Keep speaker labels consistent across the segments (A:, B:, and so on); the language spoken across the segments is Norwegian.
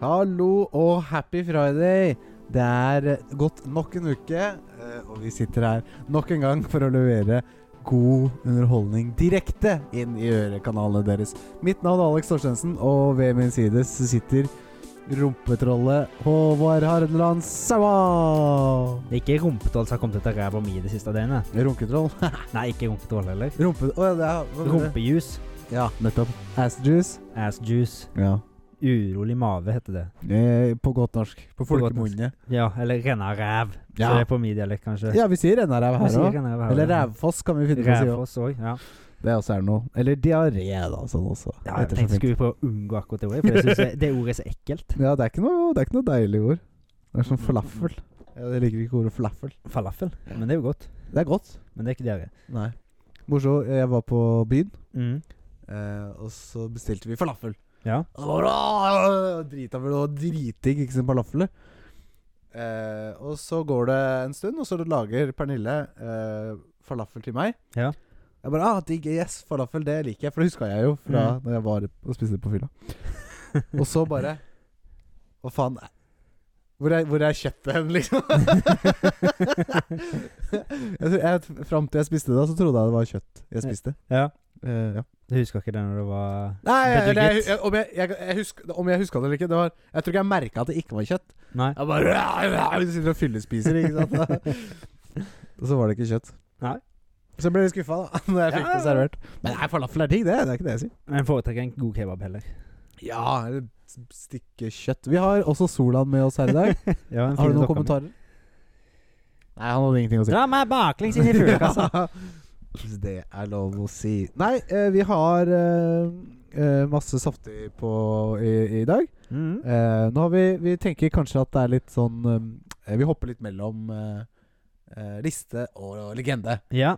A: Hallo og happy friday! Det er gått nok en uke, eh, og vi sitter her nok en gang for å levere god underholdning direkte inn i ørekanalene deres. Mitt navn er Alex Torstensen, og ved min side så sitter rumpetrollet Håvard Hardeland Saua!
B: Det er ikke rumpetroll som har kommet ut av ræva mi det siste døgnet.
A: Runketroll?
B: Nei, ikke rumpetroll heller.
A: Rumpe... Å ja, det er hva mener du?
B: Rumpejus.
A: Ja, nettopp. Assjuice?
B: Ass juice.
A: Ja.
B: Urolig mave heter det.
A: Eh, på godt norsk. På
B: På godt norsk.
A: folkemunne.
B: Ja, eller renna ræv.
A: Ja.
B: Så det er på min dialekt, kanskje.
A: Ja, vi sier NRF
B: Hva
A: her
B: sier
A: òg.
B: renna ræv?
A: Eller rævfoss kan vi finne på å si òg.
B: Rævfoss òg. Ja.
A: Det også er noe. Eller diaré, da, sånn også.
B: ja.
A: Etter så
B: Jeg tenkte
A: fint.
B: skulle vi prøve å unngå akkurat det ordet, for jeg synes det- det ordet er så ekkelt.
A: Ja, det er ikke noe, det er ikke noe deilig ord. Det er som falafel. Mm. Ja, jeg liker ikke ordet falafel.
B: Falafel. Men det er jo godt.
A: Det er godt.
B: Men det er ikke diaré.
A: Nei. Morso, jeg var på byen,
B: Mm.
A: eh, og så bestilte vi falafel.
B: Ja.
A: Og det var «Åh!» Drita vel, og dritdigg, ikke sant, falafler. Eh, og så går det en stund, og så lager Pernille eh, falafel til meg.
B: Ja.
A: Jeg bare ah, digg, yes, falafel, det liker jeg. For det huska jeg jo fra
B: Mm.
A: da jeg var og spiste på fylla. og så bare Hva faen? Hvor er, hvor er kjøttet hen, liksom? jeg, tror- jeg, fram til jeg spiste det, så trodde jeg det var kjøtt jeg spiste.
B: ja.
A: Eh, ja.
B: Du husker ikke det når det var
A: Nei, jeg,
B: Bedugget.
A: jeg, jeg, om, jeg, jeg, jeg husker, om jeg huska det eller ikke det var, Jeg tror ikke jeg merka at det ikke var kjøtt.
B: Nei.
A: Jeg bare jeg sitter og fyllespiser, ikke sant. og så var det ikke kjøtt.
B: Nei.
A: Så jeg ble litt skuffa da Når jeg fikk
B: Ja.
A: det servert. Men nei, falafel er digg, det. Det er ikke det jeg sier.
B: Men jeg foretrekker en god kebab heller.
A: Ja, eller s- stykke kjøtt. Vi har også Solan med oss her i dag.
B: Ja, en
A: har
B: fin
A: du noen
B: dokka mi.
A: kommentarer? Nei, han hadde ingenting å si.
B: Dra meg baklengs inn i fuglekassa.
A: Ja, Det er lov å si. Nei, eh, vi har eh, eh, masse saftig på i, i dag.
B: Mm.
A: Eh, nå har vi, vi tenker kanskje at det er litt sånn eh, Vi hopper litt mellom eh, eh, liste og, legende.
B: Ja.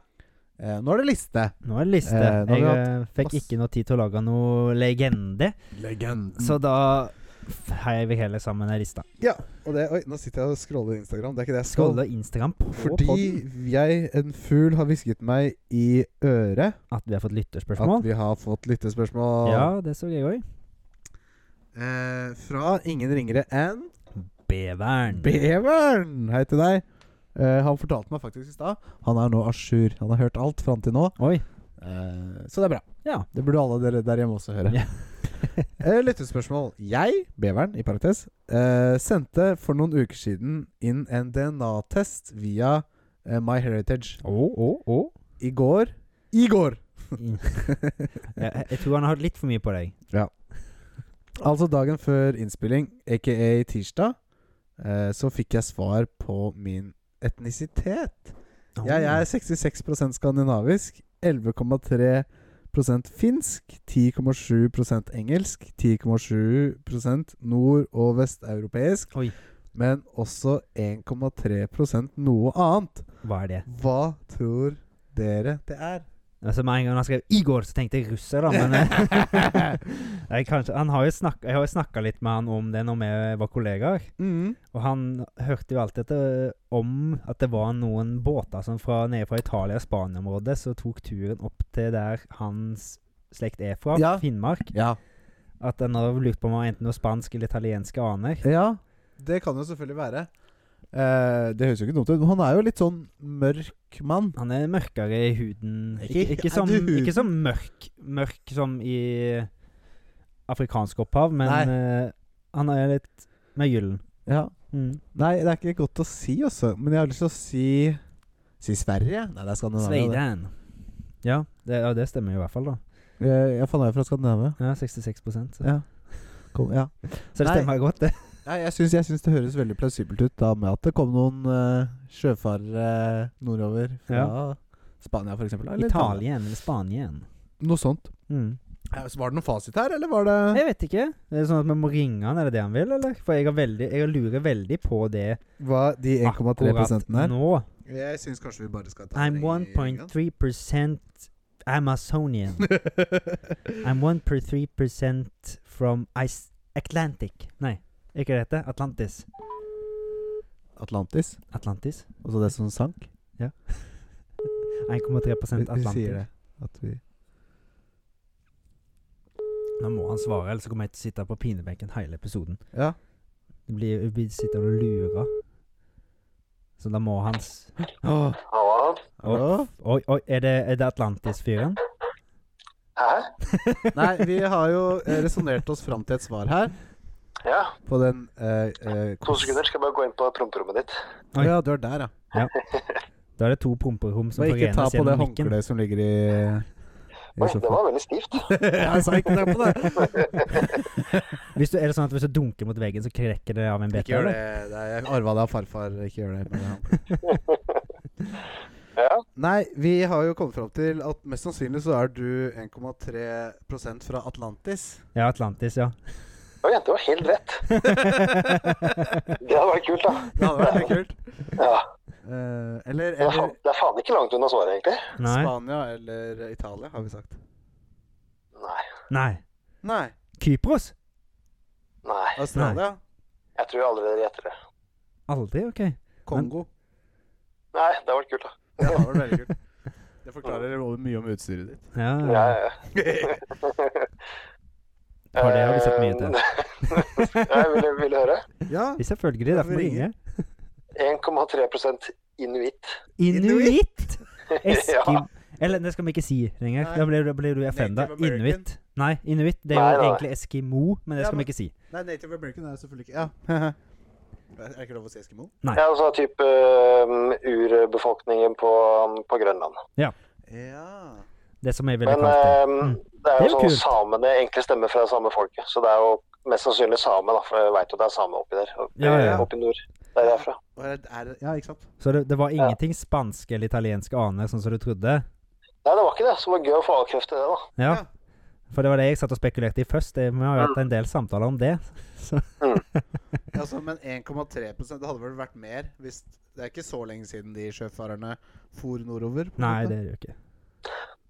A: Eh, nå er det liste.
B: Nå er det liste.
A: Eh, nå har vi
B: jeg
A: hatt
B: eh, fikk
A: masse-
B: ikke noe tid til å lage noe legende,
A: Legenden.
B: så da f- heier vi hele sammen ei liste.
A: ja, og det Oi, nå sitter jeg og scroller Instagram. Det er ikke det jeg skal.
B: Skåle og Instagram på
A: Fordi
B: podden
A: jeg, en fugl, har hvisket meg i øret
B: at vi har fått lytterspørsmål.
A: at vi har fått lyttespørsmål
B: Ja, det så jeg òg.
A: eh, fra ingen ringere enn
B: Beveren.
A: Beveren! Hei til deg. Eh, han fortalte meg faktisk i stad. Han er nå à jour. Han har hørt alt fram til nå.
B: Oi.
A: Eh, så det er bra.
B: Ja.
A: Det burde alle dere der hjemme også høre.
B: Ja.
A: Eh, Lyttespørsmål. Jeg, beveren i parentes, eh, sendte for noen uker siden inn en DNA-test via eh, MyHeritage.
B: Å, å, å.
A: I går I går!
B: Jeg jeg tror han har hørt litt for mye på deg.
A: Altså dagen før innspilling, aka tirsdag, eh, så fikk jeg svar på min etnisitet.
B: Å.
A: Jeg er 66 skandinavisk, 11,3 finsk, 10,7 engelsk, 10,7 nord- og vesteuropeisk,
B: Oi,
A: men også 1,3 noe annet.
B: hva er det?
A: Hva tror dere det er?
B: Altså Med en gang han skrev 'Igor', så tenkte jeg russer, da. Men eh, jeg, kanskje, han har jo snakka, jeg har jo snakka litt med han om det når vi var kollegaer.
A: Mm.
B: Og han hørte jo alltid at det, om at det var noen båter som fra, nede fra Italia og Spania-området som tok turen opp til der hans slekt er fra,
A: Ja.
B: Finnmark.
A: Ja.
B: At en har lurt på om han var enten noe spansk eller italienske aner.
A: ja. Det kan jo selvfølgelig være. Eh, det høres jo ikke dumt ut. men Han er jo litt sånn mørk mann.
B: Han er mørkere i huden.
A: Ikke- er
B: Ikke, ikke, som,
A: det huden?
B: ikke som mørk Mørk som i afrikansk opphav, men eh, han er litt mer gyllen.
A: Ja.
B: Mm.
A: Nei, det er ikke godt å si, altså. Men jeg har lyst til å si Si Sverige? Nei, det er Skandinavia.
B: Sveidan. Ja, det, ja, det stemmer jo i hvert fall, da.
A: det. Jeg, jeg fant meg fra Skandinavia.
B: Ja, 66 så.
A: Ja. Kom, ja.
B: så det
A: Nei.
B: stemmer godt, det.
A: Nei, jeg syns, jeg syns det høres veldig plausibelt ut da med at det kom noen uh, sjøfarere nordover fra Spania, for eksempel. eller
B: Italien eller Spanien.
A: Noe sånt.
B: Mm.
A: Ja, så var det noe fasit her, eller var det
B: Jeg vet ikke. Er det sånn at vi må ringe han, er det det han vil, eller? For jeg, har veldig, jeg lurer veldig på det
A: Hva de 1,3
B: akkurat
A: prosenten er?
B: nå.
A: Jeg syns kanskje vi bare skal
B: I'm 1.3 Amazonian. I'm 1.3 from Ice Atlantic. Nei, er ikke det det? heter? Atlantis.
A: Atlantis.
B: Atlantis?
A: Altså det som sank.
B: 1,3
A: Vi, vi
B: Atlantis.
A: sier det. At vi
B: Nå må han svare, ellers så kommer jeg til å sitte på pinebenken hele episoden.
A: Ja.
B: Det blir, vi sitter og lurer. Så da må han s-
A: Åh,
C: Hallo?
A: hallo?
B: Oi, oi, er det, er det Atlantis-fyren?
C: Hæ?
A: Nei, vi har jo eh, resonnert oss fram til et svar her.
C: Ja,
A: På den eh, eh,
C: to
A: kos-
C: sekunder skal jeg bare gå inn på promperommet ditt.
B: Oi.
A: Ja, du er der, ja.
B: Da er det to promperom som
A: Og ikke ta
B: forenes
A: på det
B: gjennom mikken.
A: håndkleet som ligger i, i
C: Oi, det var veldig stivt.
A: Jeg sa ikke det på det.
B: Hvis du, er det sånn at hvis du dunker mot veggen, så krekker det av en beta?
A: Ikke gjør
B: eller?
A: det. det er, jeg arva det av farfar. Ikke gjør det. med det håndkleet.
C: Ja,
A: Nei, vi har jo kommet fram til at mest sannsynlig så er du 1,3 fra Atlantis.
B: Ja, Atlantis, ja.
C: Oi, det var helt rett. Det hadde vært kult, da.
A: Det hadde vært litt kult.
C: Ja.
A: Eh, eller
C: Det er
A: eller
C: faen- det er faen ikke langt unna svaret, egentlig.
B: Nei.
A: Spania eller Italia, har vi sagt.
C: Nei.
B: Nei.
A: Nei.
B: Kypros?
C: Nei.
A: Australia.
C: Jeg tror jeg allerede gjetter det.
B: Aldri, OK.
A: Kongo.
C: Nei, det hadde vært kult, da.
A: Det hadde vært veldig kult. Det forklarer jo mye om utstyret ditt.
B: Ja.
C: Ja, ja, ja.
B: Har det har du sett mye til.
C: Jeg ville, ville høre.
A: Ja,
B: Det er selvfølgelig derfor vi ringer.
C: 1,3 inuitt.
B: Inuitt!
C: Ja.
B: Eskim... Eller det skal vi ikke si lenger.
A: Nei.
B: Da blir, da blir du offenda.
A: Native American.
B: Inuitt. Nei, inuitt det er
C: Nei,
B: jo
C: nei.
B: egentlig eskimo, men det
A: Ja,
B: skal
A: men-
B: vi ikke si.
A: Nei, Native American er selvfølgelig ikke Ja. er det ikke lov å si Eskimo?
C: Ja, altså type um, urbefolkningen på, um, på Grønland.
A: Ja.
B: Det som jeg ville
C: Men
B: kalt det.
C: um,
B: Mm.
C: det er
B: Det er
C: jo
B: jo
C: sånn at
B: kult.
C: samene egentlig stemmer fra samme folket. Så det er jo mest sannsynlig same, da, for jeg veit jo det er same oppi der. Oppi,
B: Ja, ja, ja.
C: oppi nord. Der jeg er fra.
A: Og er, det- er, det- ja, ikke sant?
B: Så det, det var ingenting spanske eller italienske aner, sånn som du trodde?
C: Nei, det var ikke det. Så det var gøy å få avkrefte det, da.
B: Ja.
A: Ja.
B: For det var det jeg satt og spekulerte i først. Det, vi har jo hatt en del samtaler om det. Så,
A: Altså, men 1,3 Det hadde vel vært mer hvis Det er ikke så lenge siden de sjøfarerne for nordover. på en
B: nei,
A: måte.
B: det gjør jeg ikke.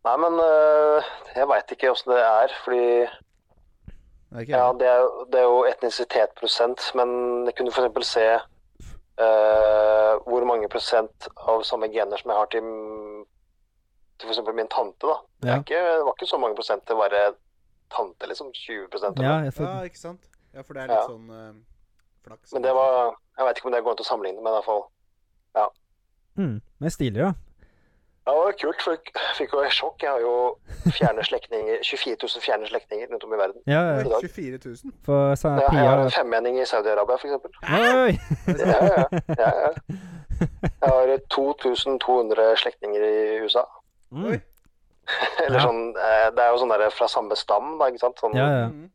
C: Nei, men øh, jeg veit ikke åssen det er, fordi
A: Det er ikke
C: ja,
A: jeg.
C: det, er, jo- det er jo etnisitet prosent, men jeg kunne f.eks. se øh, hvor mange prosent av samme gener som jeg har til, til f.eks. min tante. da. Det,
B: Ja.
C: er ikke, det var ikke så mange prosent til å være tante, liksom. 20 eller
B: Ja,
C: noe.
B: jeg
A: ja,
B: får,
A: ikke sant? Ja, for det er litt
C: Ja.
A: sånn eh, flaks.
C: Men det var Jeg veit ikke om det går an til å sammenligne, men i hvert fall
B: mm, men stilig, da.
C: Ja, det var kult, for jeg fikk jo et sjokk. Jeg har jo fjerne slektninger, 24 000 fjerne slektninger rundt om i verden.
B: Ja,
A: Oi,
B: ja.
A: 24 000.
B: for sa
C: Jeg jeg har
B: Pia
C: en femmenning i Saudi-Arabia, f.eks.
B: Oi!
C: Ja, ja, ja, ja. Jeg har 2200 slektninger i USA.
B: Mm.
C: Eller
B: Ja.
C: sånn, eh, Det er jo sånn der fra samme stam, da. ikke sant? Sånn,
B: Ja, ja.
A: Mhm.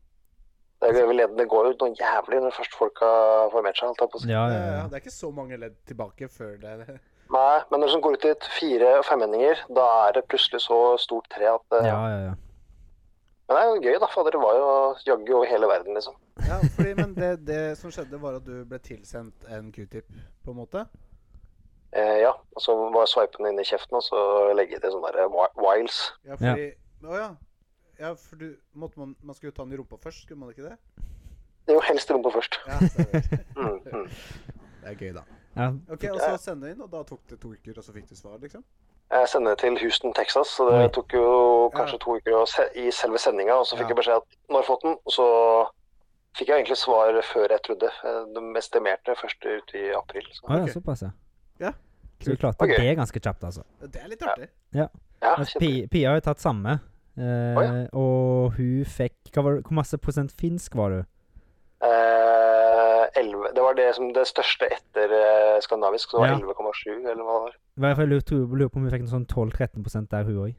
C: det, er jo vel- det går jo noe jævlig når først folk har formert seg. holdt jeg på å si.
B: Ja,
A: Ja,
B: ja,
A: ja, ja.
B: ja.
A: Det er ikke så mange ledd tilbake før det
C: Nei, men når det sånn går ut til et fire- og femmenninger, da er det plutselig så stort tre at eh,
B: ja, ja, ja.
C: Men det er jo gøy, da, for dere var jo jaggu over hele verden, liksom.
A: Ja, fordi, men det, det som skjedde, var at du ble tilsendt en q-tip, på en måte.
C: Eh, ja, og så bare sveipe den inn i kjeften og så legge til sånne der eh, wi- wiles.
A: Ja, fordi Å ja. ja. For du måtte man, man skulle jo ta den i rumpa først, skulle man ikke det?
C: Det er jo helst rumpa først.
A: Ja, stemmer.
C: Mm, mm.
A: Det er gøy, da.
B: ja.
A: Ok, Og så sende inn, og da tok det to uker, og så fikk du svar, liksom?
C: Jeg sender det til Houston, Texas, så det
B: Oi.
C: tok jo kanskje to uker å se i selve sendinga. Og så
A: Ja.
C: fikk jeg beskjed at når jeg fått den, så fikk jeg egentlig svar før jeg trodde. Eh, De estimerte først ut i april. Så.
B: Å ja,
A: Ok.
B: såpass, ja.
A: Ja.
B: Så du klarte
C: Ok.
B: det ganske kjapt, altså.
A: Det er litt artig.
C: Ja,
B: altså Pia,
C: kjempe-
B: Pia har jo tatt samme, eh, og hun fikk hva var, Hvor masse prosent finsk var du?
C: eh, 11, det var det, som det største etter eh, skandinavisk, så det var
B: Ja.
C: 11,7 eller hva det var.
B: I hvert fall lurer, lurer på om hun fikk en sånn 12-13 der, hun òg.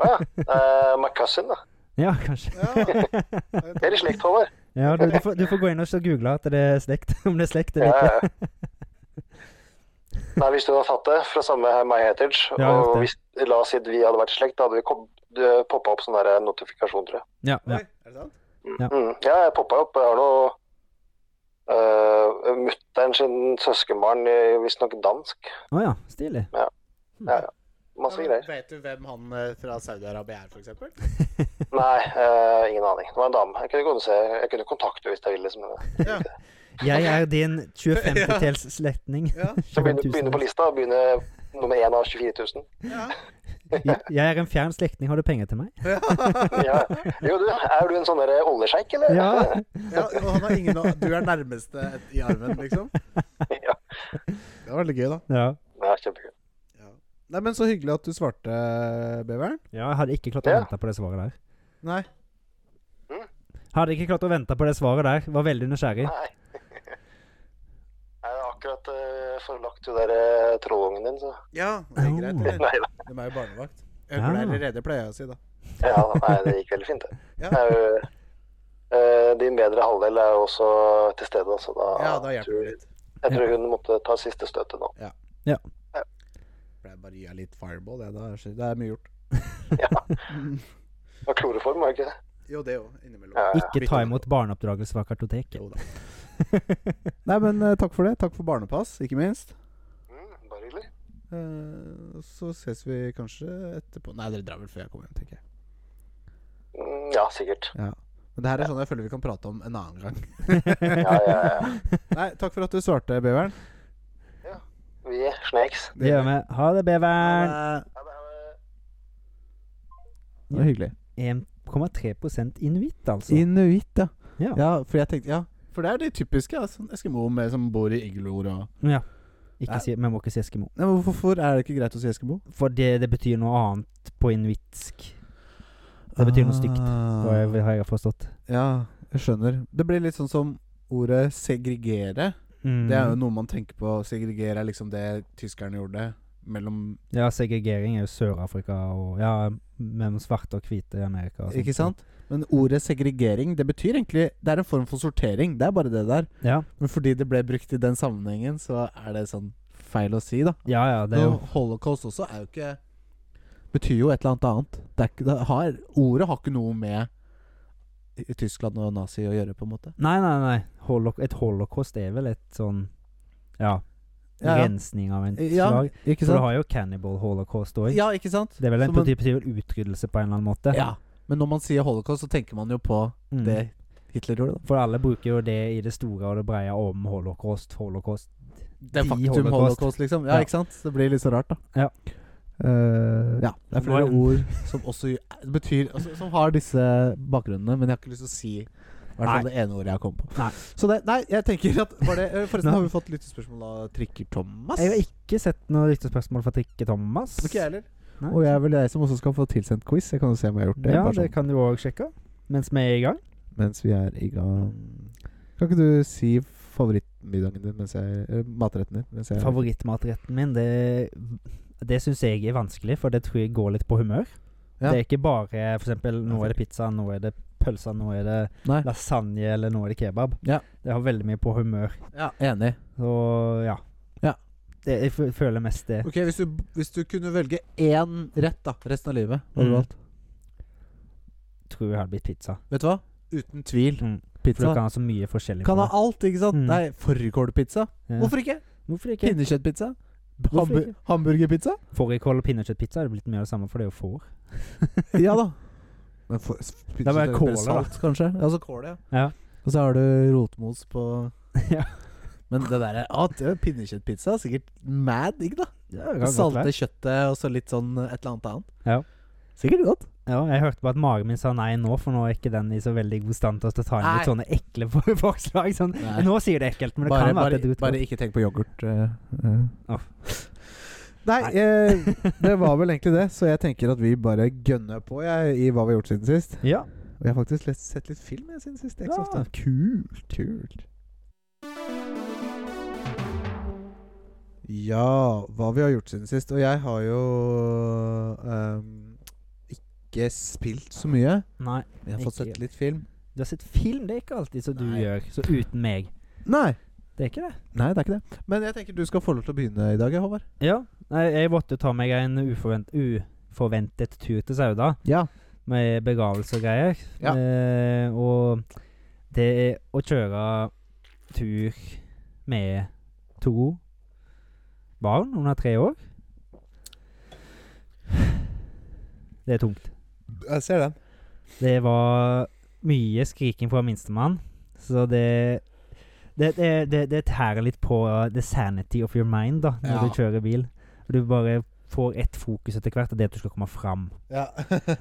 C: Ah, ja. eh, McCussin, da.
B: Ja, kanskje.
A: Ja.
C: Det er i slekt, Håvard.
B: Ja, du, du, får, du får gå inn og så google at det er slekt, om det er slekt
C: Ja,
B: eller ikke.
C: ja. Nei, hvis du hadde tatt det fra samme My Heritage,
B: Ja,
C: og
B: riktig.
C: hvis, la oss si at vi hadde vært i slekt, da hadde vi poppa opp sånn der notifikasjon, tror jeg.
B: Ja,
A: Oi,
B: ja.
A: er det sant?
B: Ja.
C: Mm. ja jeg poppa opp. Jeg har noe uh, Mutter'n sin søskenbarn, eh, visstnok dansk.
B: Å ja, stilig.
C: Masse
A: Ja, men
C: greier.
A: Vet du hvem han eh, fra Saudi-Arabia er, for eksempel?
C: Nei, eh, ingen aning. Det var en dame. Jeg kunne, gå og se. jeg kunne kontakte henne hvis jeg ville. Liksom.
A: Ja.
B: Jeg er din 25-tels slektning.
A: Ja.
C: Så begynne, begynne på lista. Begynne nummer én av 24 000.
A: ja.
B: Jeg jeg er en fjern slektning, har du penger til meg?
C: Ja. Jo, du, er du en sånn der oljesjeik, eller?
B: Ja.
A: Ja, og han har ingen å- Du er nærmeste et- i arven, liksom.
C: Ja.
A: Det var veldig gøy, da.
B: ja.
C: Det er kjempegøy.
A: Nei, men Så hyggelig at du svarte, Beveren.
B: Ja, jeg hadde ikke klart å
C: Ja.
B: vente på det svaret der.
A: Nei.
B: Hadde ikke klart å vente på det svaret der. Var veldig nysgjerrig.
C: Nei. Nei, det er akkurat uh, forlagt jo der uh, trollungen din, så
A: Ja, det er greit. eller?
C: Nei da.
A: De er jo barnevakt.
B: Ja.
A: Øgler er rede, pleier jeg å si, da.
C: Ja, nei, det gikk veldig fint, det.
A: Ja.
C: Det er jo- eh, din bedre halvdel er jo også til stede, så da,
A: Ja, da hjelper
C: tror,
A: det litt.
C: Jeg tror hun måtte ta siste støtet nå.
A: Pleier bare å gi henne litt fireball, det. Da. Det er mye gjort.
C: Ja. Det var kloreform, var det ikke det?
A: Jo, det òg. Innimellom.
C: Ja, ja.
B: Ikke ta imot barneoppdragelse fra kartoteket.
A: Jo da. Nei, men eh, takk for det. Takk for barnepass, ikke minst.
C: Mm, bare hyggelig.
A: Eh, så ses vi kanskje etterpå. Nei, dere drar vel før jeg kommer hjem, tenker jeg.
C: Mm, ja, sikkert.
A: Ja. Men det her er sånn jeg føler vi kan prate om en annen gang.
C: Ja, ja, ja.
A: Nei, takk for at du svarte, Beveren.
C: Vi snakes.
B: Det gjør vi. Ha det, beveren.
C: Ha det, ha det.
A: Det var hyggelig.
B: 1,3 inuitt, altså.
A: Inuitt, ja.
B: Ja.
A: ja. For jeg tenkte Ja, for det er de typiske. Ja, sånn Eskimo med som bor i igloer og
B: Ja. Ikke
A: Nei.
B: si, vi må ikke si eskimo.
A: Nei, men Hvorfor er det ikke greit å si Eskimo?
B: For det, det betyr noe annet på inuittsk. Det betyr noe stygt, Hva
A: Ah.
B: jeg- har jeg forstått.
A: Ja, jeg skjønner. Det blir litt sånn som ordet segregere.
B: Mm.
A: Det er jo noe man tenker på. Segregere er liksom det tyskerne gjorde mellom
B: Ja, segregering er jo Sør-Afrika og Ja, mellom svarte og hvite i Amerika. og sånt.
A: Ikke sant? Men ordet segregering, det betyr egentlig Det er en form for sortering. Det er bare det der.
B: Ja,
A: Men fordi det ble brukt i den sammenhengen, så er det sånn feil å si, da.
B: ja, ja det er jo
A: Og holocaust også er jo ikke Betyr jo et eller annet annet. Det er ikke, det har, ordet har ikke noe med i- Tyskland og nazi å gjøre, på en måte.
B: Nei, nei, nei. Holo et holocaust er vel et sånn Ja,
A: Ja, ja.
B: rensning av en
A: Ja,
B: slag.
A: ikke
B: For du
A: sant?
B: har jo cannibal holocaust òg.
A: Ja, ikke sant?
B: Det er vel en
A: Så man-
B: betyr vel utryddelse på en eller annen måte.
A: Ja. Men når man sier holocaust, så tenker man jo på
B: Mm.
A: det Hitler gjorde, da.
B: For alle bruker jo det i det store og det breie om holocaust, holocaust.
A: Det
B: De
A: faktum
B: holocaust.
A: holocaust, liksom. Ja,
B: Ja.
A: ikke sant? Det blir litt så rart, da.
B: Ja.
A: Eh, ja. Det er flere
B: Nå er-
A: ord som også gj- betyr altså, Som har disse bakgrunnene, men jeg har ikke lyst til å si i hvert fall det ene ordet jeg kom på.
B: Nei.
A: Så det, nei, jeg tenker at var det, eh, Forresten
B: Nå-
A: har vi fått lyttespørsmål av Trikker-Thomas.
B: Jeg har ikke sett noe lyttespørsmål fra Trikke Thomas.
A: Ikke jeg heller.
B: Nei.
A: Og jeg er vel jeg som også skal få tilsendt quiz. Jeg kan jo se om jeg har gjort det.
B: Ja,
A: bare
B: det
A: sånn,
B: kan du òg sjekke mens vi er i gang.
A: Mens vi er i gang. Kan ikke du si favorittmiddagen din mens jeg eh, Matretten din mens jeg
B: Favorittmatretten min, det, det syns jeg er vanskelig, for det tror jeg går litt på humør.
A: Ja.
B: Det er ikke bare f.eks. nå er det pizza, nå er det pølse, nå er det
A: Nei.
B: lasagne, eller nå er det kebab.
A: Ja.
B: Det har veldig mye på humør.
A: Ja, enig.
B: Så ja.
A: Ja.
B: Det, jeg fø- føler mest det.
A: Ok, hvis du, hvis du kunne velge én rett da resten av livet, hva hadde du
B: Mm.
A: valgt?
B: Tror jeg hadde blitt pizza.
A: Vet du hva? Uten tvil.
B: Mm. For
A: Pizza.
B: du kan ha så mye forskjellig
A: Kan
B: på
A: ha
B: det.
A: alt, ikke sant?
B: Mm.
A: Nei, fårikålpizza.
B: Ja.
A: Hvorfor ikke?
B: Hvorfor ikke?
A: Pinnekjøttpizza.
B: Hvorfor
A: Hambu
B: ikke?
A: hamburgerpizza.
B: Fårikål og pinnekjøttpizza er det blitt mye av det samme, for det er jo får.
A: ja da. Men for,
B: Da var jeg kål, da.
A: salt, kanskje. Ja, så kål, ja.
B: Ja.
A: Og så har du rotmos på
B: Ja.
A: Men det derre ja, det er jo Pinnekjøttpizza er sikkert mad, ikke da?
B: Ja, det
A: Og Salte kjøttet og så litt sånn eh, et eller annet annet.
B: Ja.
A: Sikkert godt.
B: Ja, jeg hørte bare at magen min sa nei nå, for nå er ikke den i så veldig god stand til å ta inn litt sånne ekle for- forslag. Sånn.
A: Nei.
B: Nå sier det ekkelt, men det
A: bare,
B: kan være
A: bare,
B: at det er
A: bare
B: dritgodt.
A: ikke tenk på yoghurt. eh, eh.
B: Åh.
A: Nei, eh, det var vel egentlig det, så jeg tenker at vi bare gønner på jeg, i hva vi har gjort siden sist.
B: Ja.
A: Og jeg har faktisk lest, sett litt film jeg, siden sist. Det er ikke så
B: Ja.
A: ofte. Kult, kult. Ja, hva vi har gjort siden sist. Og jeg har jo ehm, ikke spilt så mye.
B: Nei.
A: Men jeg har fått
B: Ikke.
A: sett litt film.
B: Du har sett film, det er ikke alltid så du
A: Nei.
B: gjør. Så uten meg.
A: Nei,
B: Det er ikke det.
A: nei, det er ikke det. Men jeg tenker du skal få lov til å begynne i dag, jeg, Håvard.
B: Ja. Nei, jeg måtte ta meg en uforvent, uforventet tur til Sauda,
A: Ja.
B: med begravelse og greier.
A: Ja.
B: Eh, og det å kjøre tur med to barn under tre år Det er tungt.
A: Jeg ser den.
B: Det var mye skriking fra minstemann, så det det, eh, det, det, det tærer litt på uh, the sanity of your mind da når
A: Ja.
B: du kjører bil. Du bare får ett fokus etter hvert, og det er at du skal komme fram.
A: Ja.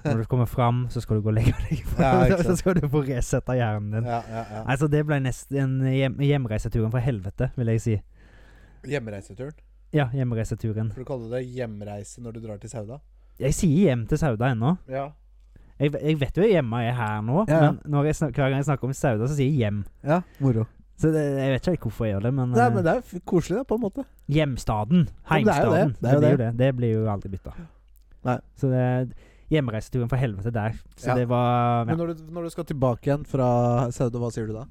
B: Når du kommer fram, så skal du gå og legge deg.
A: Ja, ikke
B: så
A: sant.
B: skal du få resetta hjernen din.
A: ja, ja, ja.
B: Altså, det ble nesten hjem, hjemreiseturen fra helvete, vil jeg si.
A: Hjemreiseturen.
B: Ja, hjemreiseturen.
A: For du kaller det hjemreise når du drar til Sauda?
B: Jeg sier hjem til Sauda ennå.
A: Ja.
B: Jeg, jeg vet jo jeg er hjemme jeg er her nå,
A: Ja, ja.
B: men når jeg snak, hver gang jeg snakker om Sauda, så sier jeg hjem.
A: ja moro.
B: Så det, jeg vet ikke helt hvorfor jeg gjør det, men,
A: Nei,
B: eh,
A: men det er f- koselig, da, på en måte.
B: hjemstaden,
A: Ja, men det er jo det.
B: heimstaden,
A: Det er jo
B: blir
A: det.
B: jo det. Det blir jo aldri bytta.
A: Nei.
B: Så det er hjemreiseturen fra helvete der. Så
A: Ja.
B: det var
A: Men
B: ja.
A: når du, når du skal tilbake igjen fra Sauda, hva sier du da?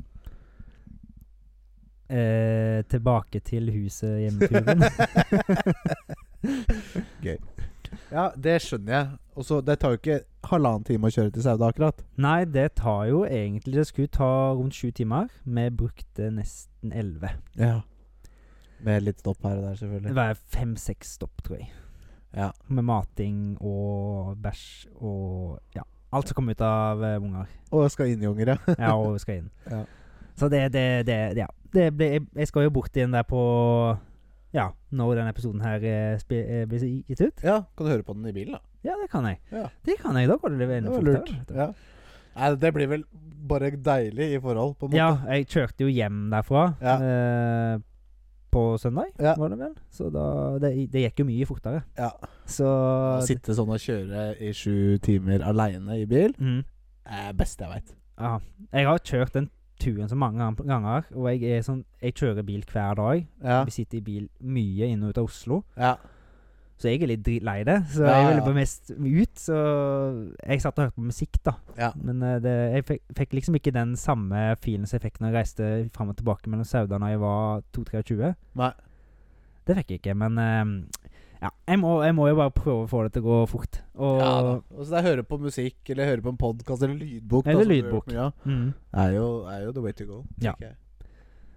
B: eh, Tilbake til huset hjemmeturen.
A: Ja, det skjønner jeg. Og så, Det tar jo ikke halvannen time å kjøre til Sauda, akkurat.
B: Nei, det tar jo egentlig Det skulle ta rundt sju timer. Vi brukte nesten elleve.
A: Ja Med litt stopp her og der,
B: Det
A: selvfølgelig.
B: var fem-seks stopp, tror jeg.
A: Ja.
B: Med mating og bæsj og ja. Alt som kom ut av eh, unger.
A: Og jeg skal inn i unger, ja.
B: Ja, og skal inn.
A: Ja.
B: Så det, det, det, det Ja. Det ble, jeg, jeg skal jo bort igjen der på Ja, når denne episoden her eh, spi, eh, blir gitt ut.
A: ja. Kan du høre på den i bilen, da?
B: Ja, det kan jeg.
A: Ja.
B: Det kan jeg. Da går det enda
A: Det var
B: fortere.
A: lurt.
B: vet du.
A: Ja. Nei, det blir vel bare deilig i forhold, på en måte.
B: Ja, jeg kjørte jo hjem derfra
A: Ja.
B: eh, på søndag,
A: Ja.
B: var det vel. Så da det, det gikk jo mye fortere.
A: Ja.
B: Så
A: Å sitte sånn og kjøre i sju timer aleine i bil,
B: mm,
A: er beste jeg veit.
B: ja. Jeg har kjørt den turen så mange gan- ganger, og jeg, er sånn, jeg kjører bil hver dag.
A: Ja.
B: Vi sitter i bil mye inn og ut av Oslo,
A: Ja.
B: så jeg er litt dritlei det. Så
A: Ja,
B: jeg
A: ja.
B: ville bare mest ut, så jeg satt og hørte på musikk, da.
A: Ja.
B: Men eh, det, jeg fikk, fikk liksom ikke den samme feelen som jeg fikk når jeg reiste fram og tilbake mellom Sauda da jeg var 22-23.
A: Nei.
B: Det fikk jeg ikke, men eh, ja, jeg må, jeg må jo bare prøve å få det til å gå fort. Og,
A: Ja, da. Og så det er høre på musikk, eller høre på en podkast, eller lydbok.
B: Eller
A: som du hører
B: lydbok.
A: på mye av.
B: mm.
A: Er jo, er jo the way to go.
B: Ja.
A: tenker jeg.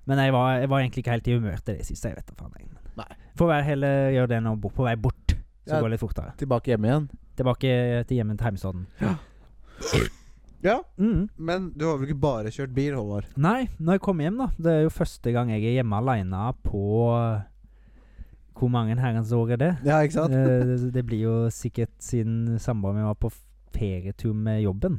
B: Men jeg var, jeg var egentlig ikke helt i humør til det siste. Jeg vet da faen. jeg. Men
A: Nei.
B: Får være heller gjøre det nå bo- på vei bort, så
A: Ja.
B: går det litt fortere.
A: Tilbake hjemme igjen.
B: Tilbake til hjemmen til heimstaden.
A: Ja,
B: Mm.
A: men du har vel ikke bare kjørt bil, Håvard?
B: Nei, når jeg kommer hjem, da Det er jo første gang jeg er hjemme aleine på eh, Hvor mange herrens år er det?
A: Ja, ikke sant?
B: Eh, det, det blir jo sikkert siden samboeren min var på ferietur med jobben.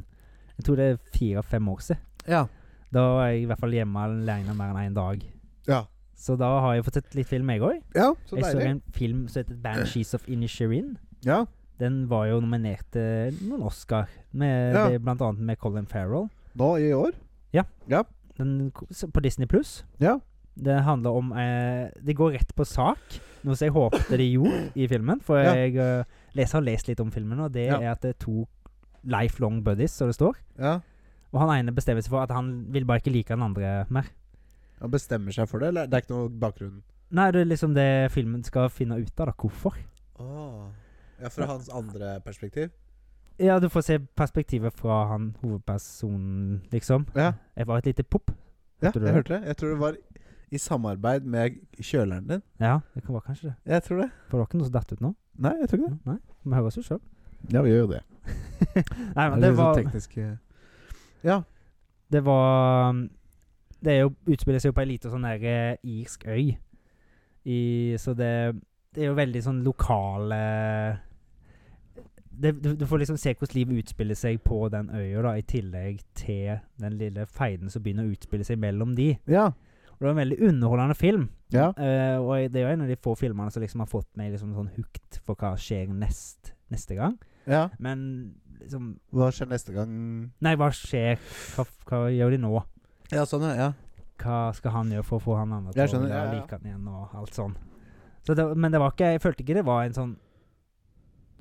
B: Jeg tror det er fire-fem år siden.
A: Ja.
B: Da var jeg i hvert fall hjemme alene mer enn én dag.
A: Ja.
B: Så da har jeg fått sett litt film, jeg òg.
A: ja så
B: Jeg så
A: deilig.
B: en film som heter 'Banshees of Inisherin'.
A: Ja.
B: Den var jo nominert til noen Oscar, med,
A: Ja.
B: det- blant annet med Colin Farrell.
A: Nå i år?
B: Den, ko- s- på Disney Pluss.
A: Ja.
B: Det handler om eh, Det går rett på sak, noe som jeg håpte de gjorde i filmen. For
A: Ja.
B: jeg eh, leser, har lest litt om filmen, og det
A: Ja.
B: er at det er to lifelong buddies, som det står.
A: Ja.
B: Og han ene bestemmer seg for at han vil bare ikke like han andre mer.
A: Han bestemmer seg for det, eller det er ikke noe bakgrunn?
B: Nei, det er liksom det filmen skal finne ut av, da. Hvorfor?
A: Ja, fra hans andre perspektiv?
B: Ja, du får se perspektivet fra han hovedpersonen, liksom.
A: Ja.
B: Jeg var et lite pop.
A: Ja,
B: Hørte
A: jeg
B: du det?
A: hørte det. Jeg tror det var i samarbeid med kjøleren din.
B: Ja, det kan- var kanskje det.
A: Jeg tror det.
B: For det var ikke noe som datt ut nå?
A: Nei, jeg tror ikke det.
B: Nei? Vi hører oss jo sjøl.
A: Ja, vi gjør jo det.
B: Nei, men det var
A: sånn teknisk eh, Ja.
B: Det var mm, Det er jo, utspiller seg jo på ei lita sånn der eh, irsk øy. I, så det Det er jo veldig sånn lokale det, du, du får liksom se hvordan livet utspiller seg på den øya, da, i tillegg til den lille feiden som begynner å utspille seg mellom de.
A: Ja.
B: Og det var en veldig underholdende film.
A: Ja.
B: Eh, og jeg- det er jo en av de få filmene som liksom har fått meg liksom sånn hooked for hva skjer nest, neste gang.
A: ja.
B: Men liksom
A: Hva skjer neste gang?
B: Nei, hva skjer? Hva, hva gjør de nå?
A: Ja, sånn, ja. ja.
B: Hva skal han gjøre for å få han andre
A: Jeg
B: til å
A: skjønner,
B: la
A: ja, ja.
B: like han igjen, og alt sånn. Så det, men det var ikke, jeg følte ikke det var en sånn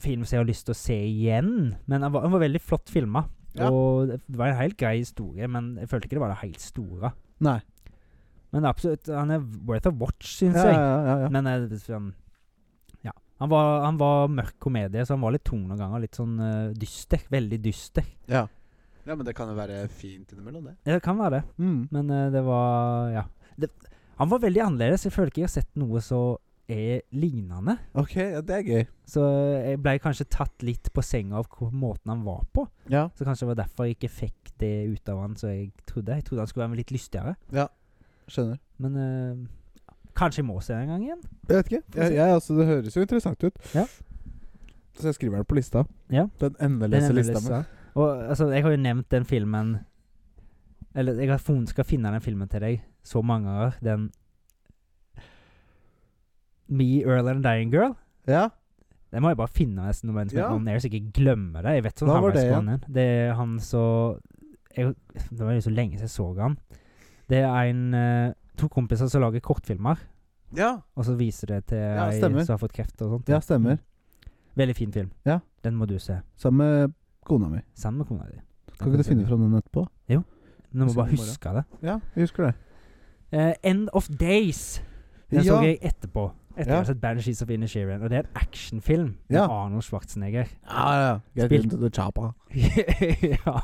B: film som jeg har lyst til å se igjen. Men den var, den var veldig flott filma.
A: Ja.
B: Og det var en helt grei historie, men jeg følte ikke det var det helt store.
A: Nei.
B: Men absolutt, han er worth a watch, syns
A: Ja,
B: jeg.
A: ja, ja, ja.
B: Men eh, det- sånn, ja. han, var, han var mørk komedie, så han var litt tung noen ganger. Litt sånn eh, dyster. Veldig dyster.
A: Ja. ja, men det kan jo være fint innimellom, det.
B: Ja, det kan være det,
A: Mm.
B: men eh, det var Ja. Det, han var veldig annerledes. Jeg føler ikke jeg har sett noe som er lignende.
A: Ok, ja, det er gøy.
B: Så eh, jeg ble kanskje tatt litt på senga av hvor måten han var på.
A: Ja.
B: Så kanskje det var derfor jeg ikke fikk det ut av han som jeg trodde. Jeg trodde han skulle være litt lystigere,
A: Skjønner.
B: men eh, Kanskje jeg må se den en gang igjen?
A: Jeg vet ikke. Jeg, jeg, altså, det høres jo interessant ut.
B: Ja.
A: Så jeg skriver den på lista.
B: Ja.
A: Den
B: Den
A: endeløse
B: ender
A: lista mi.
B: lista. Og altså, jeg har jo nevnt den filmen Eller jeg har fun, skal finne den filmen til deg så mange ganger. Den Me, Earl and the Dying Girl.
A: Ja.
B: Den må jeg bare finne nesten når jeg
A: Ja.
B: ja. on air, så jeg ikke glemmer det. Jeg vet sånn
A: Hva
B: han
A: var
B: var i
A: det igjen?
B: Skåne. Det er han så jeg, Det var jo så lenge siden jeg så han. Det er en eh, to kompiser som lager kortfilmer,
A: ja.
B: og så viser det til
A: Ja,
B: ei
A: stemmer.
B: som har fått kreft og sånt. Mm.
A: Ja, stemmer.
B: Veldig fin film.
A: Ja.
B: Den må du se.
A: Sammen med kona mi.
B: Sammen med kona di.
A: Kan ikke du finne fram den etterpå?
B: Du må
A: Husker den
B: bare
A: bare.
B: huske det.
A: Ja, jeg husker det.
B: Eh, End of Days. Den så jeg etterpå. Etter
A: Ja.
B: jeg har sett Banshees of Inisherin. Og det er en actionfilm med
A: Ja.
B: Arnold Schwarzenegger.
A: Ja, ja. Get
B: Spilt.
A: into the chapa.
B: ja.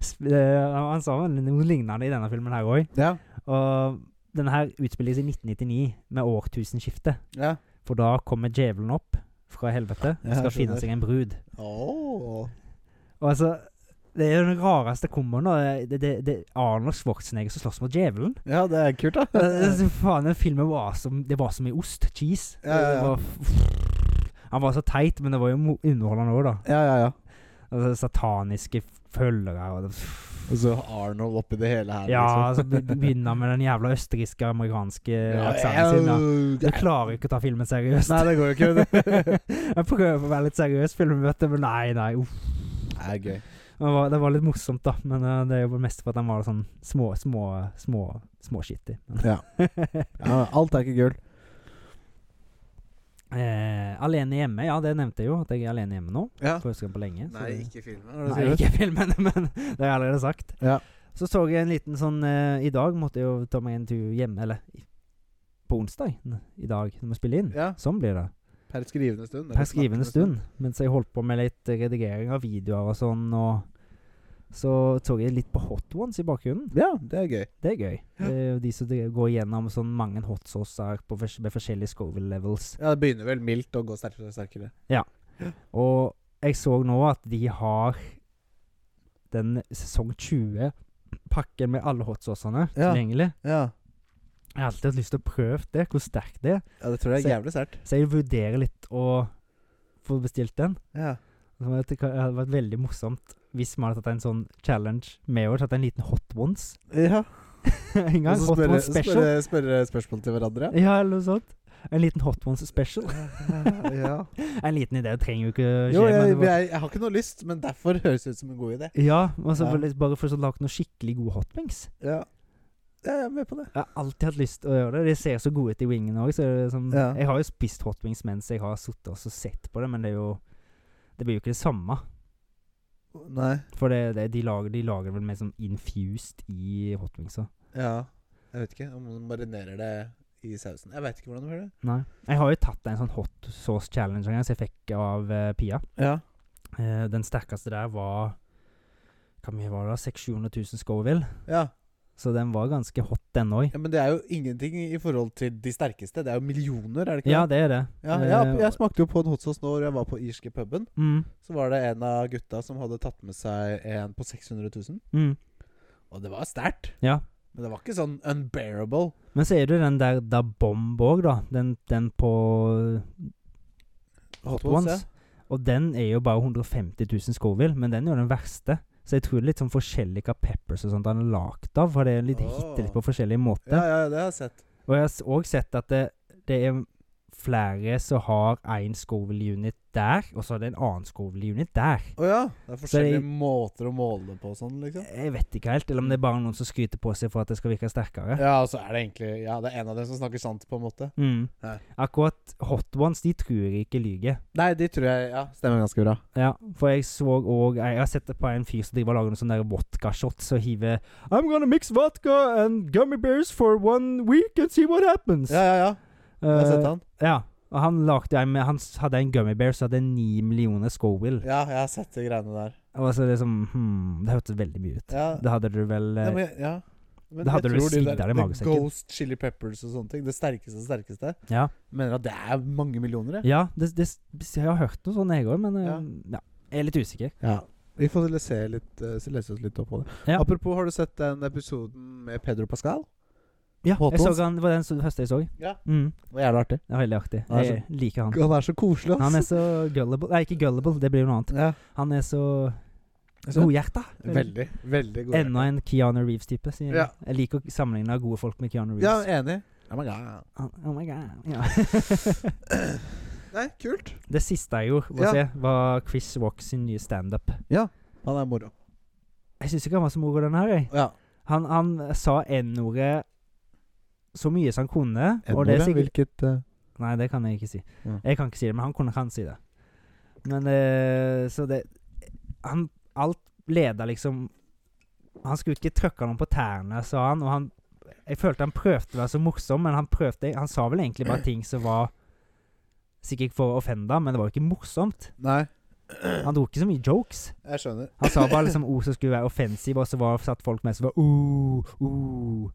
B: Sp- eh, Han sa vel noe lignende i denne filmen her òg.
A: Ja.
B: Og denne her utspilles i 1999, med årtusenskiftet.
A: ja.
B: For da kommer djevelen opp fra helvete og
A: Ja, jeg
B: skal finne
A: skjønner.
B: seg en brud.
A: Oh.
B: Og altså Det er jo den rareste komboen. da. Det, det, det er Arnold Schwarzenegger som slåss mot djevelen.
A: ja, det er kult, da.
B: Altså, Faen, den filmen var som Det var som i ost. Cheese.
A: Ja, ja, ja.
B: Det var f- han var så teit, men det var jo mo- underholdende òg, da.
A: ja, ja, ja.
B: Altså, sataniske følgere og det,
A: Og så Arnold oppi det hele her. liksom.
B: Ja, så be- begynner han med den jævla østerrikske, amerikanske aksenten sin. da. Du klarer jo ikke å ta filmen seriøst.
A: Nei, det går jo ikke. Det
B: jeg prøver å være litt seriøs, filmmøte, men nei, nei. Uff.
A: Det er gøy.
B: Det var, det var litt morsomt, da, men eh, det er jo mest for at den var sånn små, små, små, småskittig.
A: Ja. Ja, men alt er ikke gult.
B: eh, alene hjemme, ja, det nevnte jeg jo, at jeg er alene hjemme nå.
A: Ja.
B: For første gang på lenge. så det-
A: ikke filmen.
B: Nei, ikke filmen, men det har jeg allerede sagt.
A: Ja.
B: Så så jeg en liten sånn eh, I dag måtte jeg jo ta meg en tur hjemme, eller i- på onsdag n- i dag, når vi spiller inn.
A: Ja.
B: Sånn blir det.
A: Per skrivende stund.
B: Per skrivende stund. Mens jeg holdt på med litt redigering av videoer og sånn, og så så jeg litt på hot ones i bakgrunnen.
A: Ja, det er gøy.
B: Det er gøy. Det er jo de som dre- går gjennom sånn mange hot saucer på fors- med forskjellige Scoville levels.
A: Ja, Det begynner vel mildt å gå sterkere og sterkere.
B: Og jeg så nå at de har den sesong 20 pakken med alle hotsaucene
A: Ja.
B: tilgjengelig.
A: Ja,
B: Jeg har alltid hatt lyst til å prøve det, hvor sterkt det er.
A: ja det tror jeg
B: Så-
A: er jævlig sterkt.
B: Så jeg vurderer litt å få bestilt den.
A: Ja.
B: Det hadde vært- det hadde vært veldig morsomt hvis vi hadde tatt en sånn challenge med oss, tatt en liten hot ones
A: ja.
B: en gang.
A: Og så
B: Hot
A: spørre
B: ones special.
A: spørre, spørre spørsmål til hverandre.
B: Ja, eller noe sånt. En liten hot ones special.
A: ja.
B: En liten idé det trenger jo ikke skje.
A: Jo,
B: men
A: jeg,
B: det
A: jeg,
B: var-
A: jeg, har ikke noe lyst, men derfor høres det ut som en god idé.
B: ja, og så
A: Ja.
B: vil jeg bare for å lage noe skikkelig god hotwings.
A: Ja, ja jeg er med på det.
B: Jeg har alltid hatt lyst til å gjøre det. De ser så gode ut i wingen òg. Sånn,
A: Ja.
B: Jeg har jo spist hotwings mens jeg har sittet og så sett på det, men det er jo Det blir jo ikke det samme.
A: Nei.
B: For det, det, de, lager, de lager vel mer sånn infused i hotwingsa.
A: Ja. Jeg vet ikke om man marinerer det i sausen. Jeg veit ikke hvordan de gjør det.
B: Nei. Jeg har jo tatt en sånn hot sauce challenge en gang som jeg fikk av eh, Pia.
A: Ja.
B: Eh, den sterkeste der var Hvor mye var det? da? 600 000 Scoville.
A: ja.
B: Så den var ganske hot, den òg.
A: Men det er jo ingenting i forhold til de sterkeste. Det er jo millioner, er det ikke
B: Ja,
A: det?
B: det er det.
A: Ja,
B: Eh,
A: ja, jeg smakte jo på en hot sauce nå da jeg var på irske puben.
B: mm,
A: Så var det en av gutta som hadde tatt med seg en på 600 000.
B: mm,
A: Og det var sterkt.
B: ja.
A: Men det var ikke sånn unbearable.
B: Men så er det jo den der Da Bomb òg, da. Den, den på Hot Ones. Og den er jo bare 150 000 Scoville, men den er jo den verste. Så jeg tror det er litt sånn forskjellig hva peppers og sånt han er lagd av, for det er litt
A: Åh.
B: hittet litt på forskjellige
A: Ja, ja,
B: måter.
A: ja, det har jeg sett.
B: Og jeg har òg sett at det, det er flere som har én Scoville unit der, og så er det en annen Scoville unit der.
A: Å ja. Det er forskjellige
B: jeg-
A: måter å måle det på og sånn, liksom.
B: Jeg vet ikke helt, eller om det er bare noen som skryter på seg for at det skal virke sterkere.
A: Ja, og så er det egentlig Ja, det er en av dem som snakker sant, på en måte.
B: Mm.
A: Ja.
B: Akkurat hot ones, de tror jeg ikke lyver.
A: Nei, de tror jeg Ja, stemmer ganske bra.
B: Ja, for jeg så òg Jeg har sett det på en fyr som driver og lager noen sånne der vodkashots og hiver I'm gonna mix vodka and gummy bears for one week and see what happens. Eh,
A: Ja, ja, ja. Jeg har sett han.
B: ja. Og han lagde en med Han s- hadde en gummy bear som hadde ni millioner Scoville.
A: Ja, jeg har sett de greiene der.
B: Og så liksom hmm, Det hørtes veldig mye ut.
A: Ja.
B: Da hadde du vel eh,
A: ja, men, jeg- ja. Men
B: Da hadde
A: jeg
B: du
A: tror de
B: svidd
A: der-
B: av det i magesekken.
A: Ghost chili peppers og sånne ting. Det sterkeste sterkeste.
B: eh, Ja,
A: Mener at det er mange millioner, jeg.
B: ja det, det, jeg har hørt noe sånt, jeg òg, men eh,
A: Ja.
B: ja. Jeg er litt usikker.
A: Ja. Vi får lese, litt, eh, lese oss litt opp på det.
B: Ja.
A: Apropos, har du sett den episoden med Pedro Pascal?
B: Ja, jeg så
A: Håkons.
B: han, det var den s- første jeg så.
A: Ja.
B: Mm,
A: Det var jævlig artig.
B: det var veldig artig.
A: Han er
B: Jeg liker han.
A: Han er så koselig, ass.
B: Han er så gullible Nei, ikke gullible, det blir jo noe annet.
A: ja.
B: Han er så godhjerta.
A: Veldig, veldig god.
B: Enda en Keanu Reeves-type. sier jeg.
A: Ja.
B: Jeg liker å sammenligne gode folk med Keanu
A: Ja,
B: Reeves.
A: enig. Oh my god.
B: Han- Oh my god. Ja.
A: Nei, kult.
B: det siste jeg gjorde, var, å se, var Chris Walk sin nye standup.
A: Han er moro.
B: Jeg syns ikke han var så moro, den her. Jeg.
A: Ja.
B: Han, han sa N-ordet så mye som han kunne. og det er
A: N-ordet,
B: sikkert-
A: hvilket eh,
B: Nei, det kan jeg ikke si.
A: Ja.
B: Jeg kan ikke si det, men han kunne kan si det. Men eh, så det Han Alt leda liksom Han skulle ikke tråkke noen på tærne, sa han, og han Jeg følte han prøvde å være så morsom, men han prøvde Han sa vel egentlig bare ting som var Sikkert for å offende, men det var jo ikke morsomt.
A: Nei,
B: Han dro ikke så mye jokes.
A: jeg skjønner.
B: Han sa bare liksom ord som skulle være offensive, og så var, satt folk med som var uh, uh.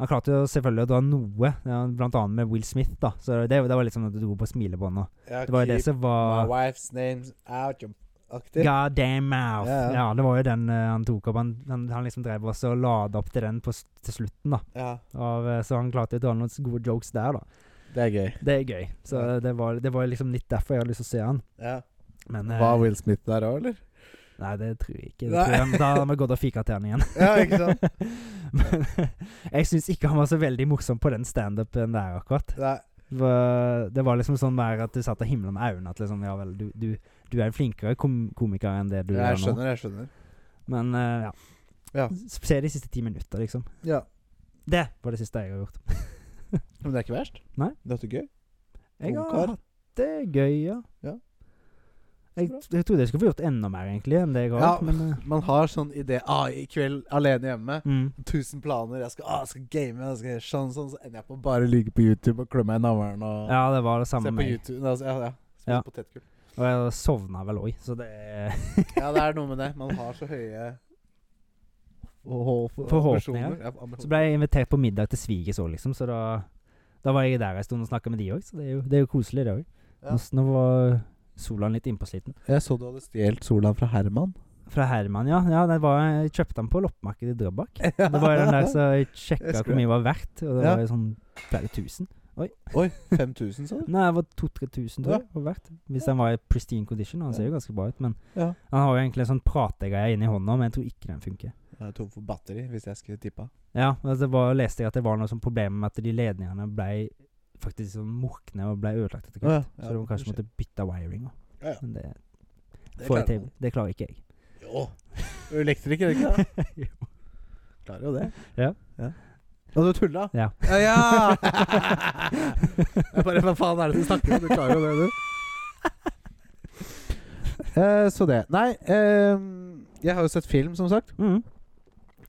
B: Han klarte jo selvfølgelig å dra noe, ja, blant annet med Will Smith, da. Så det, det var litt sånn at du dro på smilebåndet. Det var jo det som var
A: wife's name's out, you aktig.
B: God damn mouth.
A: Ja, ja.
B: Ja, det var jo den eh, han tok opp. Han, han, han liksom drev også og lada opp til den på, s- til slutten, da.
A: Ja.
B: Av, eh, så han klarte å dra noen gode jokes der, da.
A: Det er gøy.
B: Det er gøy. Så
A: Ja.
B: det, var, det var liksom litt derfor jeg hadde lyst til å se han.
A: Ja.
B: Men eh,
A: Var Will Smith der òg, eller?
B: Nei, det tror jeg ikke. Det
A: Nei.
B: tror jeg, da hadde vi gått og fika til han igjen.
A: Ja, ikke sant?
B: Men jeg syns ikke han var så veldig morsom på den standupen der, akkurat.
A: Nei.
B: Det var- Det var liksom sånn mer at du satt og himla med øynene. At liksom, ja vel, du, du, du er en flinkere kom komiker enn det du er
A: Jeg
B: nå.
A: skjønner, jeg skjønner.
B: Men eh, ja.
A: Ja.
B: S- Se de siste ti minutter, liksom.
A: Ja.
B: Det var det siste jeg har gjort.
A: Men det er ikke verst.
B: Nei.
A: Det er så gøy.
B: Jeg har
A: Ungkar.
B: hatt det gøy, ja.
A: Ja.
B: Jeg, jeg trodde jeg skulle få gjort enda mer, egentlig, enn det jeg har.
A: Ja.
B: gjort, Men, eh,
A: Man har sånn idé ah, I kveld alene hjemme.
B: mm.
A: Tusen planer. Jeg skal, ah, jeg skal game, jeg skal gjøre sånn, sånn. Så ender jeg på å bare ligge på YouTube og klø meg i navlen og
B: ja, det var det samme
A: se
B: med
A: på
B: meg.
A: YouTube. Altså, ja, ja. Spise
B: Ja.
A: potetgull.
B: Og jeg sovna vel òg, så det er
A: Ja, det er noe med det. Man har så høye
B: Forhåpninger.
A: ambisjoner. Ja,
B: Så
A: ambisjoner.
B: ble jeg invitert på middag til svigers òg, liksom. Så da, da var jeg der en stund og snakka med de òg, så det er, jo, det er jo koselig, det òg.
A: Ja.
B: Nå var Solan litt innpåsliten.
A: Jeg så du hadde stjålet Solan fra Herman.
B: Fra Herman, ja. ja det var, jeg kjøpte den på loppemarkedet i Drøbak. Det var jo den der så jeg
A: Jeg
B: sjekka
A: husker
B: hvor mye det var verdt, og det
A: Ja.
B: var jo sånn flere tusen.
A: Oi, 5000, sa du?
B: Nei, det var 2000-3000, tror jeg, var verdt. Hvis den var i pristine condition. Og den ser jo ganske bra ut, men
A: Ja.
B: han har jo egentlig en sånn prategreie inni hånda, men jeg tror ikke den funker.
A: Jeg er tom for batteri, hvis jeg skulle tippa.
B: Ja, og det var, leste jeg at det var noe sånn problem med at de ledningene ble faktisk sånn morkne og ble ødelagt etter
A: Å
B: hvert.
A: ja, ja,
B: så de kanskje
A: det
B: måtte bytte wiring. og-
A: Ja, ja.
B: Men det,
A: Det
B: får
A: klarer
B: jeg til. Det klarer ikke jeg.
A: man. Jo. Du er Elektriker, ikke sant?
B: Jo.
A: Klarer jo det.
B: Ja.
A: Og du tulla?
B: Ja.
A: ja! jeg bare Hva faen er det du snakker om? Du klarer jo det, du. Eh, så det. Nei, ehm, jeg har jo sett film, som sagt.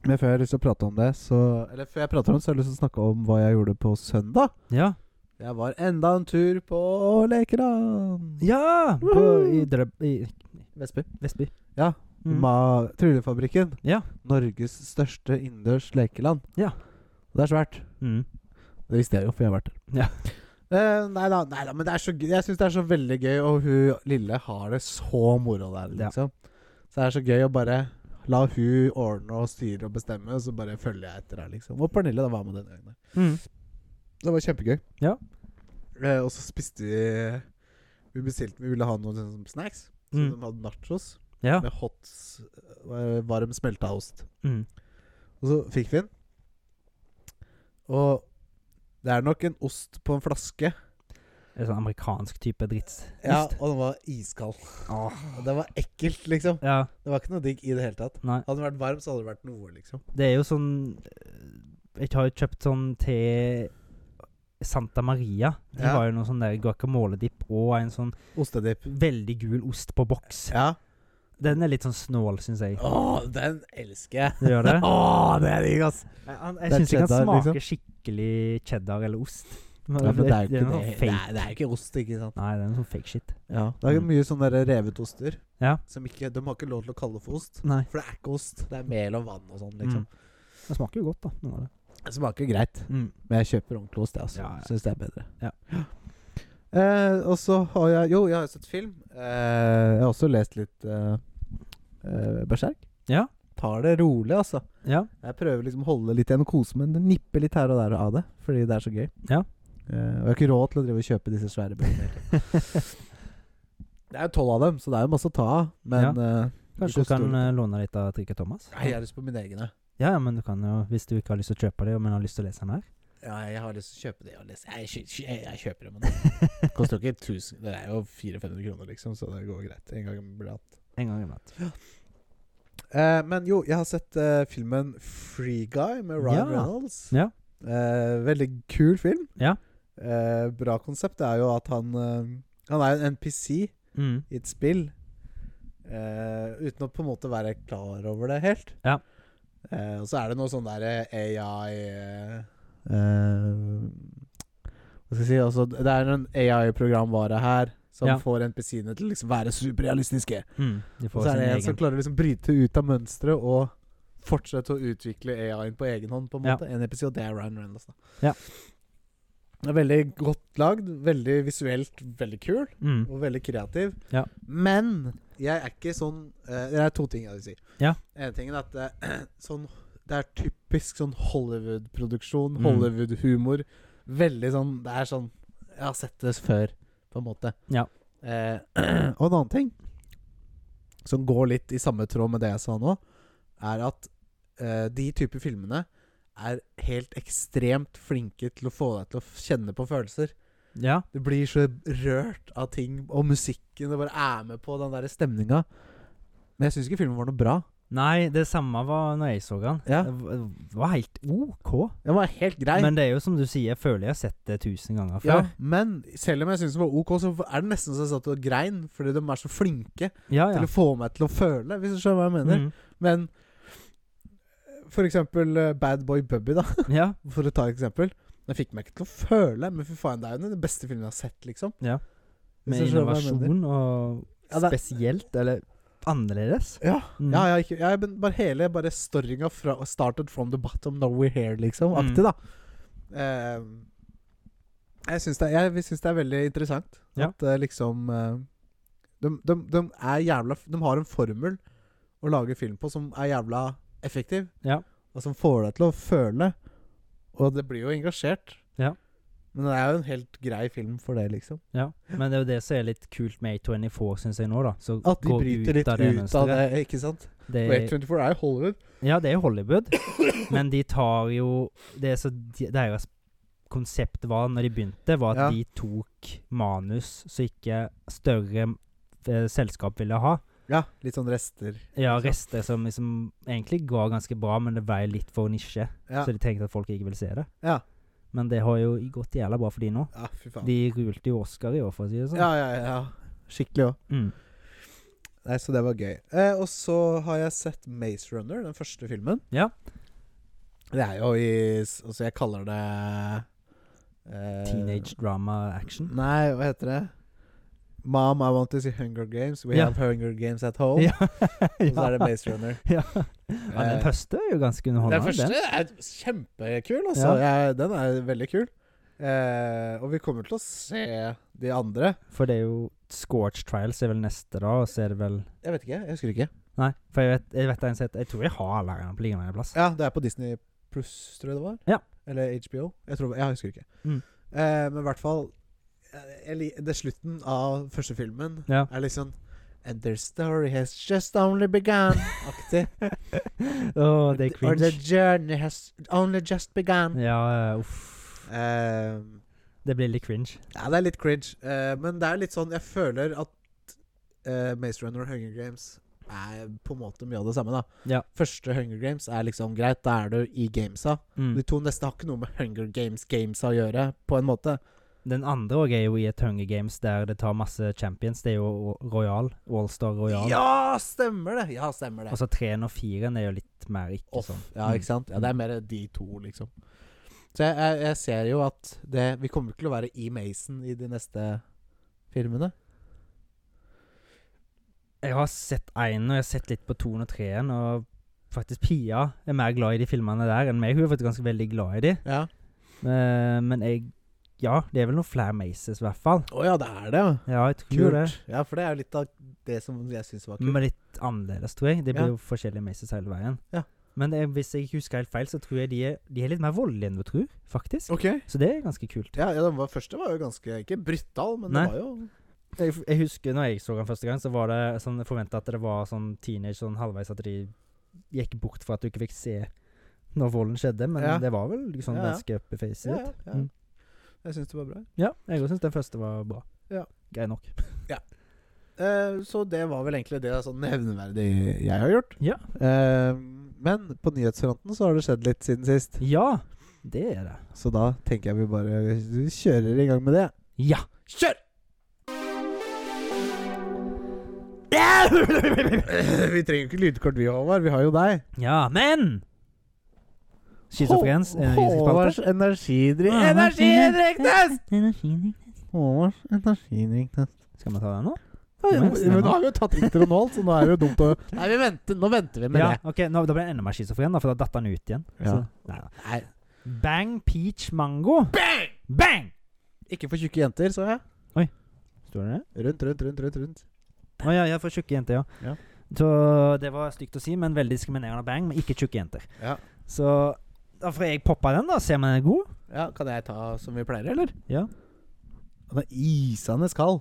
B: Mm.
A: Men før jeg har lyst til å prate om det, så Eller før jeg prater om det, så har jeg lyst til å snakke om hva jeg gjorde på søndag.
B: Ja.
A: Jeg var enda en tur på Lekeland.
B: ja! På, I Drøb... I
A: Vestby.
B: Vestby.
A: Ja.
B: Mm.
A: Ma Tryllefabrikken.
B: Ja.
A: Norges største innendørs lekeland.
B: Ja.
A: Det er svært.
B: Mm.
A: Det visste jeg jo, for jeg har vært der.
B: Ja.
A: Eh, nei da, nei da, men det er så gøy. jeg syns det er så veldig gøy, og hun lille har det så moro der,
B: Ja.
A: liksom. Så det er så gøy å bare la hun ordne og styre og bestemme, og så bare følger jeg etter her, liksom. Og Pernille da var med denne gangen.
B: Mm.
A: Det var kjempegøy.
B: Ja.
A: Eh, og så spiste vi Vi bestilte Vi ville ha noen sånne snacks. Så
B: Mm.
A: de hadde nachos
B: Ja.
A: med hot s- eh, varm smelta ost.
B: Mm.
A: Og så fikk vi den. Og det er nok en ost på en flaske.
B: En sånn amerikansk type dritts.
A: Ja,
B: Ost.
A: og den var iskald.
B: Åh.
A: Og Den var ekkelt, liksom.
B: Ja.
A: Det var ikke noe digg i det hele tatt.
B: Nei.
A: Hadde den vært varm, så hadde det vært noe, liksom.
B: Det er jo sånn eh, Jeg har jo kjøpt sånn til Santa Maria. De
A: Ja.
B: har jo noe sånn der guacamole-dipp og en sånn
A: Ostedipp.
B: veldig gul ost på boks.
A: Ja.
B: Den er litt sånn snål, syns jeg.
A: Å, den elsker jeg.
B: Det gjør det?
A: Å, det er digg, ass.
B: Jeg, han- jeg
A: Det er
B: syns ikke han
A: cheddar,
B: smaker
A: liksom.
B: skikkelig cheddar eller ost. Men
A: Ja, men det er jo
B: det er
A: ikke
B: noe
A: det. Det
B: fake.
A: er, det er jo ikke ost, ikke sant.
B: Nei, det er noe sånn fake shit.
A: Ja. Det er jo
B: Mm.
A: mye sånne der revet oster.
B: Ja.
A: Som ikke, de har ikke lov til å kalle det for ost.
B: Nei.
A: For det er ikke ost. Det er mel og vann og
B: Mm.
A: sånn, liksom.
B: Det smaker jo godt, da. Noe av det.
A: Det smaker greit. Men jeg kjøper ordentlig ost, jeg, altså.
B: Ja, ja.
A: Syns det er bedre.
B: Ja.
A: Eh, og så har jeg Jo, jeg har sett film. Eh, jeg har også lest litt eh, eh, Berserk.
B: Ja.
A: tar det rolig, altså.
B: Ja.
A: Jeg prøver liksom å holde litt igjen og kose meg. Det nipper litt her og der av det, fordi det er så gøy.
B: Ja.
A: Eh, og jeg har ikke råd til å drive og kjøpe disse svære bøkene. det er jo tolv av dem, så det er jo masse å ta av. Men eh,
B: Kanskje du kan
A: koster-
B: eh, låne litt av Trikke Thomas?
A: nei, jeg har lyst på mine egne.
B: Ja, ja, men du kan jo, hvis du ikke har lyst til å kjøpe det, men har lyst til å lese mer.
A: Ja, jeg har lyst til å kjøpe det. Jeg, har lyst- jeg, kjø- kjø- jeg, jeg kjøper det, men det koster jo ikke 1000 Det er jo 400-500 kroner, liksom, så det går greit. En gang iblant.
B: En gang iblant.
A: Eh, men jo, jeg har sett eh, filmen Free Guy med Ryan
B: Ja.
A: Reynolds.
B: Ja.
A: Eh, veldig kul film.
B: Ja.
A: Eh, bra konsept. Det er jo at han eh, Han er jo en NPC i
B: Mm.
A: et spill. eh, uten å på en måte være klar over det helt.
B: Ja.
A: Eh, og så er det noe sånn derre AI eh, eh, Hva skal jeg si altså, Det er en AI-programvare her som
B: Ja.
A: får NPC-ene til å liksom være superrealistiske.
B: Mm.
A: Og
B: De
A: så er
B: får sin
A: det en
B: egen.
A: som klarer å liksom bryte ut av mønsteret og fortsette å utvikle AI-en på egen hånd, på en
B: Ja.
A: måte. En episode, det er Ryan Reynolds, da.
B: Ja.
A: Den er veldig godt lagd, veldig visuelt veldig kul,
B: Mm.
A: og veldig kreativ.
B: Ja.
A: Men jeg er ikke sånn eh, Det er to ting jeg vil si.
B: Ja.
A: En ting er at eh, sånn, det er typisk sånn Hollywood-produksjon,
B: Mm.
A: Hollywood-humor. Veldig sånn Det er sånn Jeg har sett det før, på en måte.
B: Ja.
A: Eh, og en annen ting som går litt i samme tråd med det jeg sa nå, er at eh, de typer filmene er helt ekstremt flinke til å få deg til å f- kjenne på følelser.
B: Ja.
A: Du blir så rørt av ting, og musikken det bare er med på den der stemninga. Men jeg syns ikke filmen var noe bra.
B: Nei, det samme var når jeg så den.
A: Ja.
B: Det var- Det var helt OK.
A: Den var helt grei.
B: Men det er jo som du sier, jeg føler jeg har sett det tusen ganger
A: ja,
B: før.
A: men selv om jeg syns den var ok, så er det nesten så jeg satt og grein, fordi de er så flinke
B: Ja, ja.
A: til å få meg til å føle, hvis du skjønner hva jeg mener.
B: Mm.
A: Men for eksempel eh, Bad Boy Bubby, da.
B: ja.
A: For å ta et eksempel. Den fikk meg ikke til å føle, men fy faen, det er jo den beste filmen jeg har sett, liksom.
B: Ja.
A: Hvis
B: Med
A: du skjønner hva jeg mener.
B: innovasjon og
A: Ja, det er-
B: spesielt, eller annerledes.
A: Ja,
B: Mm.
A: ja, ja, ikke, ja men bare hele bare storinga fra 'started from the bottom, now we're here', liksom.
B: Mm.
A: Aktig, da. Eh, jeg syns det, jeg, vi syns det er veldig interessant
B: Ja.
A: at eh, liksom eh, de, de, de er jævla f- De har en formel å lage film på som er jævla effektiv,
B: Ja.
A: og som får deg til å føle. Og det blir jo engasjert.
B: Ja.
A: Men det er jo en helt grei film for det, liksom.
B: Ja, men det er jo det som er litt kult med A24, syns jeg nå, da. Så
A: At de
B: går
A: bryter litt ut av det,
B: mønsteret. Eh.
A: ikke sant?
B: Det
A: Og
B: er-
A: A24 er jo Hollywood.
B: ja, det er Hollywood, men de tar jo Det er så de- deres konsept var når de begynte, var at
A: Ja.
B: de tok manus som ikke større eh, selskap ville ha.
A: Ja, litt sånn rester.
B: Ja,
A: Ikke
B: rester som liksom egentlig var ganske bra, men det var litt for nisje.
A: Ja,
B: Så de tenkte at folk ikke ville se det.
A: Ja.
B: Men det har jo gått jævla bra for de nå.
A: ja fy faen.
B: De rulte jo Oscar i år, for å si det sånn.
A: Ja, ja, ja. Skikkelig òg.
B: Mm.
A: Nei, så det var gøy. Eh, og så har jeg sett Maze Runner, den første filmen.
B: Ja.
A: Det er jo i s- Altså, jeg kaller det eh,
B: Teenage drama action.
A: Nei, hva heter det? Mom, I want to see Hunger Games. We
B: Ja.
A: have Hunger Games at home.
B: Ja.
A: Og så er det Maze Runner.
B: Ja. ja, den
A: Eh,
B: første er jo ganske
A: Den
B: underholdende.
A: første
B: den.
A: er kjempekul, altså. Jeg, den er veldig kul. Eh, og vi kommer til å se de andre.
B: For det er jo Scorch Trials er vel neste, da, og så er det vel
A: Jeg vet ikke. Jeg husker ikke.
B: Nei, for jeg vet, jeg vet en set, Jeg tror jeg har alle her på lignende en plass.
A: Ja, det er på Disney Pluss, tror jeg det var.
B: Ja.
A: Eller HBO. Jeg, tror, jeg husker ikke.
B: Mm.
A: Eh, men i hvert fall eh, jeg, lik- Det slutten av første filmen
B: Ja.
A: er liksom And their story has just only begun. Aktig.
B: Å, det er
A: Or the
B: cringe.
A: journey has only just begun.
B: Ja, eh, uff.
A: Eh,
B: Det blir litt cringe.
A: Ja, det er litt cringe. eh, men det er litt sånn Jeg føler at eh, Maze Runner og Hunger Games er på en måte mye av det samme. da
B: Ja.
A: Første Hunger Games er liksom greit, da er du i gamesa.
B: Mm.
A: De to neste har ikke noe med Hunger Games-gamesa å gjøre, på en måte.
B: Den andre òg er jo i et Hunger Games der det tar masse champions. Det er jo Royal. Allstar Royal.
A: Ja, stemmer det! Ja, stemmer det.
B: Og så treen og firen er jo litt mer ikke
A: Off.
B: sånn.
A: Ja, ikke sant? Ja, det er mer de to, liksom. Så jeg, jeg, jeg ser jo at det Vi kommer til å være i Mason i de neste filmene.
B: Mm. Jeg har sett én, og jeg har sett litt på toen og treen, og faktisk Pia er mer glad i de filmene der enn meg. Hun er faktisk ganske veldig glad i de.
A: Ja.
B: Eh, men jeg Ja, det er vel noen flere Maces, i hvert fall.
A: Å ja, det er det, ja.
B: Ja, jeg tror
A: Kult.
B: det.
A: Ja, for det er jo litt av det som jeg syns var kult.
B: Men litt annerledes, tror jeg. Det blir
A: Ja.
B: jo forskjellige mazes hele veien.
A: Ja.
B: Men det, hvis jeg ikke husker helt feil, så tror jeg de er, de er litt mer voldelige enn du tror, faktisk.
A: Ok.
B: Så det er ganske kult.
A: Ja, ja, den var, første var jo ganske Ikke brutal, men
B: Nei.
A: det var jo
B: Jeg, jeg husker når jeg så den første gang, så var det sånn forventa at det var sånn teenage sånn halvveis at de gikk bort fra at du ikke fikk se når volden skjedde, men
A: Ja.
B: det var vel sånn
A: Ja, ja.
B: ganske up i facet
A: ja,
B: ditt.
A: ja, ja.
B: Mm.
A: Jeg syns det var bra.
B: Ja, jeg òg syns den første var bra.
A: Ja.
B: Grei nok.
A: Eh, så det var vel egentlig det sånn nevneverdig jeg har gjort.
B: Ja.
A: Eh, men på nyhetsfronten så har det skjedd litt siden sist.
B: Ja, det er det.
A: Så da tenker jeg vi bare kjører i gang med det.
B: Ja.
A: Kjør! vi trenger jo ikke lydkort, vi, Håvard. Vi har jo deg.
B: Ja, men Schizofrens eh,
A: Hå- Håvards energidrikk Energidrikktest! Håvards energidrikktest.
B: Skal vi ta den nå?
A: Ja, ja,
B: Mens den
A: Men nå
B: har-
A: har vi jo tatt introen alt, så nå er det jo dumt å Nei, vi venter, nå venter vi med
B: Ja, ok, nå, Da ble jeg enda mer schizofren, da, for da datt han ut igjen.
A: Ja.
B: Så, nei, da.
A: det. Nei,
B: Bang peach mango. Bang! Bang!
A: ikke for tjukke jenter, så jeg.
B: Står det det?
A: Rundt, rundt, rundt, rundt. rundt.
B: Å ja, ja, for tjukke jenter, ja.
A: Ja.
B: Så det var stygt å si, men veldig diskriminerende av bang, men ikke tjukke jenter.
A: Ja.
B: Så da får jeg poppa den, da. Se om den er god.
A: ja, Kan jeg ta som vi pleier, eller?
B: Ja.
A: Den er isende kald.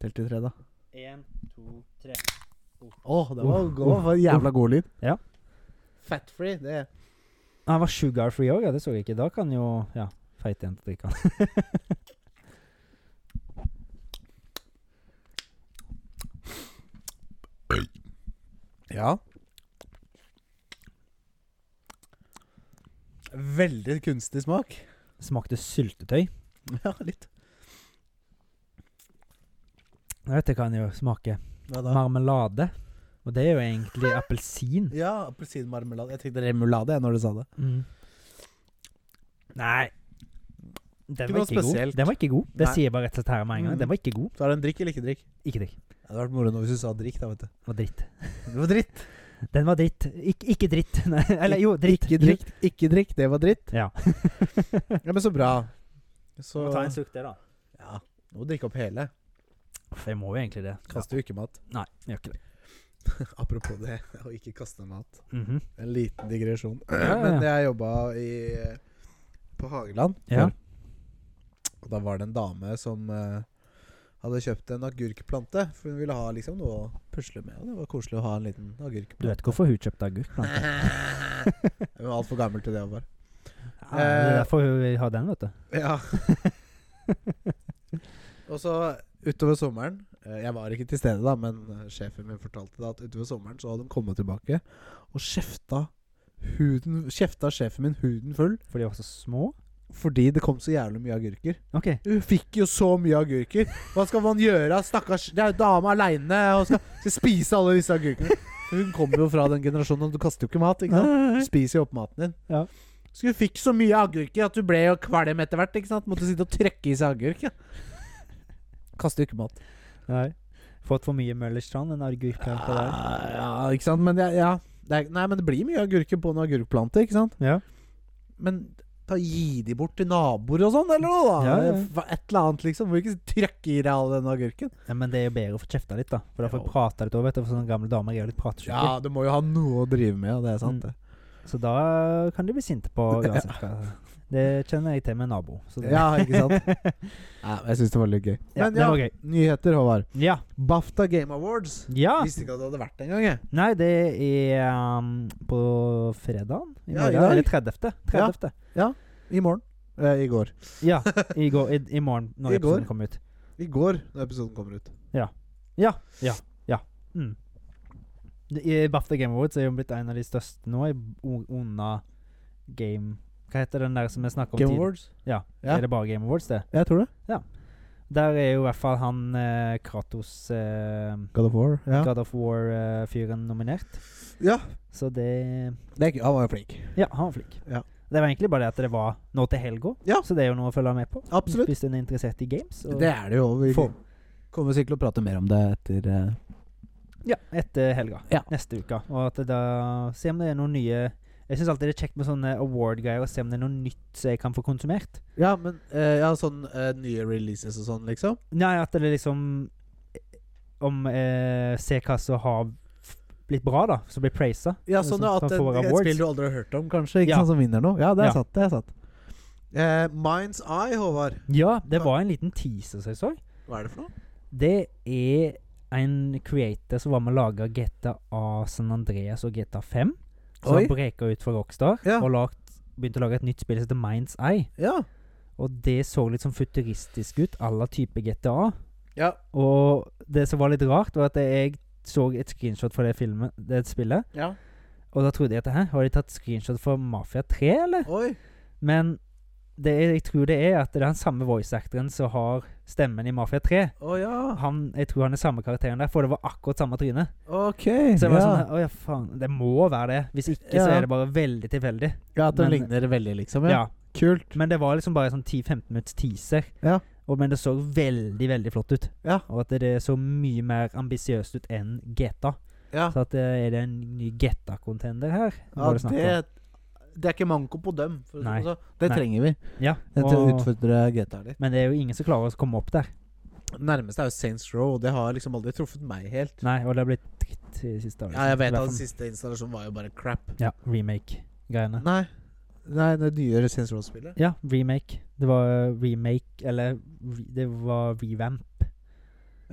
A: Telt til tre, da.
B: Én, to, tre.
A: Å, det
B: var
A: var,
B: god.
A: jævla god lyd.
B: Ja.
A: Fatfree, det
B: Han var sugar free òg, ja. Det så jeg ikke. Da kan jo Ja, feite jenter drikke den.
A: Ja. Veldig kunstig smak.
B: Smakte syltetøy.
A: Ja, litt.
B: Dette kan jo smake
A: Hva
B: marmelade. Og det er jo egentlig appelsin. Mm.
A: Ja, appelsinmarmelade. Jeg tenkte remulade jeg, når du sa det.
B: Nei. Den
A: Ikke
B: var
A: noe
B: ikke god.
A: spesielt.
B: Den var ikke god. Det
A: Nei.
B: sier jeg bare rett og slett her med en gang. Den var ikke god.
A: Så er det en drikk eller ikke drikk?
B: Ikke drikk.
A: Det hadde vært moro nå hvis du sa drikk, da, vet du.
B: Den var dritt.
A: Det var dritt.
B: Den var dritt. Ikk- ikke dritt. Nei, eller jo, dritt.
A: Ikke drikk, ikke drikk. Det var dritt.
B: Ja.
A: Ja, Men så bra. Så
B: Må ta en sukk der, da.
A: Ja. Nå må du drikke opp hele.
B: Uff, jeg må jo egentlig det.
A: Kaster jo ikke mat.
B: Nei, jeg gjør ikke det.
A: Apropos det å ikke kaste mat.
B: Mhm.
A: En liten digresjon.
B: ja, ja.
A: Men jeg jobba i eh, på Hageland.
B: Ja.
A: Og da var det en dame som eh, hadde kjøpt en agurkplante, for hun ville ha liksom noe å pusle med. Og det var koselig å ha en liten agurkplante.
B: Du vet hvorfor hun kjøpte agurkplante?
A: Hun var altfor gammel til det. Var.
B: Ja, det er derfor hun har den, vet du.
A: Ja. og så utover sommeren eh, Jeg var ikke til stede, da, men eh, sjefen min fortalte da at utover sommeren så hadde hun kommet tilbake og kjefta, huden, kjefta sjefen min huden full
B: For de var så små.
A: fordi det kom så jævlig mye agurker.
B: OK.
A: Hun fikk jo så mye agurker. Hva skal man gjøre? Stakkars Det er jo dame aleine og skal, skal spise alle disse agurkene. Hun kommer jo fra den generasjonen at du kaster jo ikke mat. ikke sant? Du spiser jo opp maten din.
B: Mm. Ja.
A: Så hun fikk så mye agurker at du ble jo kvalm etter hvert. ikke sant? Måtte sitte og trekke i seg agurk. Ja. Kaster jo ikke mat.
B: Nei. Fått for mye Møllerstrand, en agurkplante
A: Ah.
B: der.
A: Ja, ikke sant? Men, jeg- ja. Det er, nei, men det blir mye agurker på en agurkplante, ikke sant?
B: Ja.
A: Men da gi de bort til naboer og sånn, eller noe? da
B: Ja, ja.
A: Hva- Et eller annet, liksom. Må ikke trykke i deg all den agurken.
B: ja. Men det er jo bedre å få kjefta litt, da. For da får jeg
A: Ja.
B: prata litt òg, vet du. For sånne gamle damer er jo litt pratesjuke.
A: Ja, du må jo ha noe å drive med, og det er sant,
B: Mm.
A: det.
B: Så da kan de bli sinte på uansett hva. Det kjenner jeg til med nabo. Så det.
A: Ja, ikke sant? Ja, jeg syns det var litt gøy.
B: Ja,
A: Men
B: det
A: ja,
B: var gøy.
A: nyheter, Håvard.
B: Ja.
A: BAFTA Game Awards.
B: ja.
A: Visste ikke at det hadde vært det engang, jeg.
B: Nei, det er um, på fredagen. I
A: Ja,
B: morgen.
A: i dag.
B: eller 30. 30.
A: I morgen. Eh, I går.
B: Ja. I, går, i, i morgen, når
A: I går.
B: episoden kom ut.
A: I går, når episoden kommer ut.
B: Mm. Det- I BAFTA Game Awards er jo blitt en av de største nå, i o- under Game Hva heter den der som vi snakket om
A: Game
B: tid-
A: Awards?
B: Ja.
A: Ja.
B: Er det bare Game Awards, det?
A: Jeg tror det.
B: Der er jo i hvert fall han eh, Kratos eh,
A: God of War. Ja.
B: God of War-fyren nominert.
A: ja.
B: Så det
A: Det er, gøy. han var jo flink.
B: Ja, han var flink.
A: Ja.
B: Det var egentlig bare det at det var nå til helga,
A: Ja.
B: så det er jo noe å følge med på.
A: Absolutt.
B: Hvis en er interessert i games. og-
A: Det er det jo. Vi
B: Få.
A: kommer sikkert til å prate mer om det etter eh,
B: Ja, etter helga.
A: Ja.
B: Neste uke. Og at det da Se om det er noen nye Jeg syns alltid det er kjekt med sånne award-greier, og se om det er noe nytt som jeg kan få konsumert.
A: Ja, men eh, ja, sånn eh, nye releases og sånn, liksom?
B: Nei, at det liksom om eh, se hva som har f- blitt bra, da. Som blir praisa.
A: Ja, sånn ja, at
B: kan
A: en,
B: få
A: et
B: awards.
A: spill du aldri har hørt om, kanskje, ikke
B: Ja.
A: sant, som vinner noe. Ja, det er
B: Ja.
A: sant. det er sant. Eh, Minds Eye, Håvard.
B: Ja, det var en liten teaser som jeg så.
A: Hva er det for noe?
B: Det er en creator som var med å lage GTA San Andreas og GTA 5. Som
A: Oi.
B: har breka ut for Rockstar
A: Ja.
B: og lagt, begynte å lage et nytt spill som heter Minds Eye.
A: Ja.
B: Og det så litt sånn futuristisk ut, à la type GTA.
A: ja.
B: Og det som var litt rart, var at jeg så et screenshot fra det, filmen, det spillet. Og da trodde jeg at Hæ, har de tatt screenshot fra Mafia 3, eller?
A: Oi.
B: Men det er, jeg tror det er at det er den samme voice actoren som har stemmen i Mafia 3.
A: Å ja.
B: Han, jeg tror han er samme karakteren der, for det var akkurat samme tryne.
A: Ok.
B: Så jeg var
A: ja.
B: sånn Å ja, faen. Det må være det. Hvis ikke, så
A: Ja.
B: er det bare veldig tilfeldig.
A: ja, at den
B: Men-
A: ligner veldig, liksom.
B: Ja.
A: Ja. Kult.
B: Men det var liksom bare sånn 10-15 minutts teaser.
A: Ja.
B: Og, men det så veldig, veldig flott ut.
A: Ja.
B: Og at det så mye mer ambisiøst ut enn GTA.
A: Ja.
B: Så at, eh, er det en ny GTA-contender her?
A: Ja,
B: var det snakk om.
A: det, det er ikke manko på dem. For å si
B: Nei.
A: det sånn. det
B: Nei.
A: trenger vi.
B: ja,
A: Det til å
B: og,
A: utfordre GTA litt.
B: Men det er jo ingen som klarer å komme opp der.
A: Nærmeste er jo Saints Row, og det har liksom aldri truffet meg helt.
B: Nei, og det har blitt dritt i siste dagen.
A: Ja, jeg vet
B: I hvert
A: at
B: fall-
A: den siste installasjonen var jo bare crap.
B: Ja, remake-greiene.
A: Nei. Nei, det nye Saints Row-spillet.
B: Ja, remake. Det var eh, remake Eller re, det var revamp.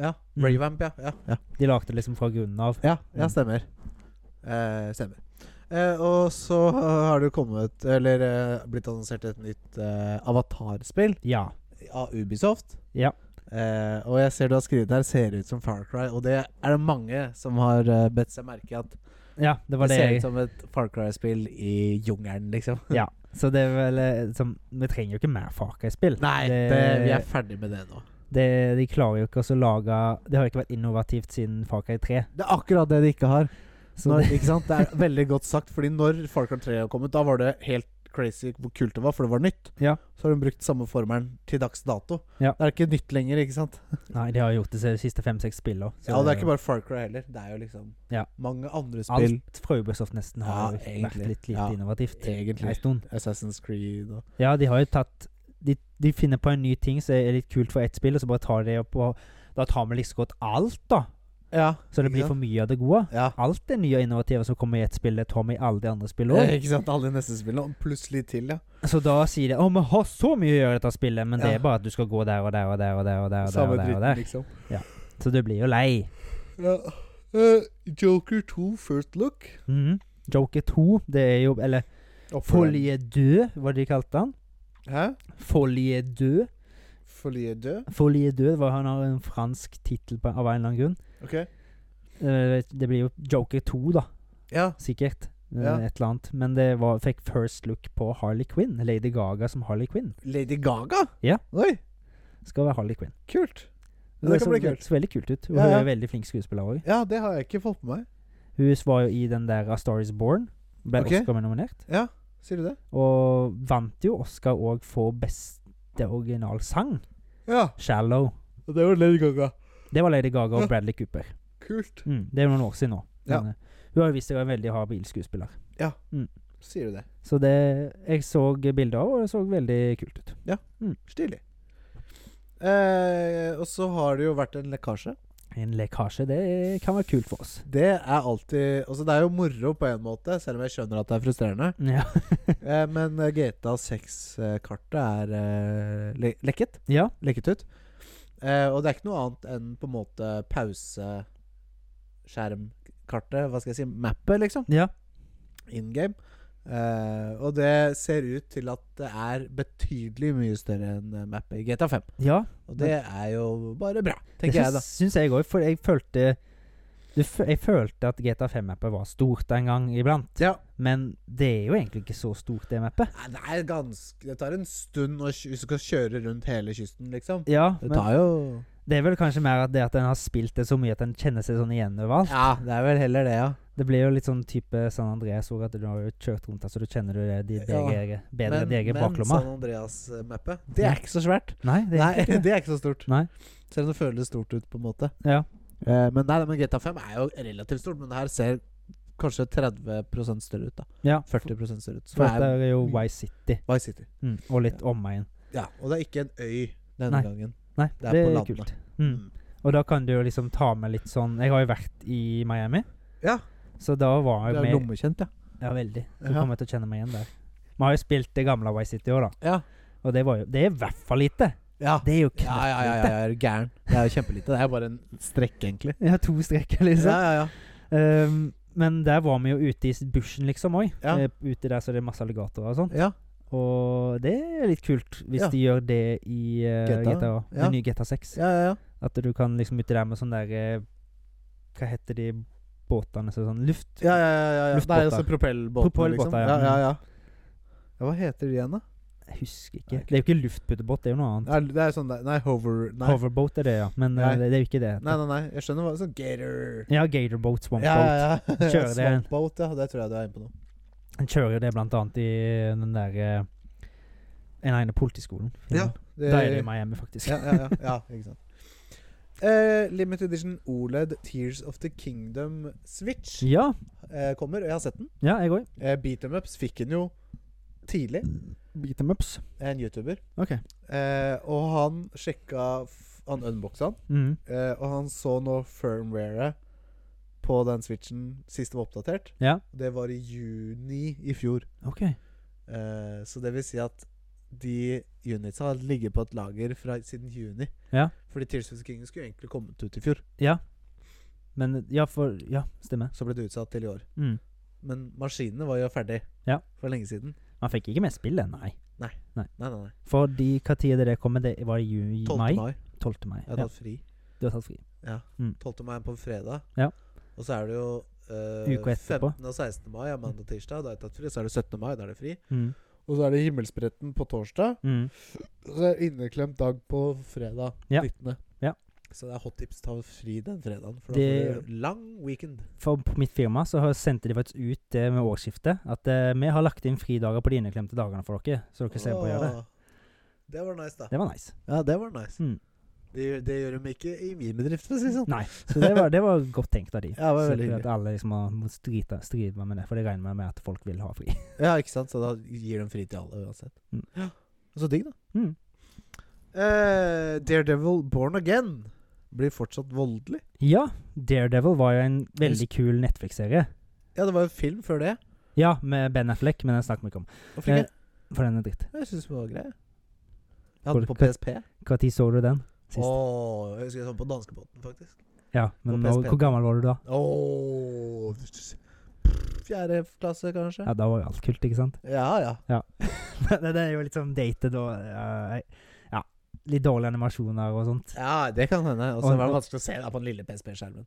A: Ja.
B: Mm.
A: Revamp, ja. Ja, ja.
B: De lagde det liksom fra grunnen av.
A: ja, ja
B: Mm.
A: stemmer. Eh, stemmer. Eh, og så har det kommet Eller eh, blitt annonsert et nytt eh, avatarspill
B: Ja.
A: av Ubisoft.
B: Ja.
A: Eh, og jeg ser du har skrevet her 'ser ut som Far Cry', og det er det mange som har eh, bedt seg merke i at
B: ja det var
A: det,
B: det,
A: ser
B: jeg
A: ut som et Far Cry-spill i jungelen, liksom.
B: Ja. Så det er vel eh, som, Vi trenger jo ikke mer Far Cry-spill.
A: Nei,
B: det,
A: det, vi er ferdig med det nå.
B: det- De klarer jo ikke også å lage Det har jo ikke vært innovativt siden Far Cry 3.
A: Det er akkurat det de ikke har.
B: Så
A: Når,
B: det,
A: ikke sant? Det er veldig godt sagt, Fordi når Far Cry 3 har kommet, da var det helt crazy hvor kult det var, for det var nytt.
B: Ja.
A: Så har de brukt samme formelen til dags dato.
B: Ja.
A: Det er ikke nytt lenger, ikke sant?
B: nei, de har jo gjort det de siste fem-seks spillene. så
A: Ja, og det er ikke bare Far Cry heller. Det er jo liksom
B: Ja.
A: mange andre spill.
B: Alt fra Ubisoft nesten har
A: Ja,
B: jo
A: egentlig.
B: vært litt lite
A: Ja,
B: innovativt.
A: egentlig.
B: En stund.
A: Assassin's Creed og
B: Ja, de har jo tatt de, de finner på en ny ting som er litt kult for ett spill, og så bare tar de opp og Da tar vi liksom godt alt, da.
A: Ja.
B: Så det blir for mye av det gode.
A: Ja.
B: Alt det nye og innovative som kommer i ett spill, det tar vi i alle de andre spillene
A: Eh,
B: òg.
A: Ikke sant? Alle de neste spillene. Og plutselig til, ja.
B: Så da sier de 'Å, vi har så mye å gjøre i dette spillet', men det
A: Ja.
B: er bare at du skal gå der og der og der og der og der. Og der,
A: Samme
B: og der, og
A: dritten,
B: der.
A: liksom.
B: Så du blir jo lei.
A: Ja. Eh, Joker 2 First Look.
B: Mhm. Joker 2, det er jo Eller Folie død, hva de kalte han.
A: Hæ?
B: Folie død.
A: Folie død?
B: Folie død var han har en fransk tittel på- av en eller annen grunn.
A: Ok.
B: Eh, Det blir jo Joker 2, da.
A: Ja.
B: Sikkert. Eh,
A: Ja.
B: Et eller annet. Men det var, fikk first look på Harley Quinn. Lady Gaga som Harley Quinn.
A: Lady Gaga?
B: Ja.
A: Oi,
B: Skal være Harley Quinn.
A: kult. Ja, det
B: er
A: kan
B: så-
A: bli kult.
B: Det så veldig kult ut. Og
A: Ja,
B: Hun
A: ja.
B: er veldig flink skuespiller òg.
A: Ja, det har jeg ikke fått med meg.
B: Hun var jo i den der A Star Is Born. Ble
A: Ok.
B: Oscar-nominert.
A: Ja, sier du det?
B: Og vant jo Oscar òg for beste originalsang.
A: Ja,
B: 'Shallow'.
A: det var Lady Gaga.
B: Det var Lady Gaga
A: Ja.
B: og Bradley Cooper.
A: Kult.
B: Mm, det er noen år siden nå.
A: Ja.
B: Men, eh, Hun har jo vist seg å være en veldig habil skuespiller.
A: Sier du det?
B: Så det Jeg så bilder av, og det så veldig kult ut.
A: Stilig. Eh, og så har det jo vært en lekkasje.
B: En lekkasje, det kan være kult for oss.
A: Det er alltid Altså, det er jo moro på en måte, selv om jeg skjønner at det er frustrerende.
B: Ja.
A: Eh, men eh, GTA 6-kartet er eh, le lekket.
B: ja.
A: Lekket ut. Eh, og det er ikke noe annet enn på en måte pauseskjermkartet, hva skal jeg si, mappet, liksom.
B: Ja.
A: in game. Eh, og det ser ut til at det er betydelig mye større enn eh, mappet i GTA 5.
B: ja.
A: Og det er jo bare bra,
B: Det
A: tenker jeg, da.
B: syns, syns jeg òg, for jeg følte du, fø- Jeg følte at GTA 5-mappet var stort en gang iblant.
A: Ja.
B: Men det er jo egentlig ikke så stort, det mappet.
A: Nei, Det er ganske Det tar en stund å kj- hvis du skal kjøre rundt hele kysten, liksom.
B: Ja,
A: Det
B: men
A: tar jo
B: det er vel kanskje mer at det at en har spilt det så mye at en kjenner seg sånn igjen overalt.
A: Ja, det er vel heller det, ja.
B: Det blir jo litt sånn type San Andreas òg, at du har jo kjørt rundt der, så du kjenner jo det de
A: Ja,
B: DG, bedre
A: Men,
B: enn DG
A: men
B: baklomma.
A: San Andreas-mappet, det er ikke så svært.
B: Nei, det er
A: Nei,
B: ikke det.
A: det er ikke så stort.
B: Nei.
A: Selv om det føles stort ut, på en måte.
B: Ja.
A: Eh, men, nei, men GTA 5 er jo relativt stort, men det her ser kanskje 30 større ut, da.
B: ja.
A: 40 større ut. Så
B: For
A: det
B: dette
A: er
B: er jo
A: mye.
B: Vice City,
A: Vice City.
B: mm, og litt omegn.
A: Ja, og det er ikke en øy denne
B: Nei.
A: gangen.
B: Nei,
A: Det er
B: det
A: på
B: er
A: landet.
B: kult. Mm. Og da kan du jo liksom ta med litt sånn Jeg har jo vært i Miami,
A: Ja.
B: så da var
A: Det
B: jeg
A: er
B: med
A: lommekjent, ja.
B: Ja, veldig. Så
A: Ja.
B: kommer jeg til å kjenne meg igjen der. Vi har jo spilt det gamle Vice City òg, da.
A: Ja.
B: Og det var jo Det er i hvert fall lite!
A: Ja.
B: Det er jo
A: Ja, ja, ja, ja,
B: knøttlite.
A: jeg er gæren. Det er jo kjempelite. Det er bare en strekk, egentlig.
B: Jeg har to streker, liksom.
A: Ja, ja, ja.
B: Ehm, men der var vi jo ute i bushen, liksom, òg.
A: Ja.
B: ute der så det er masse alligatorer og sånn.
A: ja.
B: Og det er litt kult, hvis
A: Ja.
B: de gjør det i eh,
A: GTA,
B: GTA,
A: ja.
B: den nye GTA 6.
A: ja, ja, ja.
B: At du kan liksom uti der med sånn der eh, Hva heter de båtene som sånn luft?
A: Ja, ja, ja, ja, ja. Det er jo så
B: Luftbåter.
A: propellbåter,
B: Propellbåter,
A: liksom.
B: ja.
A: Ja, ja, ja. ja, hva heter de igjen, da?
B: Jeg husker ikke.
A: Nei,
B: Det er jo ikke luftputtebåt, det er jo noe annet.
A: Det er, det er sånn der Nei, hover Nei,
B: Hoverboat er det, ja. Men eh,
A: Nei.
B: det, det er jo ikke det.
A: nei, nei, nei. jeg skjønner hva Sånn gator
B: Ja, Gatorboat, Swampboat.
A: ja, ja, ja.
B: Kjører det.
A: Swampboat, ja. Der tror jeg du er inne på noe.
B: Han kjører jo det blant annet i den der eh, Den ene politiskolen.
A: Ja, det-
B: Der er det i Miami, faktisk.
A: ja, ja, ja, ja, ikke sant. Eh, limited edition OLED Tears of the Kingdom Switch
B: ja,
A: eh, kommer, og jeg har sett den.
B: ja, jeg òg.
A: Eh, Beat 'em ups fikk den jo tidlig,
B: Beat them ups.
A: en YouTuber.
B: Ok.
A: Eh, og han sjekka f Han unboxa den,
B: Mm.
A: eh, og han så nå firmwaret på den Switchen sist det var oppdatert.
B: Ja.
A: Det var i juni i fjor.
B: OK.
A: Eh, så det vil si at de unitsa har ligget på et lager fra, siden juni.
B: Ja.
A: Fordi Tears of the Kingdom skulle egentlig kommet ut i fjor.
B: Ja. Men Ja, for Ja, stemmer.
A: Så ble det utsatt til i år.
B: Mm.
A: Men maskinene var jo ferdig
B: Ja.
A: for lenge siden.
B: Man fikk ikke med spillet, nei.
A: Nei, nei, nei.
B: Fordi hva tid er det kommet? Det var i ju-
A: 12.
B: mai?
A: mai.
B: 12. mai.
A: Jeg har
B: Ja,
A: tatt fri.
B: du har tatt fri.
A: 12. mai er på en fredag.
B: Ja.
A: Og så er det jo eh,
B: Uka etterpå.
A: 15. og 16. mai er mandag og tirsdag. Da har jeg tatt fri. Så er det 17. mai, da er det fri.
B: Mm.
A: Og så er det Himmelspretten på torsdag.
B: Mm.
A: Og så er det inneklemt dag på fredag.
B: Ja.
A: 19.
B: Ja.
A: Så det er hot tips ta fri den fredagen. For da
B: Det-
A: får du lang weekend.
B: For på mitt firma så har- sendte de faktisk ut det med årsskiftet. At eh, vi har lagt inn fridager på de inneklemte dagene for dere. Så dere ser på å gjøre det.
A: Åh, Det var nice, da.
B: Det var nice.
A: Ja, det var nice.
B: Mm.
A: Det, gjør- det gjør de ikke i min bedrift, for å si det sånn.
B: Nei, så det var, det var godt tenkt av de.
A: Ja, det var
B: Så
A: veldig
B: for at
A: hyggelig.
B: alle liksom har må strite, stride meg med det, for det regner jeg med at folk vil ha fri.
A: Ja, ikke sant? Så da gir de fri til alle uansett.
B: Mm.
A: Ja. Så digg, da.
B: Mm.
A: Eh, Daredevil Born Again blir fortsatt voldelig.
B: Ja, Daredevil var jo en veldig kul Netflix-serie.
A: Ja, det var jo film før det.
B: Ja, med Ben Affleck, men den snakker vi ikke om.
A: Hvorfor ikke?
B: For den er dritt.
A: Jeg syns den var grei. Jeg hadde den på
B: Hvor-
A: PSP.
B: Hva tid så du den? Sist.
A: Åh, jeg husker jeg så den på danskebåten, faktisk.
B: Ja, men
A: på
B: nå,
A: PSP.
B: hvor gammel var du da?
A: Åh, Fjerde klasse, kanskje?
B: Ja, da var jo alt kult, ikke sant?
A: Ja, ja.
B: det, det er jo litt sånn dated og eh, Ja, litt dårlige animasjoner og sånt.
A: Ja, Det kan hende. Og så
B: Og-
A: var det
B: og-
A: vanskelig å se det på den lille PSP-skjermen.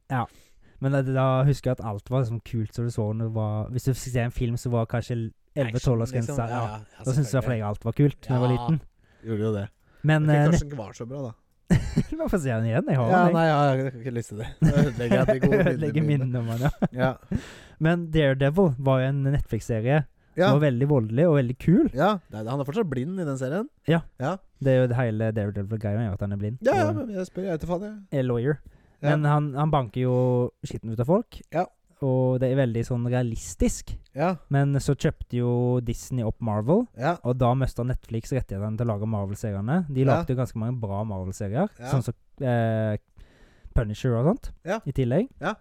B: Men da, da husker jeg at alt var liksom kult som du så når du var Hvis du ser en film som var kanskje 11-12 års
A: Action, liksom.
B: grense, ja,
A: ja,
B: da syntes i hvert fall
A: selvfølgelig.
B: jeg alt var kult da jeg var
A: Ja.
B: liten.
A: Gjorde jo det.
B: Men
A: Men,
B: eh,
A: kanskje den ikke var så bra, da.
B: Hvorfor sier jeg den igjen? Jeg har
A: Ja,
B: den. jeg.
A: nei, ja, jeg kan ikke lyst til det. Da Ødelegger jeg de gode
B: Legger
A: minnene mine.
B: minner om den, ja.
A: Ja.
B: Men Daredevil var jo en Netflix-serie.
A: Ja.
B: Den var veldig voldelig og veldig kul.
A: ja. Nei, han er fortsatt blind i den serien.
B: Det er jo det hele Daredevil-greia gjør at han er blind.
A: Ja, ja,
B: og
A: men jeg spør. Jeg vet da faen, jeg.
B: er lawyer.
A: Ja.
B: Men han, han banker jo skitten ut av folk.
A: Ja.
B: Og det er veldig sånn realistisk.
A: Ja.
B: Men så kjøpte jo Disney opp Marvel,
A: Ja.
B: og da mista Netflix rettighetene til å lage Marvel-seriene. De
A: Ja.
B: lagde jo ganske mange bra Marvel-serier,
A: Ja.
B: sånn som eh, Punisher og sånt,
A: Ja.
B: i tillegg.
A: Ja.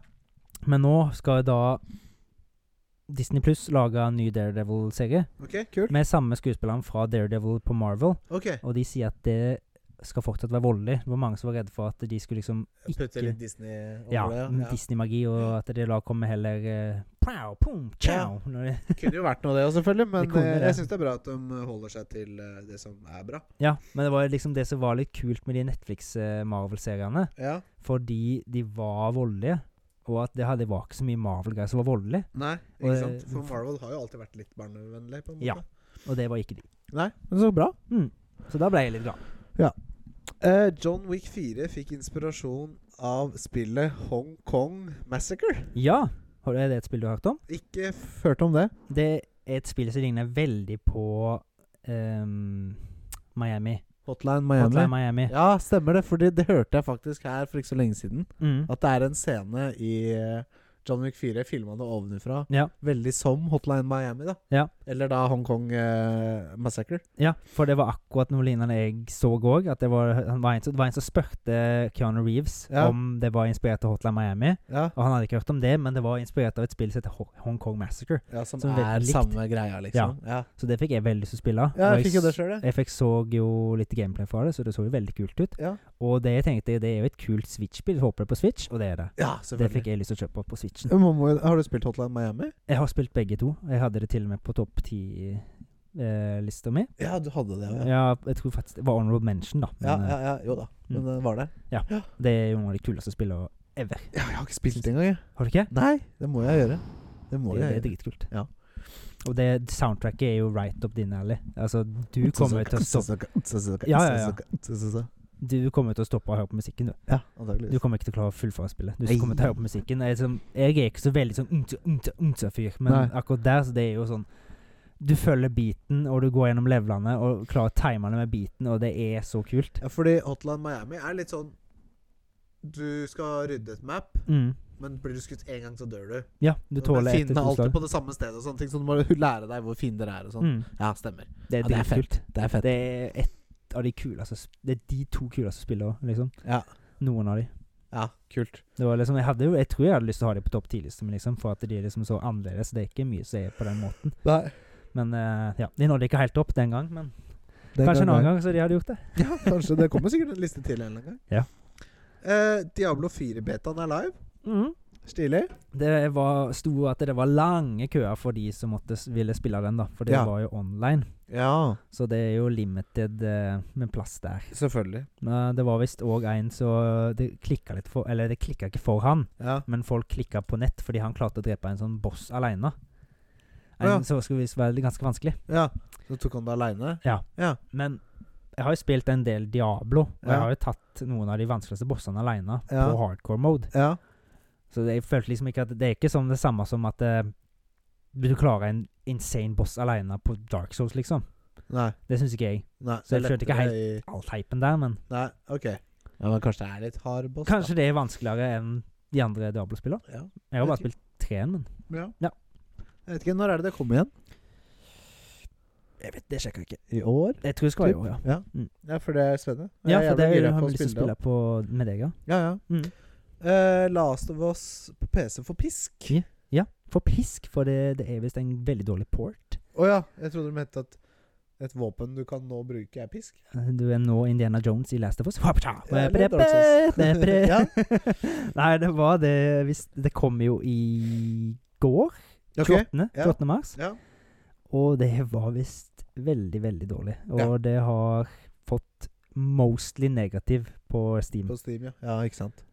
B: Men nå skal da Disney Pluss lage en ny Daredevil-serie
A: Ok, kult.
B: med samme skuespilleren fra Daredevil på Marvel,
A: Ok.
B: og de sier at det skal fortsatt være voldelig. Det var mange som var redde for at de skulle liksom
A: Putte
B: ikke
A: litt Disney over
B: ja,
A: det. Ja.
B: Disney-magi, og at det da kommer heller eh, Pow, pum, chow. når det-
A: Kunne jo vært noe, det òg, selvfølgelig. Men
B: Det kunne
A: eh,
B: det.
A: jeg syns det er bra at de holder seg til eh, det som er bra.
B: Ja, men det var liksom det som var litt kult med de Netflix-Marvel-seriene.
A: Ja.
B: Fordi de var voldelige, og at det hadde var ikke så mye Marvel-greier som var voldelig.
A: Nei,
B: Og,
A: ikke
B: eh,
A: sant? For Marvel har jo alltid vært litt barnevennlig, på en måte.
B: Ja. Og det var ikke de.
A: Nei, men så bra.
B: Mm. Så da ble jeg litt glad.
A: Eh, John Wick 4 fikk inspirasjon av spillet Hong Kong Massacre.
B: Ja, har du- er det et spill du har hørt om?
A: Ikke hørt om det.
B: Det er et spill som ligner veldig på ehm, Miami.
A: Hotline Miami.
B: Hotline Miami.
A: Ja, stemmer det. Fordi det hørte jeg faktisk her for ikke så lenge siden.
B: Mm.
A: At det er en scene i eh, John Wick 4 filma det ovenfra.
B: Ja.
A: Veldig som Hotline Miami, da.
B: Ja.
A: Eller da Hong Kong eh, Massacre.
B: Ja, for det var akkurat noe lignende jeg så òg. Det, var- han var en som- det var en som spurte Keanu Reeves
A: Ja.
B: om det var inspirert av Hotline Miami.
A: Ja,
B: Og han hadde ikke hørt om det, men det var inspirert av et spill som heter Ho- Hong Kong Massacre.
A: ja Som,
B: Som
A: er
B: veldig likt.
A: samme greia, liksom. Ja,
B: Så det fikk jeg veldig lyst til å spille.
A: ja.
B: Og
A: jeg fikk jo det sjøl, jeg.
B: Jeg fikk så jo litt gameplay fra det, så det så jo veldig kult ut.
A: Ja.
B: Og det jeg tenkte, det er jo et kult Switch-spill. Håper det på Switch, og det er det.
A: Ja,
B: Det fikk
A: selvfølgelig.
B: jeg lyst til å kjøpe på Switchen.
A: Men Momo, har du spilt Hotline Miami?
B: Jeg har spilt begge to. Jeg hadde det til og med på topp ti-lista mi.
A: Ja, du hadde det, ja.
B: Ja, jeg tror faktisk det var Honorable Mention, da.
A: Ja,
B: Men,
A: ja, ja jo da. Men
B: Mm.
A: det var det.
B: eh, Det er jo noen av de kuleste spillene ever.
A: Ja, jeg har ikke spilt det engang, jeg.
B: Har du ikke?
A: Nei, det må jeg gjøre. Det må
B: Det, det
A: jeg
B: er
A: gjøre.
B: dritkult.
A: Ja.
B: Og det soundtracket er jo right up din alley. Altså, du kommer jo til å stoppe Ja, ja, ja. Du kommer jo til å stoppe å høre på musikken, du.
A: Ja,
B: Du
A: antakeligvis.
B: kommer ikke til å klare å fullføre spillet. Du
A: Nei.
B: kommer til å høre på musikken. Jeg er, sånn- jeg er ikke så veldig sånn umtsa, umtsa, umtsa-fyr, men
A: Nei.
B: akkurat der så det er jo sånn Du følger beaten, og du går gjennom levelene og klarer timene med beaten, og det er så kult.
A: Ja, fordi Hotline Miami er litt sånn Du skal rydde et map,
B: Mm.
A: men blir du skutt én gang, så dør du.
B: Ja, du tåler ett til
A: Fiendene er
B: to
A: alltid
B: slag.
A: på det samme stedet, og sånne ting, så du må lære deg hvor fiender er. og sånn
B: Mm.
A: Ja, stemmer.
B: Det er
A: Ja, det er
B: dritkult.
A: Det er
B: Det er et av de kuleste sp- Det er de to kuleste spillene, liksom.
A: Ja,
B: Noen av de.
A: ja kult.
B: Det var liksom, jeg, hadde, jo- jeg tror jeg hadde lyst til å ha dem på topp 10-listen, liksom, for at de er liksom så annerledes. Det er ikke mye som er på den måten.
A: Nei,
B: Men eh, ja, De nådde ikke helt opp den gang, men kanskje en annen gang så de hadde gjort det.
A: Ja, kanskje Det kommer sikkert en liste til en eller annen gang.
B: Ja.
A: Eh, Diablo 4-betaen er live.
B: Mhm.
A: Stilig.
B: Det var, sto at det var lange køer for de som måtte, s- ville spille den, da. For det
A: Ja.
B: var jo online,
A: Ja,
B: så det er jo limited eh, med plass der.
A: selvfølgelig.
B: Men eh, det var visst òg en så eh, Det klikka litt for Eller det klikka ikke for han,
A: Ja.
B: men folk klikka på nett fordi han klarte å drepe en sånn boss aleine. En
A: Ja.
B: som skulle visst være ganske vanskelig.
A: ja. Så tok han det aleine.
B: Men jeg har jo spilt en del Diablo, og
A: Ja.
B: jeg har jo tatt noen av de vanskeligste bossene alene
A: Ja.
B: på hardcore mode.
A: Ja.
B: Så det, jeg følte liksom ikke at Det er ikke sånn det samme som at eh, du klarer en insane boss alene på Dark Souls, liksom.
A: Nei.
B: Det syns ikke jeg.
A: Nei.
B: Så jeg
A: det er
B: skjønte ikke
A: lettere
B: helt-
A: i-
B: All hypen der, men
A: Nei, OK. Ja, men kanskje det er litt hard boss?
B: kanskje det er vanskeligere enn de andre Diablo-spillene.
A: da. Ja.
B: Jeg har bare
A: Jeg
B: spilt treen, men
A: Ja.
B: Ja.
A: Jeg vet ikke, Når er det det kommer igjen?
B: jeg vet, Det sjekker jeg ikke.
A: I år?
B: Jeg tror det skal være i
A: Typ.
B: år, ja.
A: Ja.
B: Mm.
A: ja, for det er spennende.
B: Ja,
A: Jeg
B: for det
A: jævlig gira
B: har
A: på
B: vi lyst til å
A: spille
B: liksom spille på med deg, ja.
A: det. Ja, ja.
B: Mm.
A: Eh, Last of Us på PC for pisk. Å
B: Ja, for pisk, for det, det er visst en veldig dårlig port.
A: ja, jeg trodde du mente at et våpen du kan nå bruke, er pisk.
B: Eh, Du er nå Indiana Jones i Last of Us.
A: Eller Dark Souls. Ja.
B: Nei, det var det visst Det kom jo i går.
A: Ok.
B: 28.
A: ja.
B: 28. mars.
A: Ja.
B: Og det var visst veldig, veldig dårlig. Og
A: Ja.
B: det har fått mostly negativ på Steam.
A: På Steam, ja. Ja, ikke sant.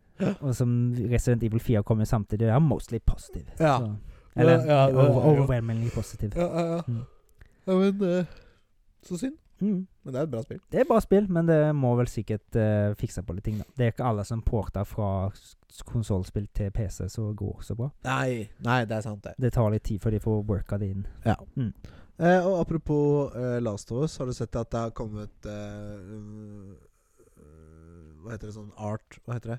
B: Og som Resident Evil 4 kom jo samtidig, det er mostly positiv.
A: Ja.
B: Så- Eller
A: Ja, ja, det er jo-
B: over, overwhelmingly positiv.
A: Ja, ja, ja.
B: Mm.
A: ja men eh, Så synd.
B: Mm.
A: Men det er et bra spill.
B: Det er bra spill, men det må vel sikkert eh, fikse på litt ting, da. Det er ikke alle som porter fra konsollspill til PC som går så bra.
A: Nei, nei, det er sant, det.
B: Det tar litt tid før de får worka det inn.
A: Eh, og apropos eh, Last of Us, har du sett at det har kommet eh, um, eh, Hva heter det sånn art Hva heter det?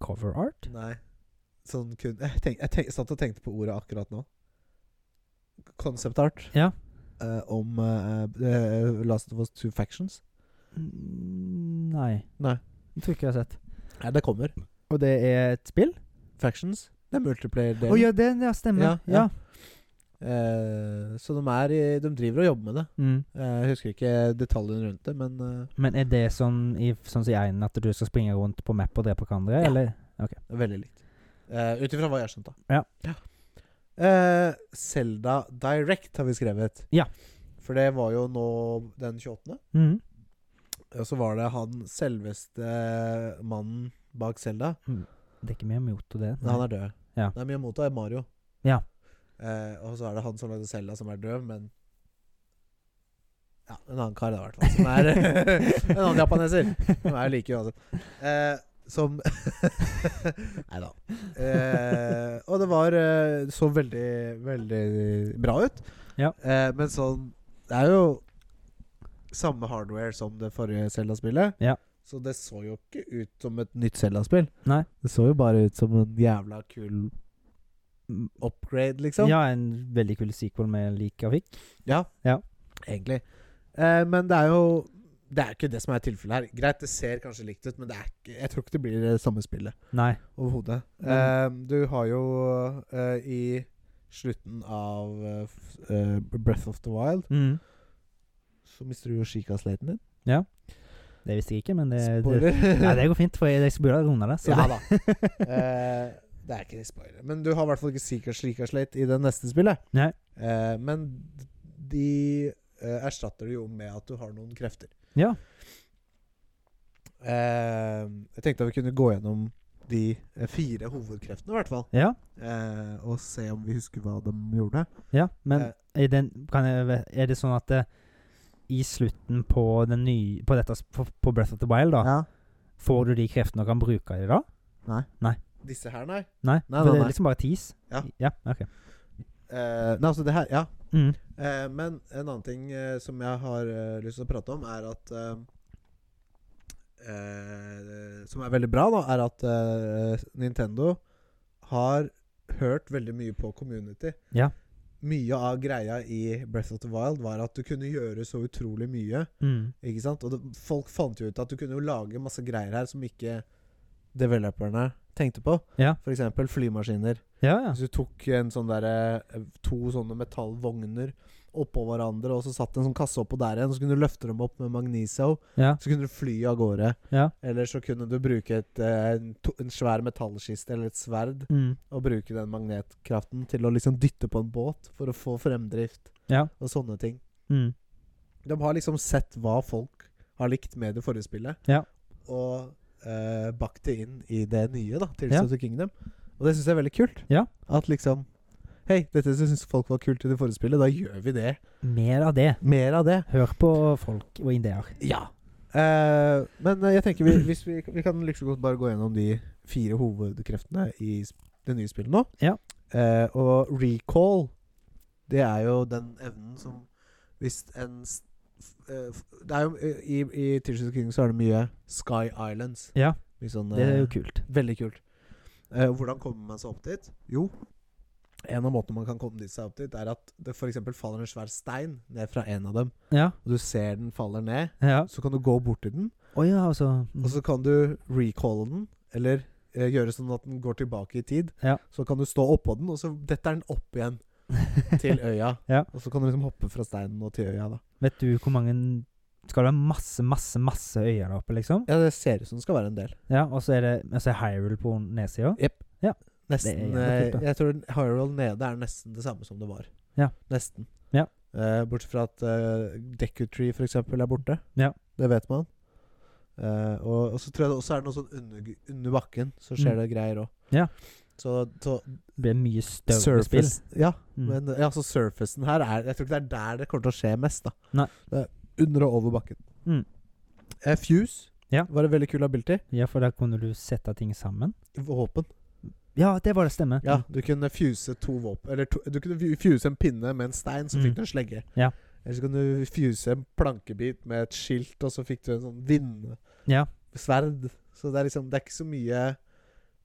B: Cover art?
A: Nei. Sånn kun Jeg, tenk, jeg tenk, satt og tenkte på ordet akkurat nå. Concept art.
B: Ja.
A: Eh, om eh, eh, Last of Us Two Factions.
B: Mm, Nei.
A: Nei.
B: Jeg tror ikke jeg har sett.
A: Nei, det kommer.
B: Og det er et spill?
A: Factions. Det er multiplayer-delen.
B: Å ja, det ja, stemmer.
A: Ja,
B: Ja.
A: ja. Eh, så de, er i, de driver og jobber med det.
B: Mm.
A: Eh, jeg husker ikke detaljene rundt det, men eh,
B: Men er det sånn i sånn som i einen at du skal springe rundt på map og drepe hverandre,
A: Ja.
B: eller?
A: det er veldig likt. Uh, Ut ifra hva jeg har skjønt, da.
B: Ja.
A: Eh, Zelda Direct har vi skrevet.
B: Ja.
A: For det var jo nå den 28.
B: Mm.
A: Og så var det han selveste mannen bak Selda.
B: Det er ikke mye mot det.
A: Nei, han er død.
B: Mm. Ja.
A: Nei, Miyamoto er Mario.
B: Ja.
A: Eh, og så er det han som lagde Selda, som er død, men Ja, en annen kar, da, i hvert fall. Som er en annen japaneser. Som er like uansett. Eh, som Nei da. Eh, og det var eh, så veldig, veldig bra ut.
B: Ja.
A: Eh, men sånn Det er jo samme hardware som det forrige Selda-spillet.
B: Ja.
A: Så det så jo ikke ut som et nytt Zelda-spill.
B: Nei.
A: Det så jo bare ut som en jævla kul upgrade, liksom.
B: Ja, en veldig kul sequel vi liker og fikk.
A: Ja,
B: Ja.
A: egentlig. Eh, men det er jo Det er ikke det som er tilfellet her. Greit, det ser kanskje likt ut, men det er ikke, jeg tror ikke det blir det samme spillet
B: Nei.
A: overhodet.
B: Men-
A: Eh, du har jo eh, i slutten av eh, f- eh, Breath of the Wild
B: Mm.
A: så mister du jo Shika-slaten din.
B: Det visste jeg ikke, men det, Eh, det,
A: Spoiler.
B: nei, det går fint, for jeg, jeg burde ha runda det. Så
A: ja
B: det.
A: da. Eh, det er ikke spoiler. Men du har i hvert fall ikke Secret Slate i det neste spillet.
B: Nei.
A: Eh, men de eh, erstatter det jo med at du har noen krefter.
B: Ja.
A: Eh, jeg tenkte at vi kunne gå gjennom de eh, fire hovedkreftene, i hvert fall.
B: Ja,
A: Eh, og se om vi husker hva de gjorde.
B: ja. Men
A: Eh.
B: er, den, kan jeg, ve- er det sånn at det, i slutten på, den nye, på, dette, sp- på, på Breath of the Wild, da,
A: Ja.
B: får du de kreftene og kan bruke dem da?
A: Disse her, nei.
B: Nei,
A: Nei, nei,
B: for det
A: nei.
B: er liksom bare tease.
A: Ja.
B: ja ok.
A: Eh, nei, altså det her Ja.
B: Mm.
A: Eh, men en annen ting eh, som jeg har eh, lyst til å prate om, er at eh, eh, Som er veldig bra, da, er at eh, Nintendo har hørt veldig mye på community.
B: Ja.
A: Mye av greia i Breath of the Wild var at du kunne gjøre så utrolig mye.
B: Mm.
A: Ikke sant? Og det, folk fant jo ut at du kunne jo lage masse greier her som ikke developerne tenkte på.
B: Ja.
A: F.eks. flymaskiner.
B: Ja, ja.
A: Hvis du tok en sånn derre To sånne metallvogner oppå hverandre, og så satt en sånn kasse oppå der igjen, så kunne du løfte dem opp med magnesio.
B: ja.
A: Så kunne du fly av gårde.
B: Ja.
A: Eller så kunne du bruke et, eh, en, to, en svær metallkiste eller et sverd,
B: Mm.
A: og bruke den magnetkraften til å liksom dytte på en båt for å få fremdrift
B: Ja.
A: og sånne ting.
B: Mm.
A: De har liksom sett hva folk har likt med det forrige spillet,
B: Ja.
A: og eh, bakt det inn i det nye, da, Tears
B: Ja.
A: of the Kingdom. Og det syns jeg er veldig kult.
B: Ja.
A: At liksom Hei, dette syns folk var kult i det forrige spillet, da gjør vi det.
B: Mer av det.
A: Mer av det.
B: Hør på folk og ideer.
A: Ja. Eh, men eh, jeg tenker vi, hvis vi, vi kan liksom godt bare gå gjennom de fire hovedkreftene i sp- det nye spillet nå.
B: Ja.
A: Eh, og recall, det er jo den evnen som Hvis en s- f- eh, f- Det er jo eh, I, i Tears of the Kingdom så er det mye Sky Islands.
B: Ja.
A: Mye sånn,
B: Det er
A: eh,
B: jo kult.
A: Veldig kult. Eh, hvordan kommer man seg opp dit? Jo, en av måtene man kan komme dit seg opp dit, er at det f.eks. faller en svær stein ned fra en av dem,
B: Ja.
A: og du ser den faller ned.
B: ja.
A: Så kan du gå bort til den,
B: Å ja, altså.
A: og så kan du recalle den. Eller eh, gjøre sånn at den går tilbake i tid.
B: Ja.
A: Så kan du stå oppå den, og så detter den opp igjen til øya.
B: Ja.
A: Og så kan du liksom hoppe fra steinen og til øya, da.
B: Vet du hvor mange Skal det være masse, masse, masse øyer der oppe, liksom?
A: Ja, det ser ut som det skal være en del.
B: Ja, og så er det og så er Hyrule på nedsida.
A: Nesten
B: Det er jævlig kult,
A: eh,
B: da.
A: Jeg tror Hyrule nede er nesten det samme som det var.
B: Ja.
A: Nesten.
B: Ja.
A: Eh, bortsett fra at eh, Deku Tree, for eksempel, er borte.
B: Ja.
A: Det vet man. Eh, og, og så tror jeg det også er noe sånn under, under bakken, så skjer
B: Mm.
A: det greier òg.
B: Ja.
A: Så, så
B: Det blir mye større spill.
A: Ja,
B: Mm.
A: Men ja, så surfacen her er, Jeg tror ikke det er der det kommer til å skje mest. da
B: Nei.
A: Det er Under og over bakken.
B: Mm.
A: Eh, Fuse
B: Ja.
A: var en veldig kul ability.
B: Ja, for der kunne du sette ting sammen.
A: Våpen.
B: Ja, det var det Mm. stemmer.
A: Ja, Du kunne fuse to våpen Eller to, du kunne fu- fuse en pinne med en stein, så
B: Mm.
A: fikk du en slegge.
B: Ja.
A: Eller så kunne du fuse en plankebit med et skilt, og så fikk du en sånn
B: Ja.
A: vindsverd. Så det er liksom Det er ikke så mye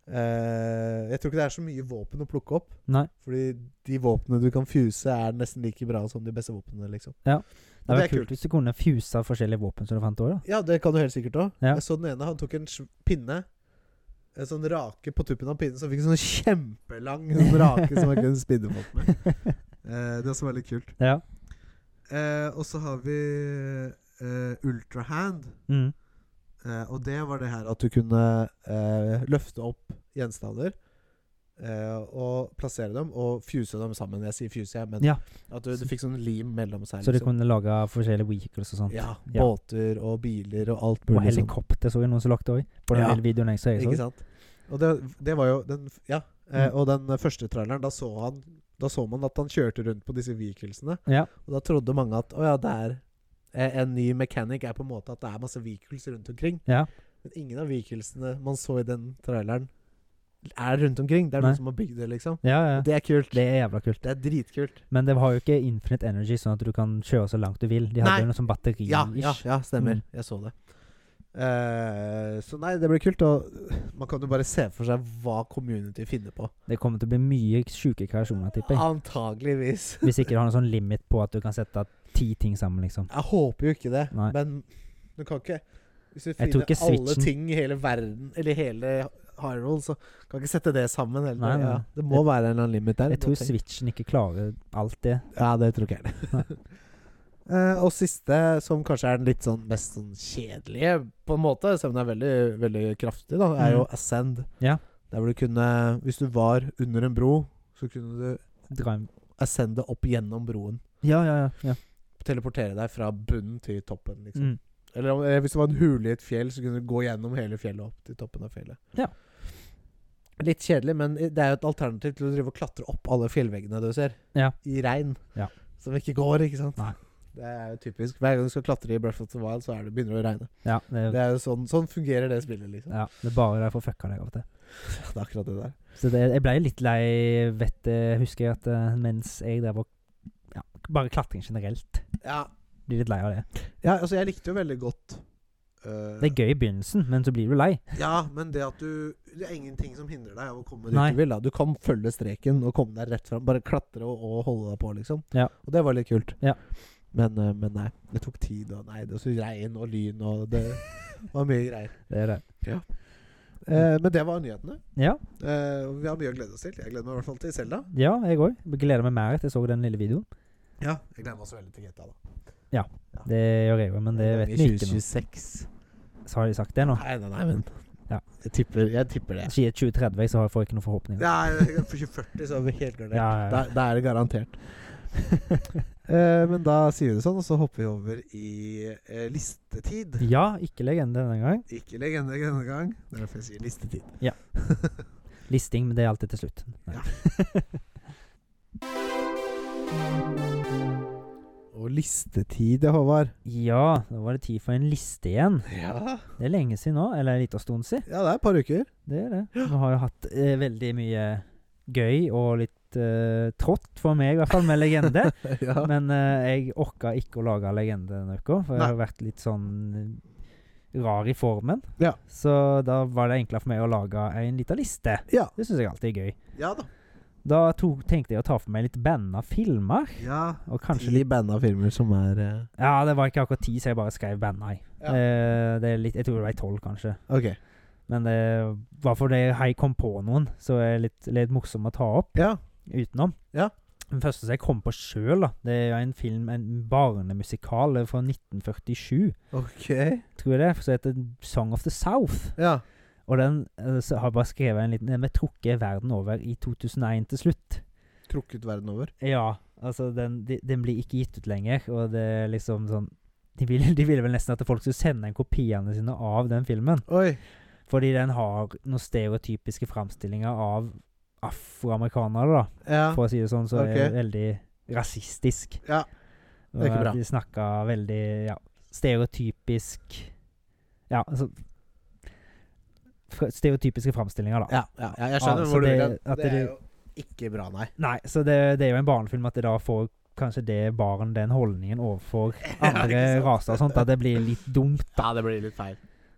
A: eh, Jeg tror ikke det er så mye våpen å plukke opp.
B: Nei.
A: Fordi de våpnene du kan fuse, er nesten like bra som de beste våpnene, liksom.
B: Ja.
A: Men
B: Det var kult hvis du kunne fuse forskjellige våpen som du fant òg, da.
A: Ja, det kan du helt sikkert òg.
B: Ja.
A: Jeg så den ene, han tok en sv- pinne. En sånn rake på tuppen av pinnen, så han fikk en sånn kjempelang sånn rake som han kunne spinne folk med. Eh, det er også veldig kult.
B: Ja.
A: Eh, og så har vi eh, ultrahand.
B: Mm.
A: Eh, og det var det her at du kunne eh, løfte opp gjenstander. eh, og plassere dem, og fuse dem sammen. Jeg sier fuse, jeg, men
B: Ja.
A: at du, du fikk sånn lim mellom seg.
B: Så du
A: liksom.
B: kunne lage forskjellige vehicles og sånt.
A: Ja,
B: Ja. liksom-
A: båter og biler og alt
B: Og
A: mulig. sånn.
B: helikopter så jeg noen som lagde òg. På den
A: Ja.
B: lille videoen jeg så. Jeg
A: Ikke
B: så.
A: sant? Og det, det var jo den f- Ja. Eh,
B: Mm.
A: Og den eh, første traileren, da så, han, da så man at han kjørte rundt på disse vehiclesene.
B: Ja.
A: Og da trodde mange at å ja, det er eh, en ny mechanic er på en måte at det er masse vehicles rundt omkring.
B: Ja.
A: Men ingen av vehiclesene man så i den traileren, er rundt omkring. Det er
B: Nei.
A: noen som har bygd det, liksom.
B: Ja, ja.
A: Det er kult.
B: Det er jævla kult.
A: Det er dritkult.
B: Men det har jo ikke infinite energy, sånn at du kan kjøre så langt du vil. De hadde
A: Nei.
B: jo noe sånn batteri
A: Ja, ja, ja stemmer.
B: Mm.
A: Jeg så det. Eh, så nei, det blir kult. Og man kan jo bare se for seg hva community finner på.
B: Det kommer til å bli mye sjuke kreasjoner, tipper jeg.
A: Antageligvis.
B: Hvis ikke du har noen sånn limit på at du kan sette ti ting sammen, liksom.
A: Jeg håper jo ikke det,
B: Nei.
A: men du kan ikke Hvis du
B: tror
A: finner
B: ikke
A: alle
B: switchen-
A: ting i hele verden, eller i hele Hyrule, så kan ikke sette det sammen heller.
B: Nei, nei.
A: Ja, det må være en eller annen limit der.
B: Jeg tror
A: Tenk-
B: Switchen ikke klarer alt det.
A: Ja, det tror ikke jeg heller. Eh, og siste, som kanskje er den litt sånn mest sånn kjedelige, på en måte, selv om den er veldig, veldig kraftig, da, er jo
B: Mm.
A: Ascend.
B: Ja.
A: Der hvor du kunne Hvis du var under en bro, så kunne du
B: Drive.
A: ascende opp gjennom broen.
B: Ja, ja, ja. ja.
A: Teleportere deg fra bunnen til toppen, liksom.
B: Mm.
A: Eller om, eh, hvis det var en hule i et fjell, så kunne du gå gjennom hele fjellet opp til toppen av fjellet.
B: Ja.
A: Litt kjedelig, men det er jo et alternativ til å drive og klatre opp alle fjellveggene du ser,
B: Ja.
A: i regn.
B: Ja.
A: Som ikke går, ikke sant?
B: Nei.
A: Det er jo typisk. Hver gang du skal klatre i Breath of the Wild, så er det begynner det å regne.
B: ja det,
A: Det er jo sånn, sånn fungerer det spillet, liksom.
B: ja, det er bare derfor fucka deg av og til.
A: Det er akkurat det der.
B: Så det, jeg ble litt lei vettet, husker jeg, at eh, mens jeg drev og ja, Bare klatring generelt.
A: Ja,
B: Blir litt lei av det.
A: ja altså, jeg likte jo veldig godt eh,
B: Det er gøy i begynnelsen, men så blir du lei.
A: Ja, men det at du Det er ingenting som hindrer deg av å komme dit
B: Nei.
A: du vil. da Du kan følge streken og komme deg rett fram. Bare klatre og, og holde deg på, liksom.
B: Ja.
A: Og det var litt kult.
B: Ja.
A: Men, eh, men nei. Det tok tid, og nei, det var så regn og lyn, og det var mye greier.
B: Det er det.
A: Eh, men det var nyhetene.
B: Ja,
A: Eh, og vi har mye å glede oss til. Jeg gleder meg i hvert fall til Selda.
B: ja jeg òg. Gleder meg mer til jeg så den lille videoen.
A: Ja. Jeg gleder meg også veldig til GTA, da.
B: Det gjør jeg òg, men det vet vi ikke nå.
A: 2026.
B: Så har de sagt det nå.
A: Nei, nei, nei, men
B: Ja.
A: jeg, tipper, jeg tipper det.
B: Sier 2030, så har jeg- får jeg ikke noen forhåpninger.
A: Ja, jeg- for 2040 så er vi helt gardert.
B: Ja, ja, ja.
A: Da, da er det garantert. Eh, men da sier vi det sånn, og så hopper vi over i eh, listetid.
B: Ja, ikke legende denne gang.
A: Ikke legende denne gang, det er derfor jeg sier listetid.
B: Listing, men det er alltid til slutt. Nei.
A: Ja. Og listetid, ja, Håvard.
B: Ja, da var det tid for en liste igjen.
A: Ja.
B: Det er lenge siden nå, eller en liten stund siden.
A: ja, det er et par uker.
B: Det er det. Vi har jo hatt eh, veldig mye gøy og litt eh, trått, for meg i hvert fall, med legende.
A: ja.
B: Men eh, jeg orka ikke å lage legende denne uka, for jeg
A: Nei.
B: har vært litt sånn eh, rar i formen.
A: Ja.
B: Så da var det enklere for meg å lage en liten liste.
A: Ja.
B: Det syns jeg alltid er gøy.
A: ja da.
B: Da tok, tenkte jeg å ta for meg litt banda filmer.
A: Ja.
B: Og kanskje
A: Ti
B: litt
A: banda filmer som er eh,
B: Ja, det var ikke akkurat ti, så jeg bare skrev banda i.
A: Ja.
B: Eh, det er litt, jeg tror det var tolv, kanskje.
A: Ok.
B: Men det var fordi jeg kom på noen, så er det litt, litt morsom å ta opp
A: Ja.
B: utenom.
A: Ja.
B: Den første som jeg kom på sjøl, det er jo en film, en barnemusikal eh, fra 1947,
A: Ok.
B: tror jeg det, som heter Song of the South.
A: Ja.
B: Og den eh, så har jeg bare skrevet en liten Den ble trukket verden over i 2001 til slutt.
A: Trukket verden over.
B: Ja, altså den, de- den blir ikke gitt ut lenger, og det er liksom sånn de ville, de ville vel nesten at folk skulle sende inn kopiene sine av den filmen.
A: Oi.
B: Fordi den har noen stereotypiske framstillinger av afroamerikanere, da.
A: Ja.
B: For å si det sånn, så er
A: Ok.
B: det veldig rasistisk.
A: Ja.
B: Og
A: er ikke bra.
B: at De snakka veldig ja, stereotypisk Ja, altså fra- Stereotypiske framstillinger, da.
A: Ja, ja, ja, jeg
B: Ja,
A: skjønner
B: så
A: hvor du
B: det-
A: vil hen.
B: at
A: Det er
B: det-
A: jo ikke bra, nei.
B: Nei, så det, det er jo en barnefilm at det da får kanskje det barn den holdningen overfor andre
A: Ja, ikke sant?
B: raser og sånt, at det blir litt dumt.
A: Ja, det blir litt feil.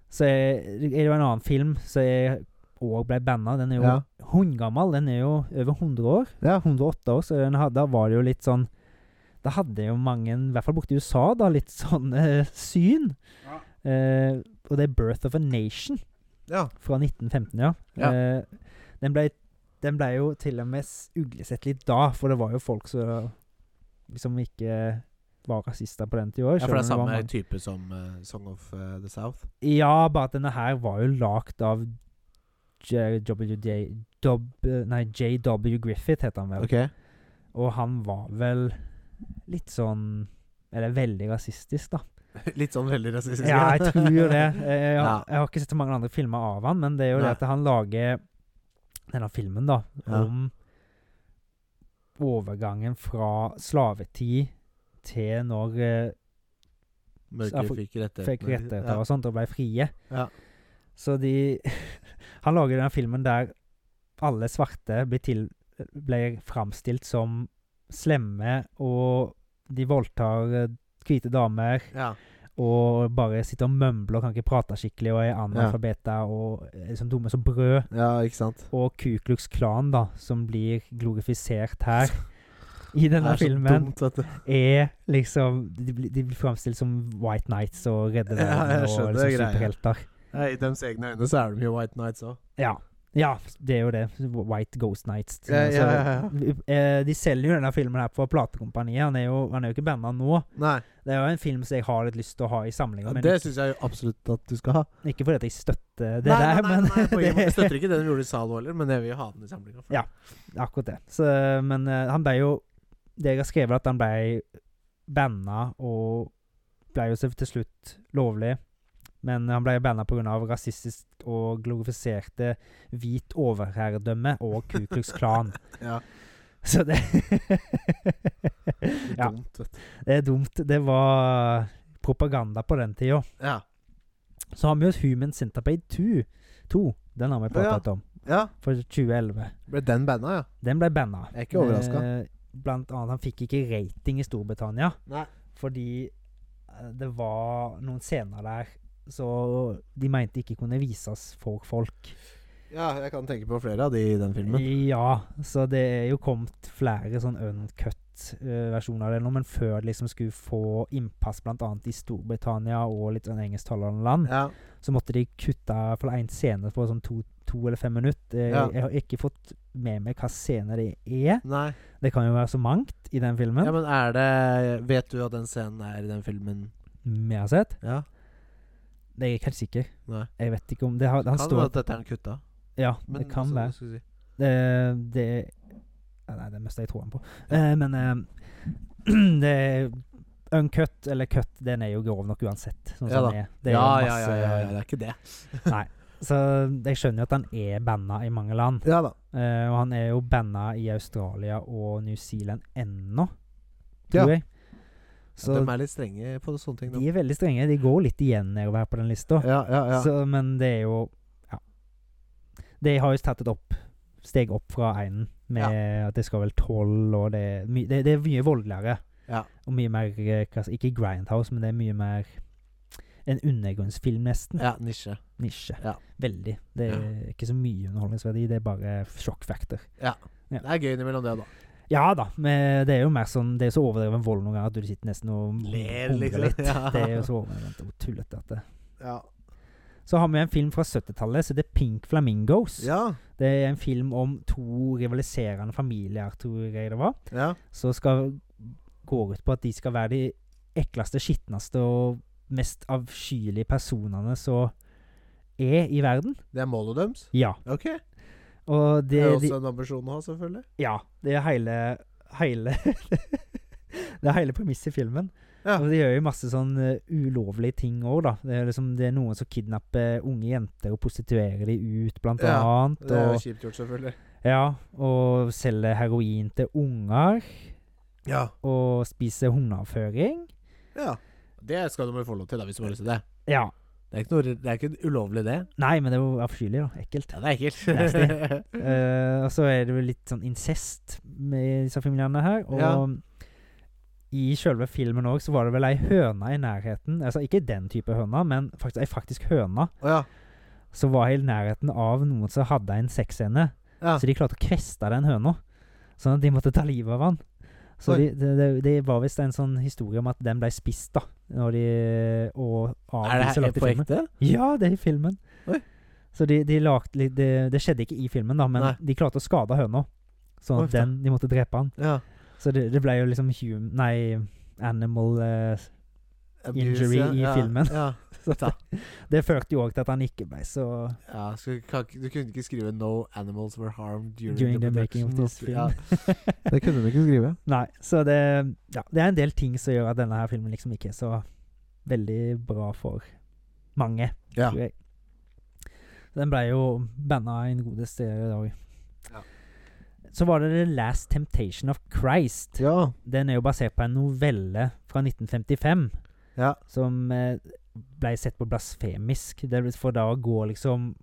B: Så er er det jo en annen film som jeg òg ble banna. Den er jo
A: Ja.
B: hundgammel. Den er jo over 100 år.
A: Ja.
B: 108 år, så den hadde, da var det jo litt sånn Da hadde jo mange, i hvert fall borte i USA, da, litt sånn eh, syn. Eh, og det er 'Birth of a Nation'
A: Ja.
B: fra 1915, ja.
A: Ja.
B: Eh, den, ble, den ble jo til og med s- uglesett litt da, for det var jo folk som liksom ikke var rasister på den tida.
A: Ja, for det er
B: selv om
A: samme
B: var mange-
A: type som eh, Song of eh, the South.
B: Ja, bare at denne her var jo lagd av J- WJ Dob- Nei, JW Griffith, heter han vel.
A: Ok.
B: Og han var vel litt sånn Eller veldig rasistisk, da.
A: Litt sånn veldig rasistisk.
B: Ja, jeg tror jo det. Jeg, jeg,
A: Ja.
B: jeg har ikke sett så mange andre filmer av han, men det er jo
A: Nei.
B: det at han lager denne filmen da,
A: Ja.
B: om overgangen fra slavetid til når eh, Så
A: Mørke
B: jeg får-
A: fikk rettigheter.
B: fikk rettigheter
A: Ja.
B: og sånt og ble frie.
A: Ja.
B: Så de Han lager denne filmen der alle svarte blir, til, blir framstilt som slemme, og de voldtar eh, hvite damer.
A: Ja.
B: og bare sitter og mømler og kan ikke prate skikkelig og er analfabeter og er liksom dumme som brød.
A: Ja, ikke sant?
B: Og Ku Klux Klan, da, som blir glorifisert her i
A: Det
B: denne
A: er så
B: filmen,
A: dumt, vet du.
B: er liksom De blir, de blir framstilt som White Nights og redde
A: Ja,
B: verden
A: jeg
B: og
A: skjønner
B: liksom
A: greia.
B: superhelter.
A: Nei, I deres egne øyne så er de jo White Nights òg.
B: Ja. ja, det er jo det. White Ghost Nights.
A: Ja, ja, ja,
B: Eh, De selger jo denne filmen her på platekompaniet. Han er jo, han er jo ikke banna nå.
A: Nei,
B: Det er jo en film som jeg har litt lyst til å ha i samlinga, men
A: det
B: ikke,
A: syns jeg jo absolutt at du skal ha.
B: ikke fordi at jeg støtter det
A: nei, nei,
B: der.
A: nei,
B: men
A: nei, på ingen måte
B: det-
A: støtter ikke det de gjorde i Zalo heller, men jeg vil ha den i samlinga.
B: Ja. Akkurat det. Så, men eh, han ble jo Det jeg har skrevet, at han ble banna, og ble jo selv til slutt lovlig. Men han ble banna pga. rasistisk og glorifiserte hvit overherredømme og Ku Klux Klan.
A: Ja,
B: Så det
A: litt
B: Ja.
A: dumt, vet du.
B: Det er dumt. Det var propaganda på den tida.
A: Ja.
B: Så har vi jo Human Centipede 2. 2. Den har vi
A: Å, ja.
B: pratet om.
A: ja.
B: For 2011.
A: Ble den banna, ja?
B: Den ble banna.
A: Jeg er ikke overrasket.
B: Eh, Blant annet, han fikk ikke rating i Storbritannia
A: Nei.
B: fordi eh, det var noen scener der så de mente ikke kunne vises for folk.
A: Ja, jeg kan tenke på flere av de i den filmen.
B: Ja, så det er jo kommet flere sånn uncut-versjoner av det nå, men før det liksom skulle få innpass bl.a. i Storbritannia og litt sånn engelsktalende land,
A: Ja.
B: så måtte de kutte for en scene på sånn to, to eller fem minutter. Eh, Jeg,
A: Ja.
B: jeg har ikke fått med meg hva scene det er.
A: Nei.
B: Det kan jo være så mangt i den filmen
A: Ja, men er det Vet du at den scenen er i den filmen?
B: vi har sett.
A: Ja.
B: Det er jeg ikke helt sikker.
A: Nei.
B: Jeg vet ikke om det har,
A: kan
B: Han
A: det være
B: står
A: at dette er den kutta?
B: Ja,
A: Men
B: det kan
A: altså,
B: være.
A: hva skal jeg si?
B: Det, det ja, Nei, det er mest jeg tror han på. Eh, men eh, det er Uncut eller cut, den er jo grov nok uansett. Sånn
A: Ja
B: som
A: da.
B: den er. Det er
A: ja,
B: jo
A: ja, ja,
B: masse-
A: ja, ja, det er ikke det.
B: Så jeg skjønner jo at han er banna i mange land.
A: Ja da.
B: Eh, og han er jo banna i Australia og New Zealand ennå,
A: Ja.
B: tror jeg. Så
A: de er litt strenge på sånne ting. da.
B: de er veldig strenge. De går litt igjen nedover her på den lista.
A: liksom. Ja, ja, ja.
B: Så, men det er jo Ja. De har jo tatt et opp, steg opp fra einen, med at det skal vel tolv, og det er, my, det, det er mye voldeligere.
A: Ja.
B: Og mye mer eh, hva- Ikke Grindhouse, men det er mye mer en undergrunnsfilm, nesten.
A: ja, nisje.
B: Nisje.
A: Ja.
B: Veldig. Det er ikke så mye underholdningsverdi, det er bare sjokkfaktor. Ja.
A: Det er gøy innimellom det, da.
B: Ja da, men det er jo mer sånn Det er så overdreven vold noen ganger at du sitter nesten og
A: Ler,
B: humrer
A: liksom.
B: litt.
A: Ja.
B: Det er jo så overdrevent og tullete at det
A: Ja.
B: Så har vi en film fra 70-tallet som heter Pink Flamingos.
A: Ja.
B: Det er en film om to rivaliserende familier, tror jeg det var.
A: ja.
B: Som skal går ut på at de skal være de ekleste, skitneste og mest avskyelige personene som er i verden.
A: Det er målet deres?
B: Ja.
A: Ok.
B: Og
A: Det
B: det,
A: er
B: de,
A: også en ambisjon å ha, selvfølgelig.
B: ja, det er hele, hele Det er hele premisset i filmen.
A: Ja.
B: Og de gjør jo masse sånn eh, ulovlige ting òg, da. Det er, liksom, det er noen som kidnapper unge jenter og prostituerer de ut, blant
A: Ja,
B: annet.
A: Det er
B: og,
A: jo kjipt gjort, selvfølgelig.
B: Ja, og selger heroin til unger,
A: Ja.
B: og spiser hundeavføring.
A: ja. Det skal du vel få lov til, da, hvis du har lyst til det.
B: Ja.
A: Det er ikke, noe, det er ikke ulovlig, det.
B: Nei, men det er jo avskyelig, da. Ekkelt.
A: Ja, det er ekkelt.
B: Nasty. Eh, og så er det vel litt sånn incest med disse familiene her. Og
A: Ja.
B: i sjølve filmen òg så var det vel ei høne i nærheten. Altså ikke den type høne, men faktisk ei faktisk høne
A: Å ja.
B: som var i nærheten av noen som hadde en sexscene.
A: Ja.
B: Så de klarte å kveste den høna, sånn at de måtte ta livet av han.
A: Oi.
B: Så de, det, det, det var visst en sånn historie om at den ble spist, da. Når de, og av
A: Er det
B: de som
A: her
B: lagde
A: på
B: filmen.
A: ekte?
B: Ja, det er i filmen.
A: Oi.
B: Så de, de lagde litt det, det skjedde ikke i filmen, da, men
A: Nei.
B: de klarte å skade høna. Sånn
A: Oi,
B: at den, de måtte drepe han.
A: Ja.
B: Så det, det ble jo liksom hum... Nei, animal eh, Injury i
A: ja.
B: filmen.
A: Ja.
B: så det, det førte jo òg til at han ikke ble så
A: Ja, skal, kan, ikke- du kunne ikke skrive 'No animals were harmed during,
B: During
A: the,
B: the making of
A: production
B: this film.
A: Ja. Det kunne du ikke skrive.
B: Nei, så det Ja, det er en del ting som gjør at denne her filmen liksom ikke er så veldig bra for mange,
A: Ja.
B: tror jeg. Den ble jo banna i en god del i dag.
A: Ja.
B: Så var det The Last Temptation of Christ.
A: ja.
B: Den er jo basert på en novelle fra 1955
A: Ja.
B: som eh, ble sett på blasfemisk. Det vil- For da går liksom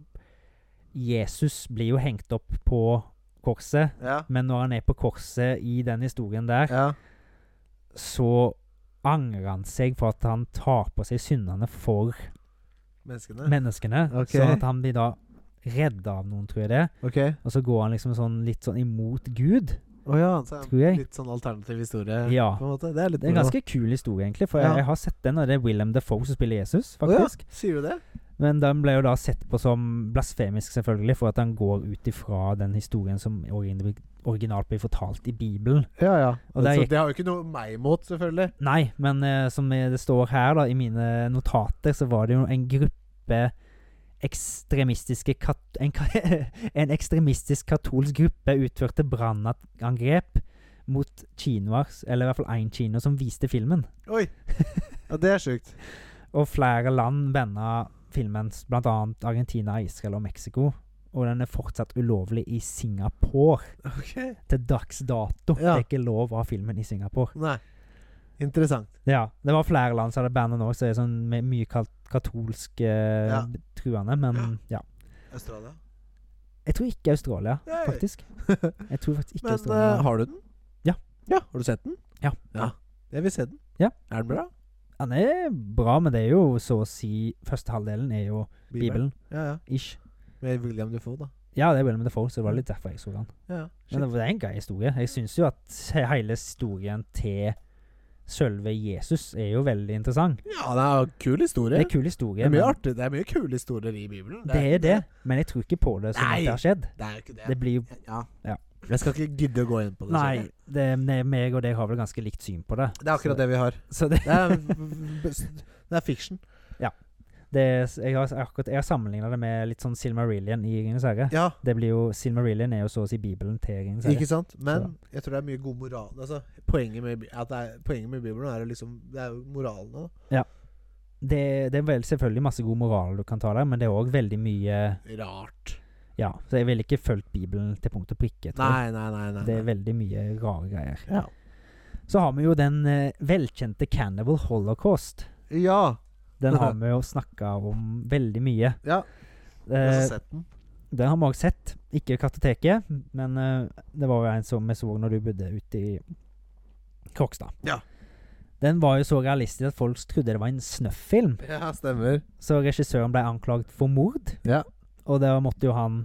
B: Jesus blir jo hengt opp på korset,
A: Ja.
B: men når han er på korset i den historien der,
A: Ja.
B: så angrer han seg for at han tar på seg syndene for
A: Menneskene?
B: menneskene.
A: Eh, Ok.
B: Sånn at han blir da redda av noen, tror jeg det.
A: ok.
B: Og så går han liksom sånn litt sånn imot Gud.
A: Å ja, så
B: Tror jeg.
A: litt sånn alternativ historie
B: Ja.
A: på en måte. Det er litt
B: Det er en
A: moro.
B: ganske kul historie, egentlig. For
A: Ja.
B: jeg har sett den, og det er Willem Defoe som spiller Jesus,
A: Å ja,
B: faktisk.
A: Sier du det?
B: Men den ble jo da sett på som blasfemisk, selvfølgelig, for at han går ut ifra den historien som origin- originalt blir fortalt i Bibelen.
A: Ja, ja.
B: Og der
A: så
B: gikk-
A: det har jo ikke noe meg imot, selvfølgelig.
B: Nei, men eh, som eh, det står her, da, i mine notater, så var det jo en gruppe ekstremistiske kat en, ka- en ekstremistisk katolsk gruppe utførte brannangrep mot kinoer, eller i hvert fall én kino, som viste filmen.
A: Oi! Ja, det er sjukt.
B: Og flere land banna filmen, bl.a. Argentina, Israel og Mexico. Og den er fortsatt ulovlig i Singapore.
A: Ok.
B: Til dags
A: Ja.
B: dato. Det er ikke lov å ha filmen i Singapore.
A: Nei. Interessant.
B: Ja, Det var flere land som hadde banna nå, så det er sånn med mye kalt katolsk eh,
A: Ja.
B: truende. Men ja.
A: Australia.
B: Jeg tror ikke Australia,
A: Nei.
B: faktisk. Jeg tror faktisk ikke
A: Men
B: Australia.
A: eh, har du den?
B: Ja.
A: ja. Har du sett den?
B: Ja.
A: Jeg vil se den.
B: Ja.
A: Er den bra?
B: Den er bra, men det er jo så å si Første halvdelen er jo Bibelen.
A: Ja, ja.
B: Ish.
A: Med William Defoe, da.
B: Ja, det er William Defoe, så det var
A: Mm.
B: litt derfor jeg så den.
A: Ja, ja.
B: Men det det er en grei historie. Jeg syns jo at he- hele historien til Sølve Jesus er jo veldig interessant.
A: ja, det er en kul historie.
B: Det er en kul historie.
A: Det er mye
B: men-
A: artig. Det er mye kule historier i Bibelen.
B: Det er det, men jeg tror ikke på det som
A: Nei.
B: at det har skjedd.
A: Det er jo ikke det.
B: Det blir jo
A: ja.
B: Ja.
A: Jeg skal ikke gidde å gå inn på det.
B: Nei,
A: skjønner
B: det, ne- meg og deg har vel ganske likt syn på det.
A: jeg. Det er akkurat det vi har.
B: Så det,
A: Det er, det er fiction.
B: det Jeg har, akkurat- jeg har sammenligna det med litt sånn Silmarillion i Ringenes herre.
A: Ja,
B: Det blir jo Silmarillion er jo så å si Bibelen til Ringenes herre.
A: ikke sant? Men jeg tror det er mye god moral altså, poenget, med, Bi- at det er, poenget med Bibelen er jo liksom Det er jo moralen da.
B: Det, det er vel selvfølgelig masse god moral du kan ta der, men det er òg veldig mye
A: Rart.
B: Ja, så jeg ville ikke fulgt Bibelen til punkt og prikke. tror
A: Nei,
B: jeg.
A: nei, nei. nei.
B: Det er veldig mye rare greier.
A: ja.
B: Så har vi jo den eh, velkjente Cannibal Holocaust.
A: ja.
B: Den har vi jo snakka om veldig mye.
A: Ja. Jeg har
B: Eh,
A: sett den.
B: den har vi også sett. Ikke Kartoteket, men eh, det var jo en som vi så når du bodde ute i Krokstad.
A: Ja.
B: Den var jo så realistisk at folk trodde det var en snøff-film.
A: Ja, stemmer.
B: Så regissøren ble anklaget for mord,
A: Ja.
B: og da måtte jo han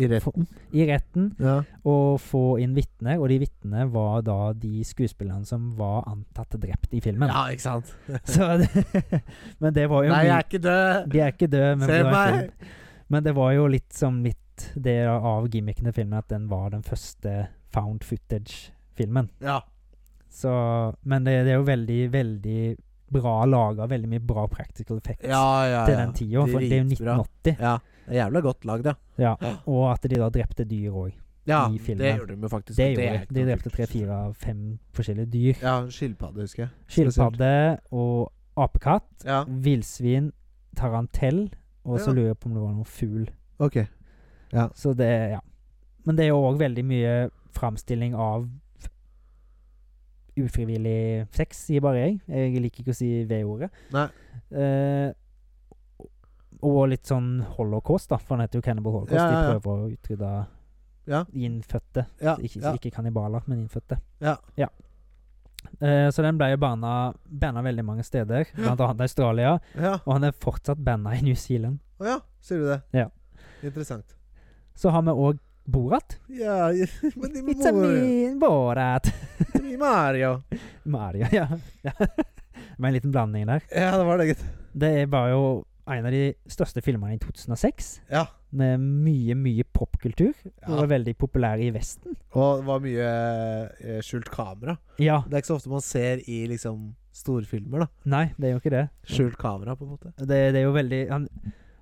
A: I retten.
B: i retten
A: Ja.
B: og få inn vitner, og de vitnene var da de skuespillerne som var antatt drept i filmen.
A: ja, ikke sant?
B: Så det, men det var jo
A: Nei, jeg er ikke død!
B: De er ikke døde, men,
A: Se
B: det var en
A: meg!
B: film. men det var jo litt som litt det av gimmicken til filmen at den var den første found footage-filmen.
A: Ja.
B: Så Men det, det er jo veldig, veldig bra laga, veldig mye bra practical effects
A: Ja, ja, ja.
B: til den tida, for det er jo
A: Dritbra.
B: 1980.
A: Ja. Det er jævla godt lagd, ja.
B: Ja. Og at de da drepte dyr òg.
A: Ja,
B: I
A: det
B: filmen.
A: gjorde de jo faktisk.
B: Det
A: og
B: gjorde
A: er
B: de.
A: ikke
B: De
A: noe
B: drepte
A: kult.
B: tre-fire-fem forskjellige dyr.
A: Ja, skilpadde, husker jeg. Spesielt.
B: Skilpadde og apekatt.
A: Ja,
B: Villsvin, tarantell, og så
A: Ja.
B: lurer jeg på om det var noen fugl.
A: ok.
B: Så det, ja. Men det er jo òg veldig mye framstilling av ufrivillig sex, sier bare jeg. Jeg liker ikke å si V-ordet.
A: Nei.
B: Eh, og litt sånn holocaust, da, for han heter jo Cannibal Holocaust.
A: Ja, ja, ja.
B: De prøver å utrydde
A: Ja.
B: innfødte.
A: Ja,
B: Ikke,
A: ja.
B: ikke kannibaler, men innfødte.
A: Ja.
B: Eh, så den ble jo banna, banna veldig mange steder, blant annet Australia.
A: ja.
B: Og han er fortsatt banna i New Zealand.
A: Å ja, sier du det?
B: Ja.
A: Interessant.
B: Så har vi òg Borat.
A: Ja, men de
B: It's a mean Borat.
A: me, Mario.
B: Mario, ja. ja. Det var en liten blanding der.
A: Ja, det var det, gitt.
B: Det var jo en av de største filmene i 2006.
A: Ja.
B: Med mye, mye popkultur. Og
A: Ja.
B: var veldig populær i Vesten.
A: Og det var mye eh, skjult kamera.
B: Ja.
A: Det er ikke så ofte man ser i liksom storfilmer, da.
B: Nei, det er jo ikke det.
A: Skjult kamera, på en måte.
B: Det, det er jo veldig Han,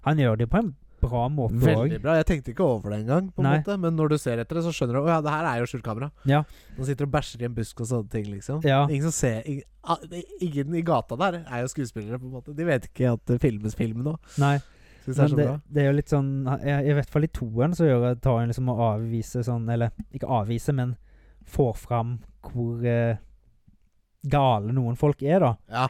B: han gjør det jo på en bra måte òg.
A: Veldig bra. Jeg tenkte ikke over det engang, på en
B: Nei.
A: måte. men når du ser etter det, så skjønner du Å ja, det her er jo skjult kamera.
B: Ja.
A: Man sitter og bæsjer i en busk og sånne ting, liksom.
B: Ja.
A: Ingen som ser ingen, ah, det- ingen i gata der er jo skuespillere, på en måte. De vet ikke at det filmes film nå.
B: Nei.
A: Syns det er
B: Men
A: så
B: det,
A: bra.
B: det er jo litt sånn I i hvert fall i toeren så gjør jeg, tar en liksom å avvise sånn Eller ikke avvise, men får fram hvor eh, gale noen folk er, da.
A: Ja.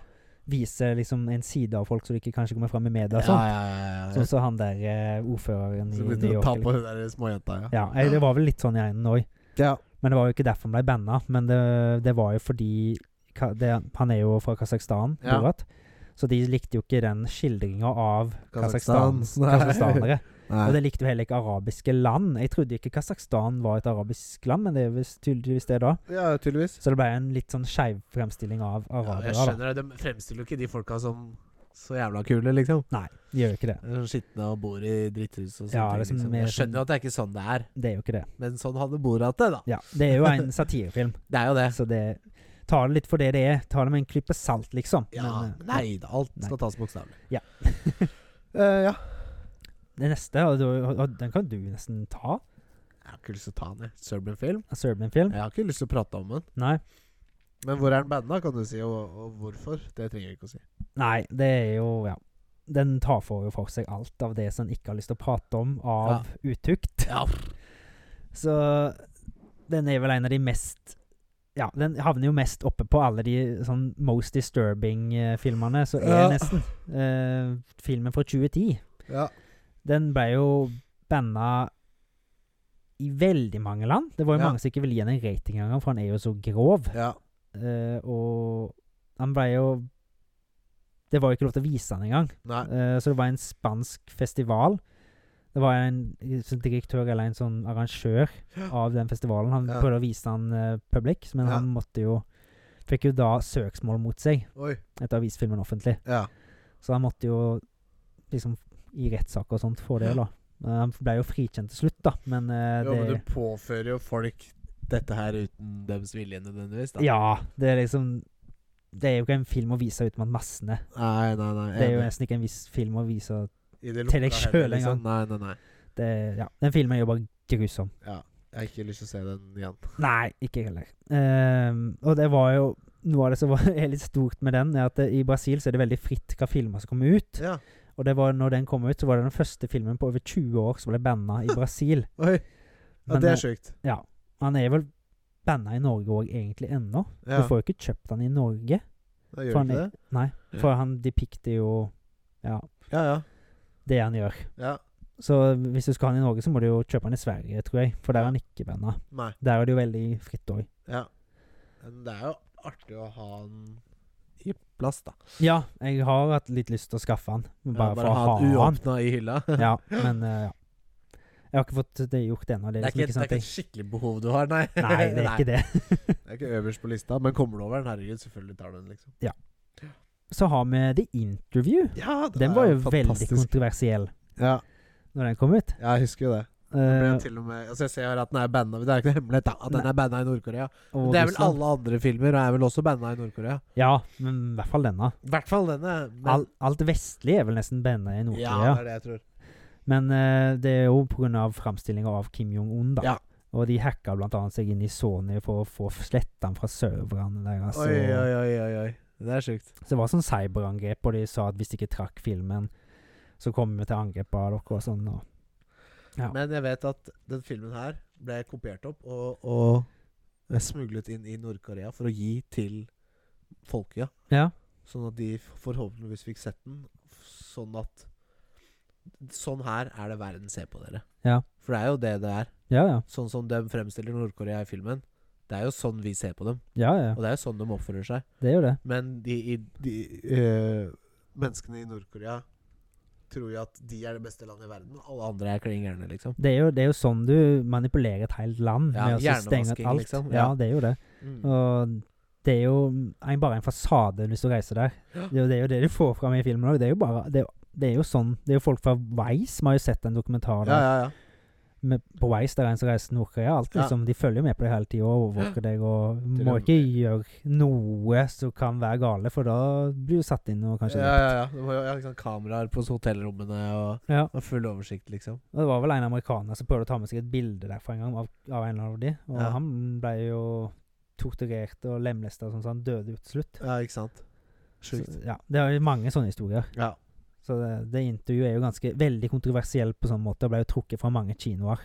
B: Viser liksom en side av folk som ikke kanskje kommer fram i media. og
A: ja,
B: sånn.
A: ja, ja, ja.
B: Sånn som han der eh, ordføreren i
A: Så
B: New
A: begynte du å
B: York.
A: ta på
B: eller-
A: hun der småjenta, ja.
B: Ja, eh, det var vel litt sånn i enden òg.
A: Ja.
B: Men det var jo ikke derfor han ble banna. Men det, det var jo fordi ka- det, Han er jo fra Kasakhstan,
A: Ja.
B: Borat. Så de likte jo ikke den skildringa av
A: Kasakhstan.
B: Kasakhstan-
A: Nei.
B: kasakhstanere.
A: Nei.
B: Og det likte jo heller ikke arabiske land. Jeg trodde ikke Kasakhstan var et arabisk land, men det er visst tydeligvis det da.
A: Ja, tydeligvis.
B: Så det ble en litt sånn skeiv fremstilling av
A: Ja,
B: arabere.
A: jeg
B: da.
A: skjønner det. De fremstiller jo ikke de folka som så jævla kule, liksom.
B: Nei, de gjør jo ikke det.
A: De er sånn Skitne og bor i dritthus og sånne
B: Ja,
A: ting.
B: liksom
A: Liksom.
B: mer
A: Jeg skjønner jo at det er ikke sånn det er,
B: Det er jo ikke det.
A: men sånn hadde Borat det, da.
B: Ja, Det er jo en satirefilm,
A: Det er jo det.
B: så det Ta det litt for det det er. Ta det med en klype salt, liksom.
A: Ja,
B: Men, eh,
A: men nei da. Alt
B: Nei.
A: skal tas bokstavelig.
B: Ja.
A: Eh, ja.
B: Det neste, og, du- og den kan du nesten ta.
A: Jeg har ikke lyst til å ta den, jeg. Serbian film.
B: En Serbian-film.
A: Jeg har ikke lyst til å prate om den.
B: Nei.
A: Men hvor er den banda, kan du si, og, og hvorfor? Det trenger jeg ikke å si.
B: Nei, det er jo Ja. Den tar for, jo for seg alt av det som en ikke har lyst til å prate om av utukt.
A: Ja.
B: Så den er vel en av de mest Ja, den havner jo mest oppe på alle de sånn most disturbing-filmene, så er
A: Ja.
B: nesten. Eh, filmen fra 2010.
A: Ja.
B: Den ble jo banna i veldig mange land. Det var jo
A: Ja.
B: mange som ikke ville gi den en rating engang, for han er jo så grov. Eh, og han ble jo Det var jo ikke lov til å vise han engang.
A: Nei.
B: Eh, så det var en spansk festival. Det var en sånn direktør eller en sånn arrangør av den festivalen. Han
A: Ja.
B: prøvde å vise han uh, public, men
A: Ja.
B: han måtte jo Fikk jo da søksmål mot seg
A: Oi.
B: etter å ha vist filmen offentlig.
A: Ja.
B: Så han måtte jo liksom i rettssaker og sånt få det, da. Eh, Han ble jo frikjent til slutt, da, men eh,
A: Jo, men
B: det
A: du påfører jo folk dette her uten deres vilje nødvendigvis, da.
B: Ja, det er liksom Det er jo ikke en film å vise ut blant massene.
A: Nei, nei, nei.
B: Det er jo
A: enig.
B: nesten ikke en viss film å vise
A: I det
B: til deg
A: lukka
B: selv
A: heller,
B: en
A: liksom. Nei, nei, nei.
B: det, Ja, den filmen er jo bare grusom.
A: Ja. Jeg har ikke lyst til å se den igjen.
B: Nei, ikke heller. Ehm, og det var jo noe av det som var er litt stort med den, er at eh, i Brasil så er det veldig fritt hva filmer som kommer ut.
A: Ja.
B: Og det var, når den kom ut, så var det den første filmen på over 20 år som ble banna i Brasil.
A: Oi. Ja,
B: Men,
A: det
B: eh,
A: er sjukt.
B: Han er vel banna i Norge òg, egentlig, ennå.
A: Ja.
B: Du får jo ikke kjøpt han i Norge.
A: Da gjør
B: for
A: du ikke
B: han er-
A: det?
B: Nei, for han depikter jo ja,
A: Ja, ja.
B: det han gjør.
A: Ja.
B: Så hvis du skal ha han i Norge, så må du jo kjøpe han i Sverige, tror jeg. For der er han ikke banna.
A: Nei.
B: Der er det jo veldig fritt òg.
A: Ja. Men det er jo artig å ha den i plass, da.
B: Ja, jeg har hatt litt lyst til å skaffe han,
A: Ja,
B: bare, for å ha
A: den
B: han.
A: uåpna i hylla.
B: Ja, men eh, ja. Jeg har ikke fått det gjort ennå. Det
A: Det
B: er
A: er
B: liksom
A: ikke, det
B: ikke
A: er
B: sånn
A: ikke
B: at
A: et skikkelig behov du har, nei.
B: jeg Nei, det er ikke det.
A: Det er ikke øverst på lista, men kommer du over den, herregud, selvfølgelig tar du den, liksom.
B: Så har vi The Interview.
A: Ja, det
B: Den
A: er
B: var jo veldig
A: fantastisk.
B: kontroversiell
A: Ja,
B: når den kom ut. Eh,
A: jeg husker jo det. Det ble jo til og med Altså, jeg ser her at den er banna, men det er ikke noe hemmelighet da, at den
B: Nei.
A: er banna i Nord-Korea.
B: Eh, og
A: Men Det er vel
B: Russland.
A: alle andre filmer, og er vel også banna i Nord-Korea.
B: Ja, men i hvert fall denne.
A: I hvert fall denne. men-
B: Al- alt vestlig er vel nesten banna i
A: ja,
B: Nord-Korea.
A: det er det jeg tror.
B: men eh, det er jo pga. framstillinga av Kim Jong-un, da.
A: Ja.
B: Og de hacka blant annet seg inn i Sony for å få sletta den fra serverne deres.
A: Oi,
B: og-
A: oi, oi, oi, oi. Det er sjukt.
B: Så det var sånn cyberangrep, og de sa at hvis de ikke trakk filmen, så kommer vi til angrep av dere og sånn. Og Ja.
A: Men jeg vet at den filmen her ble kopiert opp og, og smuglet inn i Nord-Korea for å gi til folket.
B: ja.
A: Sånn at de f- forhåpentligvis fikk sett den. f- Sånn at Sånn her er det verden ser på dere.
B: Ja.
A: For det er jo det det er.
B: Ja, ja.
A: Sånn som de fremstiller Nord-Korea i filmen. Det er jo sånn vi ser på dem.
B: Ja, ja.
A: Og det er jo sånn de oppfører seg.
B: Det er jo det.
A: Men de, i- de eh, menneskene i Nord-Korea tror jo at de er det beste landet i verden. og Alle andre er klin gærne, liksom.
B: Det er jo, det er jo sånn du manipulerer et helt land.
A: Ja,
B: med å så stenge ut
A: hjernevasking,
B: alt.
A: liksom.
B: Ja.
A: Ja.
B: det er jo det. Og det er jo en, bare en fasade hvis du reiser der.
A: Ja.
B: Det er jo det, er jo det du får fram i filmen òg. Det er jo bare det, er jo- det er jo sånn Det er jo folk fra Vice som har jo sett en dokumentar der.
A: Ja, ja, ja.
B: Med, på Vice der er en som reiser til Nord-Korea. Alt
A: Ja.
B: liksom De følger jo med på det hele tida og overvåker deg og
A: Til
B: må
A: og
B: ikke gjøre noe som kan være gale, for da blir du satt inn og kanskje
A: Ja, ja, ja. Det var jo ja, ikke sant, kameraer på hotellrommene og,
B: Ja.
A: og full oversikt, liksom.
B: Og Det var vel en amerikaner som prøvde å ta med seg et bilde derfra en gang av, av en av de, og
A: Ja.
B: han ble jo torturert og lemlesta og sånn, så han døde jo til slutt.
A: Ja, ikke sant.
B: Så,
A: Sjukt.
B: ja, det er jo mange sånne historier.
A: Ja.
B: Så det, det intervjuet er jo ganske veldig kontroversielt på sånn måte, og ble jo trukket fra mange kinoer,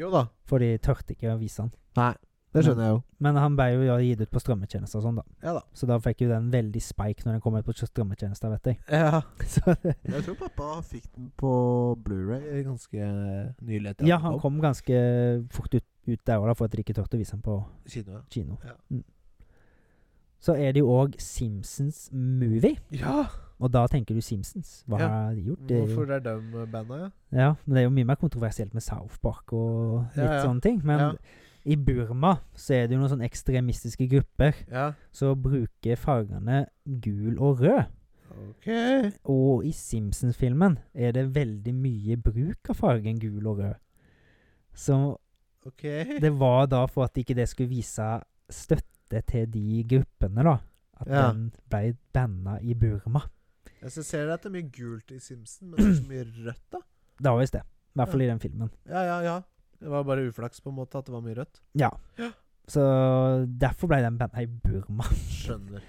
A: Jo da.
B: for de tørte ikke å vise han.
A: Nei, det skjønner jeg jo.
B: Men han ble jo ja, gitt ut på strømmetjenester og sånn, da.
A: Ja da.
B: Så da fikk jo den veldig spike når den kom ut på strømmetjenester, vet jeg.
A: Ja.
B: Så,
A: Jeg tror pappa fikk den på Blu-ray Eh, ganske nylig. etter
B: ja,
A: at den
B: han kom ganske fort ut, ut der òg, for at de ikke turte å vise han på
A: Kino, ja.
B: kino.
A: Ja.
B: Mm. så er det jo òg Simpsons Movie.
A: Ja!
B: Og da tenker du Simpsons. Hva
A: Ja.
B: har de gjort? Det er jo,
A: Hvorfor er de banda, ja?
B: ja, men det er jo mye mer kontroversielt med South Park og litt
A: Ja, ja.
B: sånne ting. Men
A: Ja.
B: i Burma så er det jo noen sånne ekstremistiske grupper
A: Ja.
B: som bruker fargene gul og rød.
A: OK.
B: Og i Simpsons-filmen er det veldig mye bruk av fargen gul og rød. Så
A: ok.
B: det var da for at ikke det skulle vise støtte til de gruppene, da. At
A: Ja.
B: den ble banna i Burma.
A: Jeg så ser dere at det er mye gult i Simpson, men det er så mye rødt, da.
B: Det var visst det. I hvert fall i den filmen.
A: Ja, ja, ja. Det var bare uflaks på en måte at det var mye rødt.
B: Ja.
A: Ja.
B: Så derfor ble den banna i Burma.
A: Skjønner.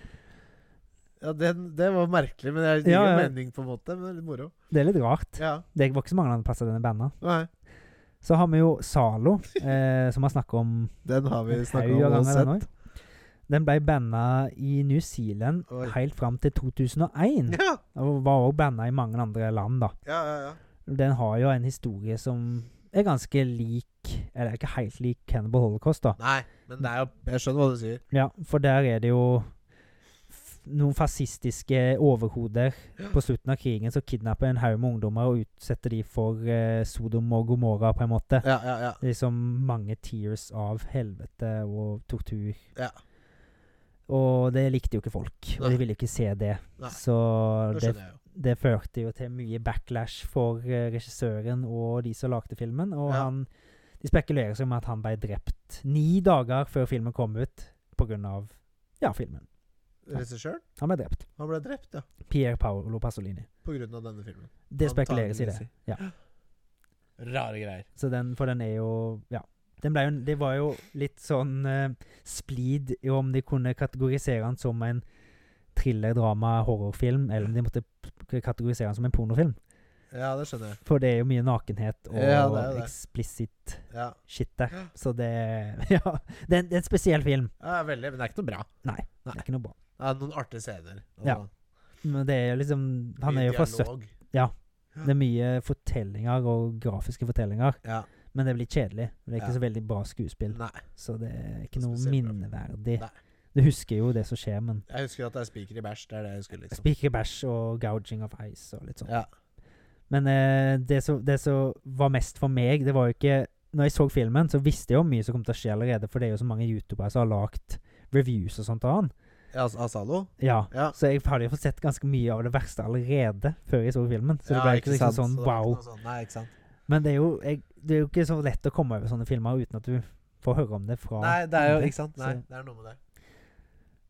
A: Ja, den, det var merkelig, men det gir
B: Ja,
A: jo
B: ja.
A: mening, på en måte. Men det er litt moro.
B: Det er litt rart.
A: Ja.
B: Det var ikke så mange andre plasser den er banna.
A: Nei,
B: Så har vi jo Zalo, eh, som har snakka om
A: den har vi
B: En
A: snakka
B: haug av
A: om og
B: ganger, den
A: sett.
B: Den ble banna i New Zealand
A: Oi.
B: helt fram til 2001.
A: Ja,
B: Og var òg banna i mange andre land, da.
A: ja, ja. ja.
B: Den har jo en historie som er ganske lik Eller ikke helt lik Cannibal Holocaust, da.
A: Nei, men det er jo Jeg skjønner hva du sier.
B: Ja, for der er det jo f- noen fascistiske overhoder på slutten av krigen som kidnapper en haug med ungdommer og utsetter de for eh, Sodom og Gomorra, på en måte.
A: Ja, ja, ja.
B: Liksom mange tears av helvete og tortur.
A: Ja.
B: Og det likte jo ikke folk, og
A: Nei.
B: de ville jo ikke se det.
A: Nei,
B: Så
A: Nå
B: det,
A: skjønner jeg jo.
B: det førte jo til mye backlash for eh, regissøren og de som lagde filmen. Og
A: Ja.
B: han De spekulerer seg med at han ble drept ni dager før filmen kom ut pga. Ja, filmen.
A: Regissøren?
B: Han ble drept.
A: Han ble drept, ja.
B: Pier Paolo Pasolini.
A: På grunn av denne filmen.
B: Det spekuleres i det.
A: Antageligvis.
B: ja.
A: Rare greier.
B: Så den, for den er jo Ja. Den ble jo, det var jo litt sånn eh, splid i om de kunne kategorisere den som en thriller, drama, horrorfilm, eller om de måtte p- kategorisere den som en pornofilm.
A: Ja, det skjønner jeg.
B: For det er jo mye nakenhet og
A: Ja, det er jo det.
B: eksplisitt
A: Ja.
B: shit der. Så det Ja. Det er, en, det er en spesiell film.
A: ja veldig, men det er ikke noe bra.
B: Det er ikke noe bra.
A: Det er noen artige scener. og
B: Ja. Men det er jo liksom Han
A: mye
B: er jo fra 70
A: dialog.
B: Det er mye fortellinger og grafiske fortellinger,
A: Ja.
B: men det blir kjedelig. Det er ikke
A: Ja.
B: så veldig bra skuespill.
A: Nei.
B: Så det er
A: Ikke
B: ikke noe
A: spesielt bra.
B: minneverdig.
A: Nei.
B: Du husker jo det som skjer, men
A: Jeg husker at det er spiker i bæsj. Det er det jeg husker, liksom.
B: Spiker bæsj og gouging of ice og litt sånn.
A: Ja.
B: Men eh, det som det som var mest for meg, det var jo ikke Når jeg så filmen, så visste jeg jo mye som kom til å skje allerede, for det er jo så mange youtubere som har lagt reviews og sånt av den.
A: ja altså, Asalo?
B: Ja.
A: Ja.
B: Så jeg hadde jo fått sett ganske mye av det verste allerede før jeg så filmen. Så det
A: Ja,
B: ble ikke liksom
A: sant? Så
B: sånn
A: det var ikke
B: wow.
A: noe sånn- Nei, ikke sant.
B: Men det er jo jeg, Det er jo ikke så lett å komme over sånne filmer uten at du får høre om det fra
A: Nei, det er jo
B: andre.
A: Ikke sant? Nei,
B: Så-
A: det er noe med det.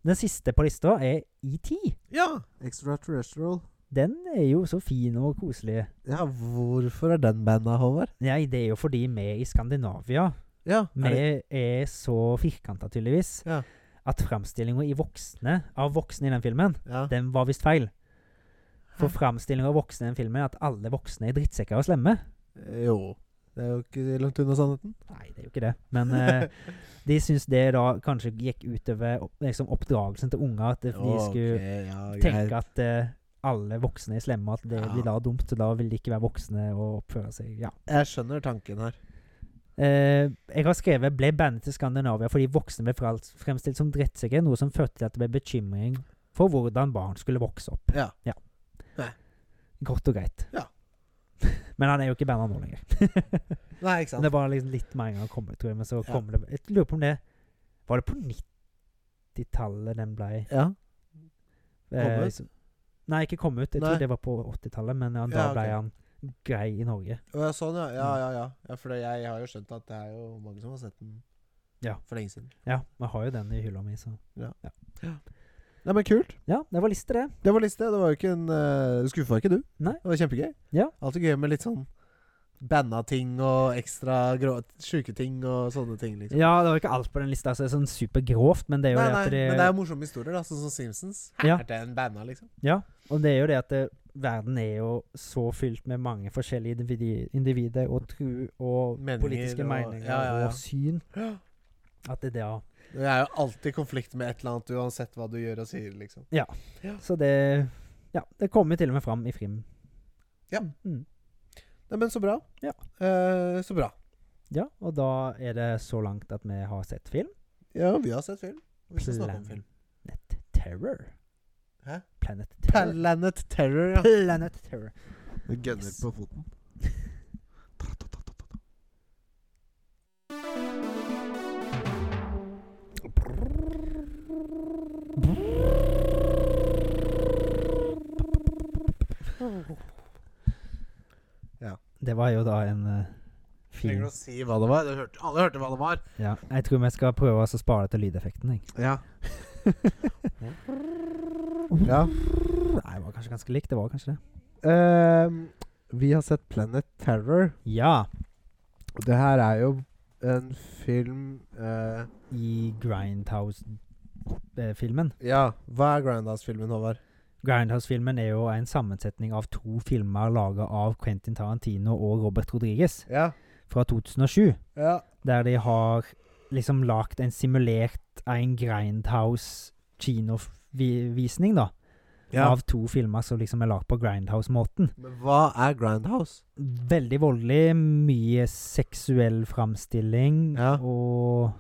B: Den siste på lista er E ET.
A: Ja!
D: Extraterrestrial.
B: Den er jo så fin og koselig.
A: ja hvorfor er den banda, Håvard?
B: Nei, det er jo fordi vi i Skandinavia
A: Ja, er det-
B: Vi er så firkanta, tydeligvis,
A: Ja.
B: at framstillinga av voksne i den filmen,
A: ja.
B: den var visst feil. For framstillinga av voksne i den filmen er at alle voksne er drittsekker og slemme.
A: Jo. Det er jo ikke langt unna sannheten.
B: Nei, det er jo ikke det. Men eh, de syns det da kanskje gikk utover opp- liksom, oppdragelsen til unger. At de skulle
A: Ok, ja, greit.
B: tenke at eh, alle voksne er slemme, at det
A: Ja.
B: blir da dumt. Så da vil de ikke være voksne og oppføre seg. Ja.
A: Jeg skjønner tanken her.
B: Eh, jeg har skrevet 'ble bandet til Skandinavia fordi voksne ble frel- fremstilt som drittsekker', noe som førte til at det ble bekymring for hvordan barn skulle vokse opp.
A: Ja.
B: Godt og greit.
A: Ja.
B: Men han er jo ikke i bandet nå lenger.
A: Nei, ikke sant.
B: Det var liksom litt med en gang han kom ut, tror jeg. Men så
A: Ja.
B: kom det Jeg lurer på om det Var det på 90-tallet den ble eh,
A: ja. ut?
B: liksom- Nei, ikke kom ut. Jeg
A: Nei.
B: tror det var på 80-tallet, men han, da
A: Ja, ok.
B: ble han grei i Norge.
A: Å, ja, sånn, ja. Ja, ja, ja. ja for det- jeg har jo skjønt at det er jo mange som har sett den
B: Ja.
A: for lenge siden.
B: Ja, vi har jo den i hylla mi, så
A: Nei, men kult.
B: Ja, det var liste, det.
A: Det var liste. Det var jo ikke en uh, Skuffa ikke du?
B: Nei.
A: Det var kjempegøy.
B: Ja.
A: Alltid gøy med litt sånn banna ting og ekstra grå sjuke ting og sånne ting, liksom.
B: Ja, det var ikke alt på den lista som er sånn supergrovt, men det er jo
A: Nei,
B: det
A: nei,
B: at det,
A: men det er jo morsomme historier, da. Sånn som Simpsons.
B: Ja.
A: Er den banna, liksom?
B: Og det er jo det at det, verden er jo så fylt med mange forskjellige individi- individer og tru og
A: Meninger
B: politiske
A: og-
B: meninger
A: ja, ja, ja.
B: og syn.
A: Ja.
B: At det da
A: Det er jo alltid konflikt med et eller annet, uansett hva du gjør og sier, liksom.
B: Så det Ja, det kommer jo til og med fram i Frim.
A: Ja.
B: Mm.
A: Nei, men så bra.
B: Ja.
A: Eh, så bra.
B: Ja, og da er det så langt at vi har sett film.
A: Ja, vi har sett film. og Vi skal snakke om film.
B: Planet Terror.
A: Hæ?
B: Planet Terror.
A: Planet Terror, ja.
B: Planet Terror.
E: Det gønner
B: Yes.
E: på foten.
B: Det var jo da en eh, fin
E: Trenger du å si hva det var? Du hørte, alle hørte hva det var.
B: ja. Jeg tror vi skal prøve oss å spare til lydeffekten. Jeg.
E: Ja. ja.
B: Nei, det var kanskje ganske likt. Det var kanskje det.
E: Ehm, vi har sett Planet Terror.
B: Ja.
E: Og Det her er jo en film eh,
B: I Grindhouse-filmen.
E: Ja.
A: Hva er Grindhouse-filmen, Håvard?
B: Grindhouse-filmen er jo en sammensetning av to filmer laga av Quentin Tarantino og Robert Rodriguez
A: Ja.
B: fra 2007.
A: ja.
B: Der de har liksom lagd en simulert en Grindhouse-kinovisning, da. Av to filmer som liksom er lagd på Grindhouse-måten.
A: Men hva er Grindhouse?
B: Veldig voldelig, mye seksuell framstilling
A: Ja.
B: og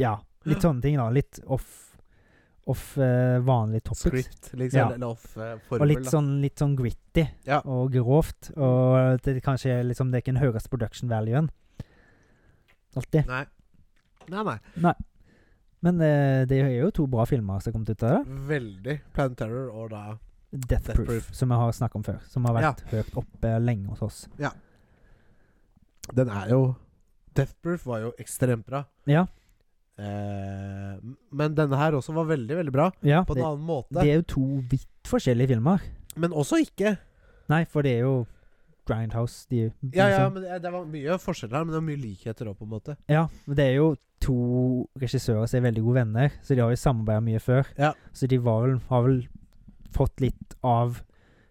B: Ja, litt sånne ting, da. Litt off, off eh, vanlig topics.
A: Script, liksom?
B: Ja.
A: Eller off-formel?
B: Og litt sånn, litt sånn gritty
A: Ja.
B: og grovt. Og at det kanskje er liksom det er ikke den høyeste production valuen. Alltid.
A: Nei. Nei, nei.
B: Men eh, det er jo to bra filmer som har kommet ut av det.
A: Veldig. Planet Terror og da
B: Death,
A: Death
B: Proof,
A: Proof.
B: som vi har snakket om før. Som har vært høyt oppe lenge hos oss.
A: Den er jo Death Proof var jo ekstremt bra.
B: Ja.
A: Eh, m- men denne her også var veldig, veldig bra.
B: ja
A: På en
B: det,
A: annen måte.
B: det er jo to vidt forskjellige filmer.
A: Men også ikke.
B: Nei, for det er jo Grindhouse de,
A: Ja, ja,
B: liksom.
A: men det, det var mye forskjeller her, men det var mye likheter òg, på en måte.
B: Ja, men det er jo to regissører som er veldig gode venner, så de har jo samarbeidet mye før.
A: Ja.
B: Så de var vel, har vel fått litt av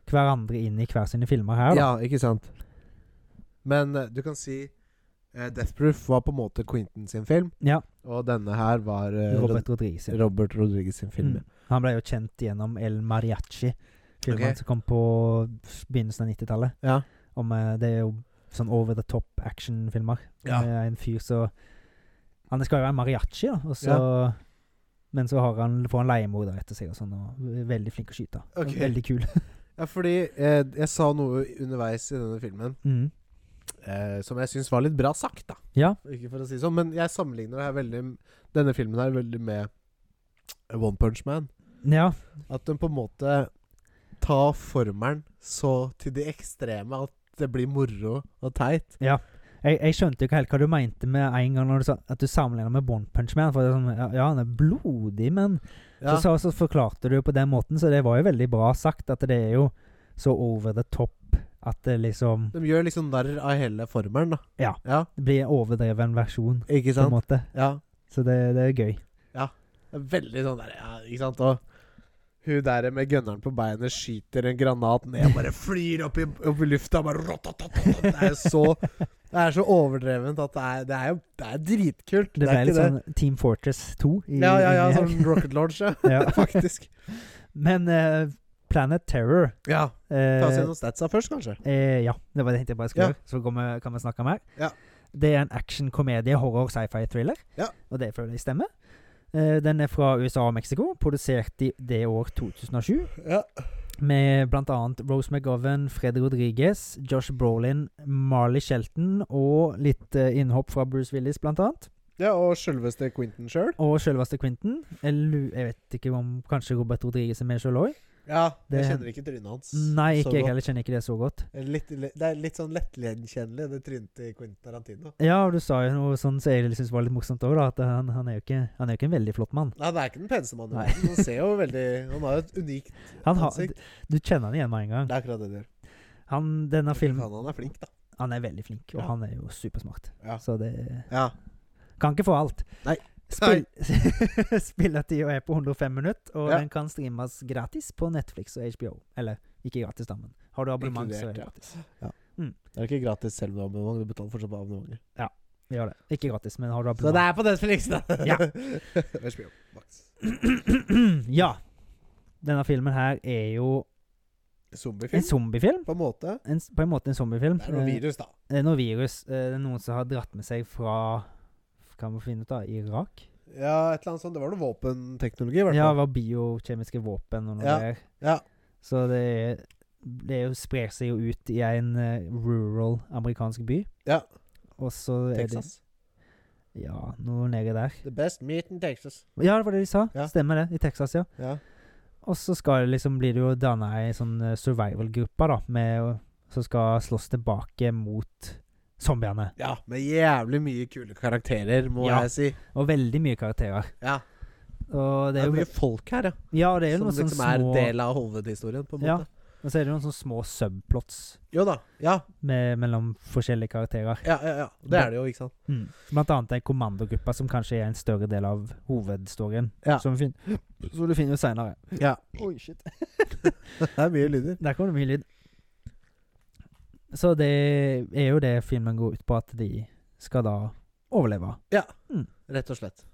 B: hverandre inn i hver sine filmer her. Da.
A: Ja, ikke sant. Men eh, du kan si eh, Death Proof var på en måte Quentin sin film,
B: Ja.
A: og denne her var eh,
B: Robert Rodriguez.
A: Rod
B: Ja.
A: Robert Rodriguez sin film.
B: Mm. Han ble jo kjent gjennom El Mariachi, filmen
A: Ok.
B: som kom på begynnelsen av 90-tallet.
A: Ja.
B: Om, eh, Det er jo sånn over the top action-filmer.
A: Ja.
B: Med En fyr som Han skal jo være mariachi, da, og så Men så har han, får han leiemorder etter seg, og sånn, og er veldig flink å skyte. Og
A: Ok.
B: Veldig kul.
A: Ja, fordi eh, jeg sa noe underveis i denne filmen
B: Mm.
A: eh, som jeg syns var litt bra sagt, da.
B: Ja.
A: Ikke for å si det sånn, men jeg sammenligner det her veldig, denne filmen her veldig med One Punch Man.
B: Ja.
A: At den på en måte tar formelen så til det ekstreme at det blir moro og teit.
B: Jeg, jeg skjønte jo ikke helt hva du mente med en gang når du sa at du sammenligna med One Punch Man. For det er sånn, ja, ja, han er blodig, men
A: Ja.
B: så, så, så forklarte du det på den måten, så det var jo veldig bra sagt. At det er jo så over the top at det liksom
A: De gjør liksom narr av hele formelen, da.
B: Ja. blir en overdreven versjon,
A: Ikke
B: på en
A: sant?
B: måte.
A: Ja.
B: Så det, det er gøy.
A: Veldig sånn der, ja, ikke sant? Og hun der med gunneren på beinet skyter en granat ned og bare flyr opp i, opp i lufta. Bare rotototot. Det er jo så Det er så overdrevent at det er, det er jo det er dritkult.
B: Det ble
A: er
B: litt
A: ikke
B: sånn Team Fortress 2. i-
A: Ja, ja, ja.
B: inni her.
A: Sånn Rocket Launch, ja.
B: Ja.
A: Faktisk.
B: Men eh, Planet Terror
A: Ja.
B: eh,
A: Ta oss gjennom statsa først, kanskje.
B: Eh, ja, det var det jeg tenkte jeg bare skulle
A: Ja.
B: gjøre. Så går vi, kan vi snakke mer.
A: Ja.
B: Det er en action, komedie, horror, sci-fi thriller.
A: Ja.
B: Og det føler jeg stemmer. Eh, den er fra USA og Mexico, produsert i det år 2007.
A: Ja.
B: Med bl.a. Rose McGovern, Fred Rodriguez, Josh Brolin, Marley Shelton og litt eh, innhopp fra Bruce Willis, bl.a.
A: ja og sjølveste Quentin sjøl.
B: Og selveste Quentin. Jeg, lu- jeg vet ikke om kanskje Robert Rodriguez er med sjøl òg?
A: Ja. Jeg
B: Det-
A: kjenner ikke trynet hans.
B: Nei,
A: så
B: ikke jeg
A: godt.
B: heller. Kjenner ikke det så godt.
A: Litt, det er litt sånn lettgjenkjennelig, det trynet til Quentin Tarantino.
B: Ja, og du sa jo noe sånn som jeg syns var litt morsomt òg, da. At han, han, er jo ikke, han er jo ikke en veldig flott mann.
A: Nei, det er ikke den peneste mannen i
B: Nei.
A: verden. Han ser jo veldig Han har jo et unikt
B: Han har,
A: ansikt.
B: du kjenner han igjen med en gang.
A: Det er akkurat det du gjør.
B: Han, denne filmen
A: Han, han er flink, da.
B: Han er veldig flink, og
A: Ja.
B: han er jo supersmart.
A: Ja.
B: Så det
A: Ja.
B: Kan ikke få alt.
A: Nei.
B: Spill, Spilletida er på 105 minutter, og
A: Ja.
B: den kan streames gratis på Netflix og HBO. Eller ikke gratis, da, men har du abonnement, så er
A: Inkludert,
B: det
A: ja.
B: gratis.
A: Det er ikke gratis selv om du har abonnement. Du betaler fortsatt på abonnementet.
B: Vi har det. Ikke gratis, men har du
A: Så det
B: abonnement.
A: er på Netflix, da!
B: Ja.
A: Vær så god, Max.
B: ja. Denne filmen her er jo en
A: Zombiefilm?
B: zombiefilm.
A: På en måte.
B: En, s- på en måte en zombiefilm.
A: Det er noe
B: Eh,
A: virus, da.
B: Det er noe virus. eh, Det er noen som har dratt med seg fra Kan vi finne ut, da? Irak?
A: Ja, et eller annet sånt. Det var noe våpenteknologi, i hvert
B: Ja, det
A: fall.
B: var biokjemiske våpen og noe
A: Ja,
B: der.
A: ja.
B: Så det, er- det er jo, sprer seg jo ut i en eh, rural amerikansk by.
A: Ja.
B: Og så er det
A: Texas.
B: Ja, noe nedi der.
A: The best meat in Texas.
B: Ja, det var det de sa.
A: Ja.
B: Stemmer det. I Texas, ja.
A: Ja.
B: Og så skal det liksom blir det jo danna ei sånn eh, survival-gruppe, da, med, å- som skal slåss tilbake mot zombiene.
A: ja. Med jævlig mye kule karakterer, må
B: Ja.
A: jeg si.
B: Og veldig mye karakterer.
A: Ja. Det
B: Og det
A: er
B: er jo
A: mye folk her, ja.
B: Ja, og det er jo
A: Som
B: noen
A: liksom
B: sånne
A: er
B: små
A: del av hovedhistorien, på en
B: Ja.
A: måte.
B: Og så er det noen sånne små subplots
A: Jo da. Ja,
B: med, mellom forskjellige karakterer.
A: ja, ja, ja. Det er det jo, ikke sant.
B: Mm. Blant annet ei kommandogruppe som kanskje er en større del av hovedstoryen.
A: Ja.
B: Som fin så du finner jo seinere.
A: Ja.
B: Oi, shit.
A: Det er mye lyder.
B: Der kom det mye lyd. Så det er jo det filmen går ut på, at de skal da overleve.
A: Rett og slett.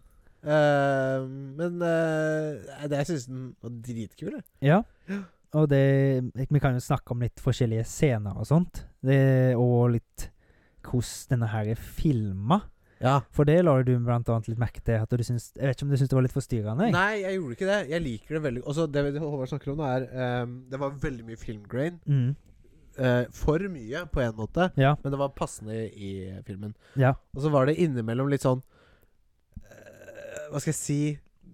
A: Eh, men eh, det, jeg syns den var dritkul. jeg.
B: Ja. Og det Vi kan jo snakke om litt forskjellige scener og sånt. Det, og litt hvordan denne her er filma.
A: Ja.
B: For det la du blant annet litt merke til. At du syns, jeg vet ikke om du syns det var litt forstyrrende? jeg.
A: Nei, jeg gjorde ikke det. Jeg liker det veldig Også Det Håvard snakker om, nå er eh, Det var veldig mye filmgrain.
B: Mm.
A: Eh, for mye, på en måte,
B: Ja.
A: men det var passende i filmen.
B: Ja.
A: Og så var det innimellom litt sånn eh, Hva skal jeg si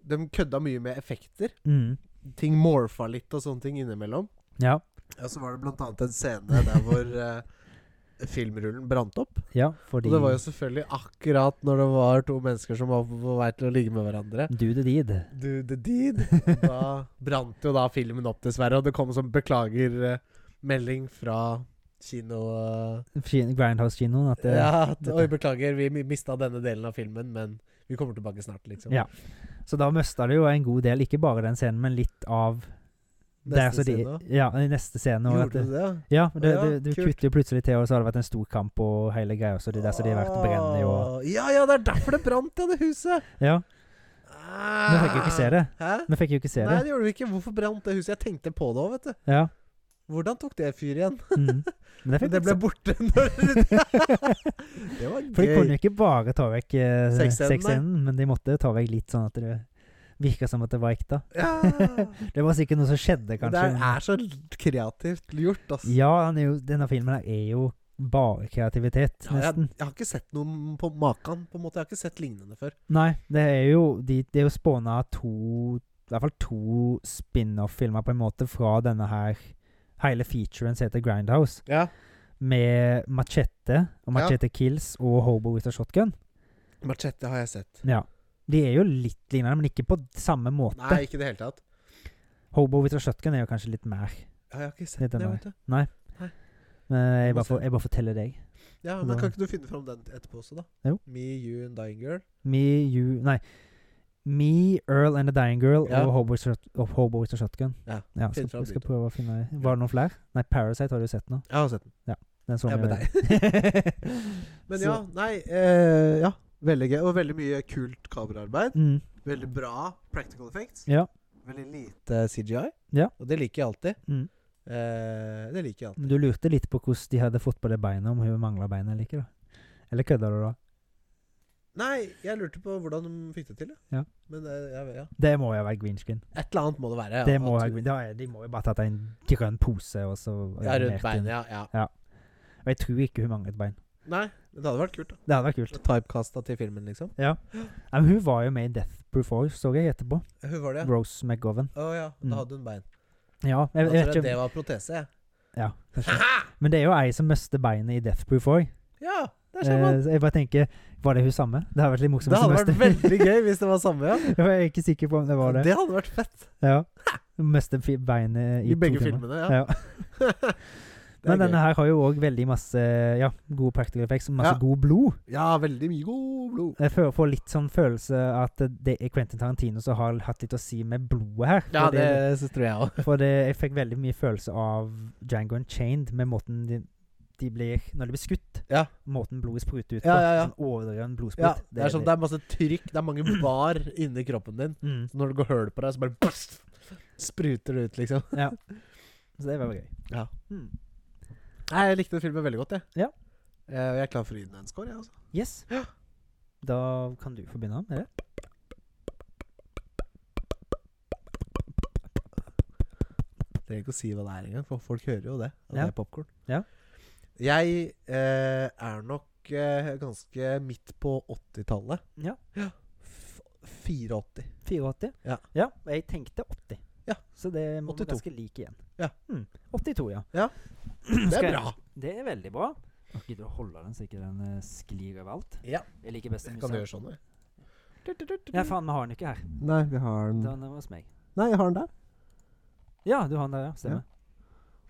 A: De kødda mye med effekter.
B: Mm.
A: Ting morfa litt og sånne ting innimellom.
B: Ja.
A: Ja, så var det blant annet en scene der hvor eh, filmrullen brant opp.
B: ja. Fordi
A: Og det var jo selvfølgelig akkurat når det var to mennesker som var på- på vei til å ligge med hverandre.
B: Do the deed.
A: Du, the deed. Og Da brant jo da filmen opp, dessverre. Og det kom sånn som beklager-melding fra kino... eh,
B: Grindhouse-kinoen. At det,
A: ja, at,
B: dette-
A: oi, beklager, vi mista denne delen av filmen, men vi kommer tilbake snart, liksom.
B: Ja. Så da mista du jo en god del, ikke bare den scenen, men litt av der så
A: Neste
B: de-
A: scene.
B: Ja, i neste scene. Og at
A: Gjorde
B: det,
A: du det?
B: Ja, det,
A: Ja,
B: det, det
A: kult.
B: kutter jo plutselig til, og så har det vært en stor kamp og hele greia. Så det er der som de har vært brennende i og
A: Åh, Ja, ja, det er derfor det brant, ja, det huset!
B: Ja. Vi
A: Vi
B: fikk jo ikke se det.
A: Hæ?
B: Vi fikk jo ikke se
A: Nei,
B: det.
A: det gjorde vi ikke. Hvorfor brant det huset? Jeg tenkte på det òg, vet du.
B: Ja.
A: Hvordan tok det fyr igjen?
B: Mm. Men det
A: Men
B: fikk
A: det ble
B: vi ikke se.
A: borte når Det var
B: For de kunne
A: gøy.
B: jo ikke bare ta vekk eh,
A: Sexscenen, nei.
B: sexscenen, men de måtte jo ta vekk litt sånn at det virka som at det var ekte.
A: Ja.
B: Det var sikkert noe som skjedde,
A: Det
B: kanskje.
A: er så kreativt gjort, ass.
B: Ja, han er jo, denne filmen her er jo bare kreativitet,
A: Ja, jeg,
B: nesten.
A: jeg har ikke sett noe på maken, på en måte. Jeg har ikke sett lignende før.
B: Nei, det er jo de, Det er jo spåna to I hvert fall to spin-off-filmer, på en måte, fra denne her Hele featuren som heter Grindhouse.
A: Ja.
B: med Machete og Machete Kills og Hobo with a Shotgun.
A: Machete har jeg sett.
B: Ja. De er jo litt lignende, men ikke på samme måte.
A: Nei, ikke i det hele tatt.
B: Hobo with a Shotgun er jo kanskje litt mer.
A: Ja, jeg har ikke
B: Litt
A: sett det,
B: denne.
A: vet du.
B: Men eh, jeg
A: Må
B: bare,
A: se.
B: for, jeg bare forteller deg.
A: Ja, men kan ikke du finne fram den etterpå også, da?
B: Jo.
A: Me, You and Dying Girl.
B: Me, you Nei. Me, Earl and the Dying Girl
A: Ja.
B: og, Hobo with a Shot- og Hobo with a Shotgun.
A: Ja,
B: skal,
A: finn fram de
B: skal
A: to.
B: prøve å finne Var det noen flere? Nei, Parasite har du sett nå.
A: Jeg har sett den.
B: Den så
A: Ja,
B: vi
A: med
B: jo.
A: Men
B: Så-
A: ja, nei eh, Ja, veldig gøy. Og veldig mye kult kameraarbeid.
B: Mm,
A: Veldig bra practical effects.
B: ja.
A: Veldig lite CGI.
B: Ja.
A: Og det liker jeg alltid.
B: Mm.
A: Eh, det liker jeg alltid.
B: Men Du lurte litt på hvordan de hadde fått på det beinet, om hun mangla bein eller ikke, da. Eller kødda du da?
A: Nei, jeg lurte på hvordan de fikk det til.
B: Ja.
A: Men eh, jeg vet- ja.
B: Det må jo være green screen.
A: Et eller annet må det være. ja.
B: Det må
A: At-
B: jeg, da er- de må jo bare tatt en grønn pose og så
A: Ja, rundt beinet,
B: ja.
A: ja. ja.
B: Og jeg tror ikke hun manglet bein.
A: Nei, men det hadde vært kult. da
B: Det hadde vært kult.
A: Typecasta til filmen, liksom.
B: Nei, men hun var jo med i Death Proof 4, så jeg etterpå.
A: Hun var det, ja.
B: Rose McGovern.
A: Å ja,
B: Mm.
A: da hadde hun bein.
B: Ja, jeg,
A: Jeg tror
B: jeg vet
A: jeg
B: ikke
A: det
B: om-
A: var protese, jeg.
B: ja, kanskje. Men det er jo ei som mister beinet i Death Proof 4.
A: Ja, der ser man.
B: Eh, så jeg bare tenker Var det hun samme? Det hadde vært litt morsomt
A: Det hadde
B: hvis hun
A: vært veldig gøy hvis det var samme, ja.
B: mister- Jeg er ikke sikker på om det var det.
A: hadde vært fett.
B: Ja. Hun mister fi- beinet i,
A: I begge
B: to filmer.
A: filmene, ja.
B: Ja.
A: Det er
B: Men denne
A: gøy.
B: her har jo òg veldig masse ja, gode practical effects, masse
A: Ja.
B: god blod.
A: Ja, veldig mye god blod.
B: Jeg får, får litt sånn følelse at det er Quentin Tarantino som har hatt litt å si med blodet her.
A: Ja,
B: For
A: det syns tror jeg òg.
B: For det, jeg fikk veldig mye følelse av Django Unchained med måten de, de blir Når de blir skutt.
A: Ja.
B: Måten blodet spruter ut
A: Ja,
B: på.
A: ja, ja.
B: Sånn overdreven blodsprutt.
A: Ja, det er sånn, det er masse trykk, det er mange var inni kroppen din.
B: Mm,
A: Så når det går høl på deg, så bare bast, spruter det ut, liksom.
B: så det var gøy.
A: Ja.
B: Mm.
A: Nei, Jeg likte filmen veldig godt, jeg.
B: Ja.
A: Eh, Jeg er klar for å gi den en score, jeg, altså.
B: Yes. Da kan du få begynne. Er det?
A: Trenger ikke å si hva det er engang, for folk hører jo det. At
B: Ja.
A: det er popkorn.
B: Ja.
A: Jeg eh, er nok eh, ganske midt på 80-tallet.
B: Ja.
A: F- 84.
B: 84?
A: Ja.
B: ja. og Jeg tenkte 80.
A: Ja.
B: Så det må
A: 82.
B: være ganske like igjen.
A: Ja.
B: Mm. 82, ja.
A: Ja. Det
B: Skal
A: er
B: jeg-
A: bra.
B: Det er veldig bra. Nå Gidder du å holde den så ikke den eh, sklir overalt?
A: Ja.
B: Jeg liker best
A: Jeg
B: den
A: kan
B: musa.
A: gjøre sånn. jeg.
B: Ja, faen, vi har den ikke her.
F: Nei, vi har den
B: Den er hos meg.
F: Nei, jeg har den der.
B: Ja, du har den der, ja. Stemmer.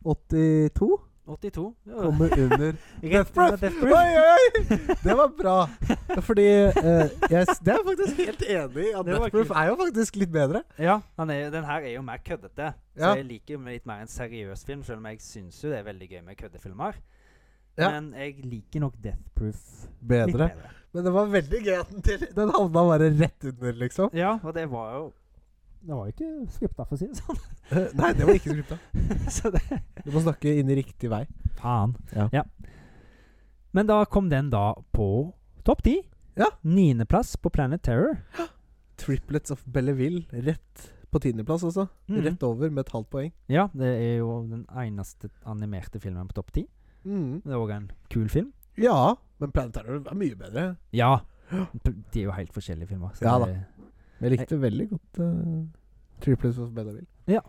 F: 82
B: 82. Ja.
F: kommer under
B: Rett
F: Proof!
B: under
F: Oi,
B: Death Proof.
F: oi! Det var bra. Fordi eh, jeg, s- Det er jeg faktisk helt enig i. At
B: Det var
F: Death Proof er jo faktisk litt bedre.
B: Ja, han er, den her er jo mer køddete. Så
F: Ja.
B: jeg liker jo litt mer en seriøs film, selv om jeg syns jo det er veldig gøy med køddefilmer.
F: Ja.
B: Men jeg liker nok Death Proof litt
F: Bedre.
B: bedre.
F: Men det var veldig gøy at den til Den havna bare rett under, liksom.
B: Ja, og det var jo Det var jo ikke skripta, for å si det sånn.
F: Eh, Nei, det var ikke skripta.
B: så det
F: Du må snakke inn i riktig vei.
B: Faen.
F: Ja.
B: Men da kom den da på topp ti.
F: Ja.
B: Niendeplass på Planet Terror.
F: Triplets of Belleville rett på tiendeplass også.
B: Mhm.
F: Rett over med et halvt poeng.
B: Ja, det er jo den eneste animerte filmen på topp ti.
F: Mm.
B: Det er òg en kul film.
F: Ja, men Planet Terror er mye bedre.
B: Ja. De er jo helt forskjellige filmer. så
F: Ja
B: det-
F: Men jeg likte veldig godt eh, Triplets of Belleville.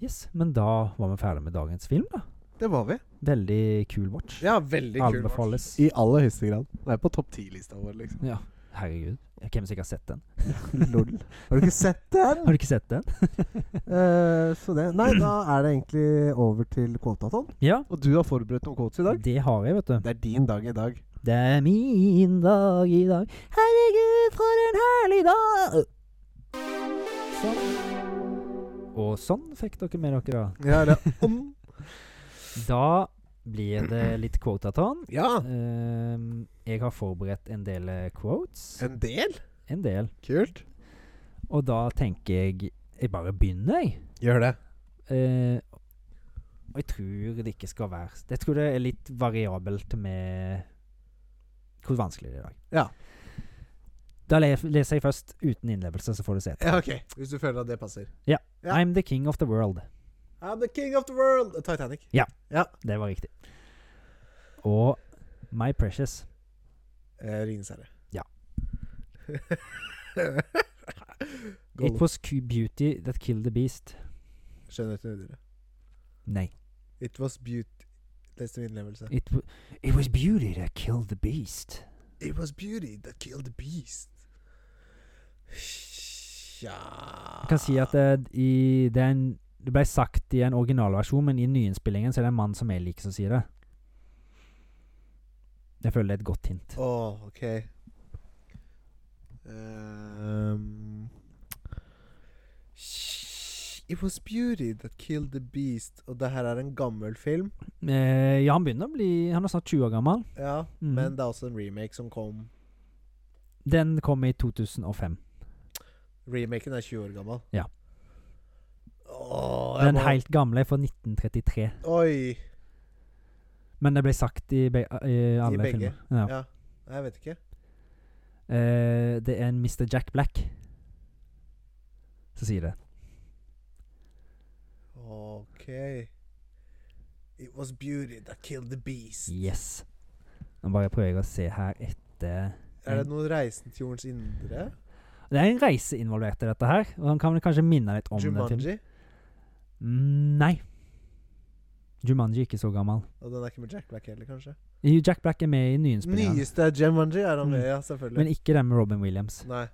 B: Yes, Men da var vi ferdig med dagens film. da
F: Det var vi.
B: Veldig kul watch.
A: Ja, veldig kul.
B: Anbefales.
F: I aller høyeste grad. Det er på topp ti-lista vår, liksom.
B: Ja. Herregud. Hvem som ikke har sett den?
F: Lol. Har du ikke sett den?
B: Har du ikke sett den?
F: Eh, så det Nei, da er det egentlig over til Quotaton.
B: Ja,
F: Og du har forberedt noen quotes i dag.
B: det har jeg, vet du.
F: Det er din dag i dag.
B: Det er min dag i dag. Herregud, for en herlig dag! Sånn. Og sånn fikk dere med dere, da.
F: Ja, det er om.
B: Da blir det litt quotaton.
F: ja.
B: Ehm, jeg har forberedt en del eh, quotes.
A: En del?
B: En del.
F: Kult.
B: Og da tenker jeg Jeg bare begynner, jeg.
A: Gjør det.
B: Eh, og jeg tror det ikke skal være Jeg tror det er litt variabelt med hvor vanskelig det er i dag.
F: Ja.
B: Da le- leser jeg først uten innlevelse, så får du se etter.
A: Ja, ok. Hvis du føler at det passer. ja.
B: I'm the king of the world.
A: I'm the king of the world! Titanic.
B: Det var riktig. Og My Precious.
A: Eh, Ringenes herre.
B: Ja.
A: Gollum.
B: It was Q beauty that killed the beast.
A: Skjønnheten videre.
B: Nei.
A: It was beauty Leste min innlevelse.
B: It, w- it was beauty that killed the beast.
A: It was beauty that killed the beast. Tja
B: Jeg kan si at det, i, det, er en, det ble sagt i en originalversjon, men i nyinnspillingen så er det en mann som jeg liker, som sier det. Jeg føler det er et godt hint.
A: Å, ok. Ehm, It was beauty that killed the beast. Og det her er en gammel film.
B: Eh, ja, han begynner å bli Han er snart 20 år gammel.
A: Ja,
B: Mhm.
A: men det er også en remake som kom.
B: Den kom i 2005.
A: Remaken er 20 år gammel.
B: Ja.
A: Åh, jeg
B: Den
A: må-
B: helt gamle er fra 1933.
A: Oi.
B: Men det ble sagt i, be, eh, i alle
A: begge.
B: filmer. Ja.
A: Ja. Nei, Jeg vet ikke.
B: Eh, det er en Mr. Jack Black som sier det.
A: Ok. It was beauty that killed the beast.
B: Yes. Nå bare prøver jeg å se her etter
A: Er det noe Reisen til jordens indre?
B: Det er en reise involvert i dette her. Og han kan vel kanskje minne litt om den filmen.
A: Jumanji?
B: Mm, Nei. Jumanji er ikke så gammel.
A: Og den er ikke med Jack Black heller, kanskje?
B: Jo, Jack Black er med i nyinnspillingen,
A: Nyeste er Jumanji er han med,
B: Mm.
A: ja, selvfølgelig.
B: men ikke den med Robin Williams.
A: Nei.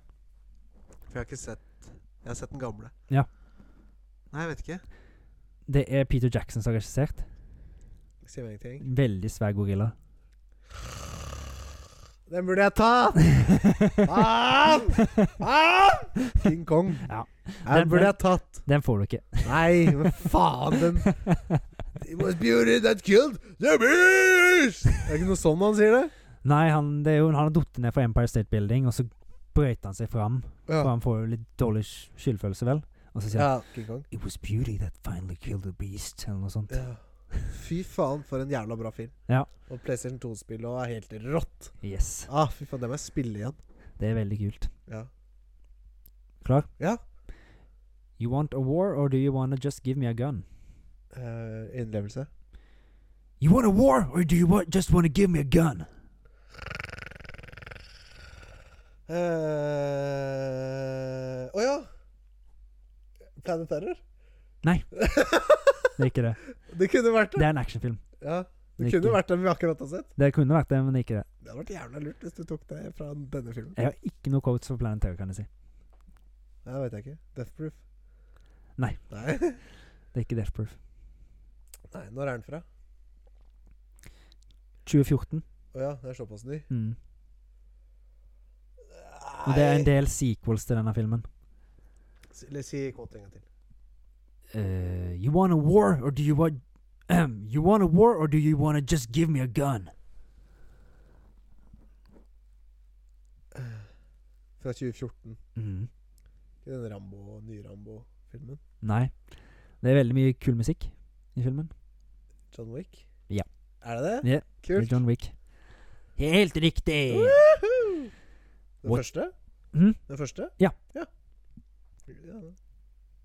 A: For jeg har ikke sett Jeg har sett den gamle.
B: Ja.
A: Nei, jeg vet ikke.
B: Det er Peter Jackson som har regissert.
A: Sier meg ingenting.
B: Veldig svær gorilla.
A: Den burde jeg ta! Faen! Faen! King Kong.
B: Ja. Den-
A: Den burde
B: den-
A: jeg tatt.
B: Den får du ikke.
A: Nei, men faen, den It was beauty that killed the beast! Er det ikke noe sånn han sier det?
B: Nei, han, det er jo, han har datt ned fra Empire State Building, og så brøyt han seg fram.
A: Ja.
B: For han får jo litt dårlig sky- skyldfølelse, vel. Og så sier
A: ja
B: han
A: King Kong.
B: It was beauty that finally killed the beast, eller noe sånt.
A: Ja. Fy faen, for en jævla bra film.
B: Ja.
A: Og PlayStation 2-spillet og er helt rått.
B: Yes.
A: Ah, fy faen, det må jeg spille igjen.
B: Det er veldig kult.
A: Ja.
B: Klar?
A: Ja.
B: You want a war, or do you want to just give me a gun?
A: Eh, innlevelse.
B: You want a war, or do you want, just want to give me a gun?
A: Å Eh, ja! Planet Terror?
B: Nei. Det er ikke det.
A: det kunne vært
B: Det
A: det.
B: er en actionfilm.
A: Ja, det
B: Ikke.
A: kunne vært det vi akkurat har sett.
B: Det kunne vært det, men det er ikke det.
A: Det hadde vært jævla lurt hvis du tok det fra denne filmen.
B: Jeg har ikke noe quotes for Planet Terror, kan jeg si.
A: Nei, Det vet jeg ikke. Death Proof?
B: Nei.
A: Nei,
B: Det er ikke Death Proof.
A: Nei når er den fra?
B: 2014.
A: Å ja, det er såpass ny.
B: Mm. Og det er en del sequels til denne filmen.
A: Si- eller Si kvote en gang til.
B: Uh, you want a war, or do you want You want a war, or do you want to just give me a gun?
A: Fra 2014.
B: Mm.
A: Ikke den Rambo, nye Rambo-filmen.
B: Nei. Det er veldig mye kul musikk i filmen.
A: John Wick.
B: Ja.
A: Er det det?
B: Ja. Det er
A: Kult.
B: John Wick. Helt riktig!
A: Woohoo! Den
B: What?
A: første?
B: Mhm.
A: Den første?
B: Ja.
A: ja. Ja, da.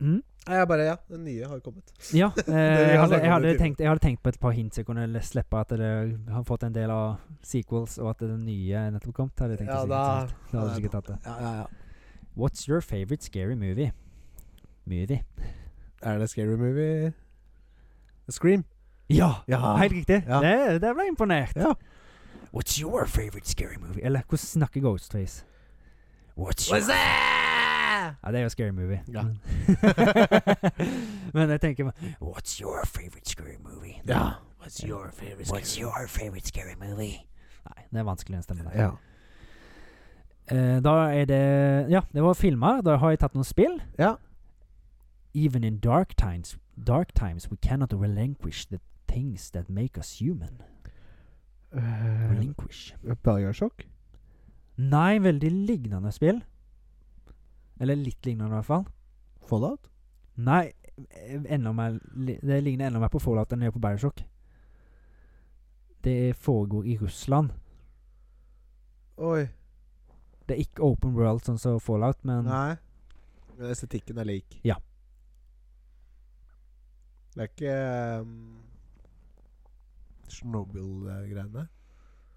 B: Mhm.
A: Nei, jeg bare Ja, den nye har kommet.
B: Ja, eh, jeg,
A: har
B: hadde,
A: snakket
B: jeg,
A: om det
B: hadde
A: tidligere.
B: tenkt, jeg hadde tenkt på et par hints jeg kunne le- slippe, at det har fått en del av sequels, og at den nye nettopp kom. Hadde jeg tenkt
A: Ja,
B: å si,
A: da-
B: ikke sant? da hadde jeg sikkert tatt det.
A: Ja, ja, ja.
B: What's your favorite scary movie? Movie.
A: Er det Scary Movie? Scream.
B: Ja!
A: Ja.
B: Helt riktig.
A: Ja.
B: Det, det ble jeg imponert.
A: Ja.
B: What's your favorite scary movie? Eller hvordan snakker Ghostface? What's your
A: What's that?
B: Ja, det er jo scary movie.
A: Ja.
B: Men jeg tenker meg, What's your favorite scary movie?
A: Ja. What's your favorite
B: What's your favorite scary movie? Nei, det er vanskelig å stemme der.
A: Ja.
B: Eh, da er det Ja, det var filmer. Da har jeg tatt noen spill.
A: Ja.
B: Even in dark times, dark times we cannot relinquish the things that make us human. Eh.
A: Uh,
B: Relinquish.
A: Bioshock?
B: Nei, veldig lignende spill. Eller litt lignende, i hvert fall.
A: Fallout?
B: Nei, eh, enda mer, li- det ligner enda mer på Fallout enn det gjør på Bioshock. Det foregår i Russland.
A: Oi.
B: Det er ikke open world sånn som Fallout, men
A: Nei. Men estetikken er lik.
B: Ja.
A: Det er ikke um, Snowbill-greiene?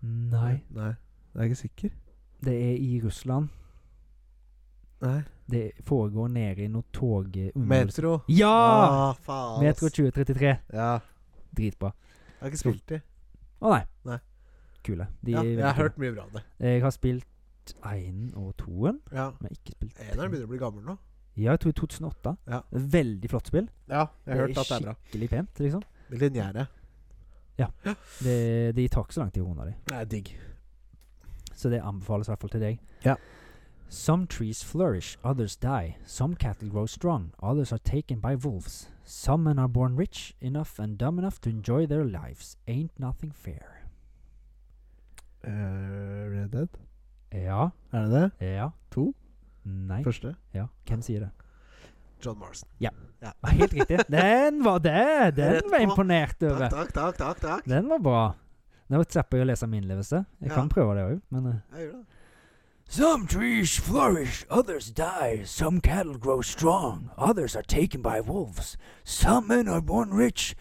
B: Nei.
A: Nei. Jeg er ikke sikker.
B: Det er i Russland.
A: Nei.
B: Det foregår nede i noe tog... eh,
A: Metro.
B: Ja!
A: Ah, faen, ass.
B: Metro 2033.
A: Ja.
B: Dritbra.
A: Jeg har ikke spilt det.
B: Å nei.
A: Nei.
B: Kule. De
A: Ja,
B: er
A: jeg
B: veldig
A: har
B: kule.
A: hørt mye bra om det.
B: Jeg har spilt Einen og toen,
A: Ja.
B: men ikke spilt
A: Eneren
B: tre.
A: begynner å bli gammel nå.
B: Ja, jeg tror 2008.
A: Ja.
B: Veldig flott spill.
A: Ja, jeg har hørt at det er bra.
B: skikkelig pent, liksom.
A: Det lineære.
B: Det, de tar ikke så lang tid å runde dem.
A: Det er digg.
B: Så det anbefales i hvert fall til deg.
A: Ja.
B: Some trees flourish, others die. Some cattle grow strong, others are taken by wolves. Some men are born rich enough and dumb enough to enjoy their lives. Ain't nothing fair.
A: Eh, Red Dead?
B: Ja.
A: Er det det?
B: Ja.
A: To?
B: Nei.
A: Første?
B: Ja. Hvem sier det?
A: John Marston.
B: Helt riktig. Den var det! Den
A: Rett
B: var jeg
A: på.
B: imponert
A: Takk,
B: over.
A: takk, takk. takk, takk.
B: Den var bra. Nå slipper jeg å lese min innlevelse. Jeg
A: Ja.
B: kan prøve det òg, men eh.
A: Jeg gjør det.
B: Some trees flourish, others die. Some cattle grow strong, others are taken by wolves. Some men are born rich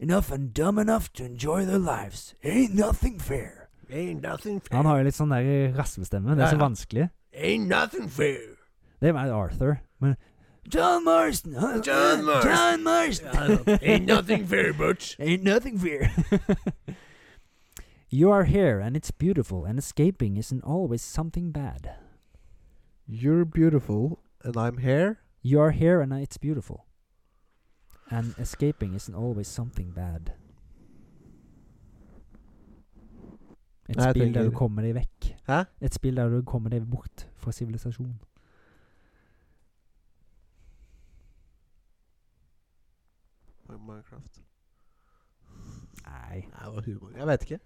B: enough and dumb enough to enjoy their lives. Ain't nothing fair.
A: Ain't nothing fair.
B: Han har jo litt sånn der raspestemme. Det er
A: Ja,
B: så
A: ja.
B: vanskelig.
A: Ain't nothing fair.
B: Det er mer Arthur. Men John Marston! huh? Uh,
A: John Marston. er
B: John Marston.
A: Ain't nothing fair, butch.
B: Ain't nothing fair. you are here and it's beautiful, and escaping isn't always something bad.
A: You're beautiful, and I'm here.
B: You are here and it's beautiful. And escaping isn't always something bad. Et
A: Nei, jeg
B: spill der du
A: tenker-
B: kommer deg vekk.
A: Hæ?
B: Et spill der du kommer deg bort fra sivilisasjon.
A: Minecraft.
B: Nei.
A: Nei, det var humor. Jeg vet ikke.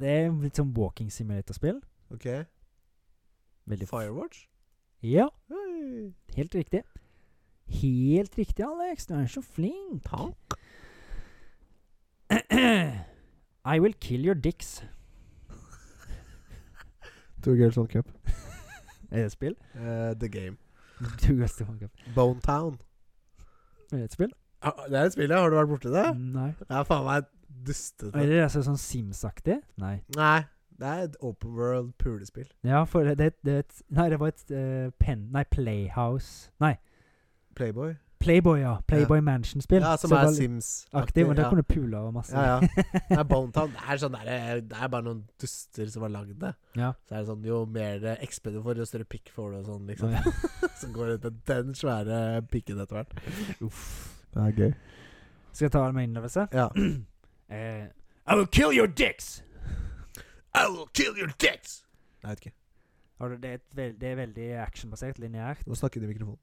B: Det er litt sånn walking simulator-spill.
A: Ok.
B: Veldig f-
A: Firewatch?
B: Ja,
A: Hei.
B: helt riktig. Helt riktig, Alex. Du er så flink. I will kill your dicks.
A: Two Girls One Cup.
B: Er det et spill?
A: Eh, the Game.
B: Du er går til Minecraft.
A: Bone Town.
B: Er det et spill?
A: Ja, Det er et spill, ja. Har du vært borti det?
B: Nei.
A: Det er faen meg dustete.
B: Er det altså sånn Sims-aktig? Nei.
A: Nei. Det er et open world pulespill.
B: Ja, for det, det, det er et Nei, det var et eh, pen... Nei, Playhouse Nei,
A: Playboy.
B: Playboy, ja. Playboy Mansion-spill.
A: Ja, som
B: Så det
A: er
B: var litt
A: Sims-aktig.
B: Aktiv, og der
A: ja.
B: kunne du pule og masse.
A: ja, ja. Det er Bone Town. Det er, sånn der, det er bare noen duster som har lagd det.
B: Ja.
A: Så er det sånn, Jo mer det XP du får, jo større pikk får du, og sånn, liksom.
B: Å,
A: Som går ut med den svære pikken etter hvert.
G: Det er gøy.
B: Skal jeg ta en med innlevelse?
A: Ja.
B: Eh, I will kill your dicks!
A: I will kill your dicks! Jeg vet ikke.
B: Har du- Det er, et vel- det er veldig actionbasert, lineært.
A: Nå snakker du i mikrofonen.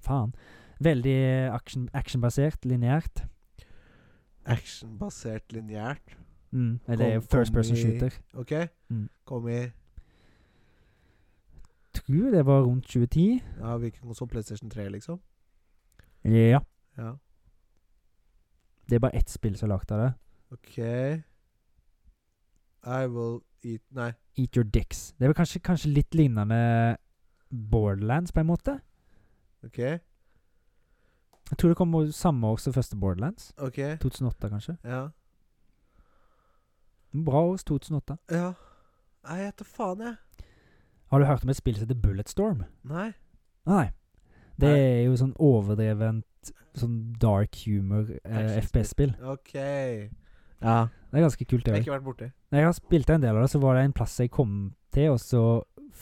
B: Faen. Veldig eh, action, actionbasert, lineært.
A: Actionbasert lineært.
B: Mm. Eller det er jo
A: Kom-
B: first
A: kom
B: person
A: i-
B: shooter.
A: OK?
B: Mm.
A: Kom i
B: Tror det var rundt 2010.
A: ja, hvilken konsol? PlayStation 3, liksom?
B: Ja.
A: Ja.
B: Det er bare ett spill som er lagd av det.
A: OK I will eat Nei.
B: Eat Your Dicks. Det er vel kanskje, kanskje litt lignende Borderlands, på en måte.
A: OK?
B: Jeg tror det kom samme år som første Borderlands.
A: OK?
B: 2008, kanskje.
A: Ja.
B: Bra år, 2008.
A: Ja. Nei, jeg heter faen, jeg.
B: Har du hørt om et spill som heter Bulletstorm?
A: Nei.
B: Nei. Det
A: Nei.
B: er jo sånn overdrevent sånn dark humor eh,
A: Actionspill.
B: FPS-spill.
A: OK. Ja.
B: Det er ganske
A: Jeg
B: kult. det
A: har
B: også.
A: ikke vært borti.
B: Når jeg har spilt en del av det, så var det en plass jeg kom til, og så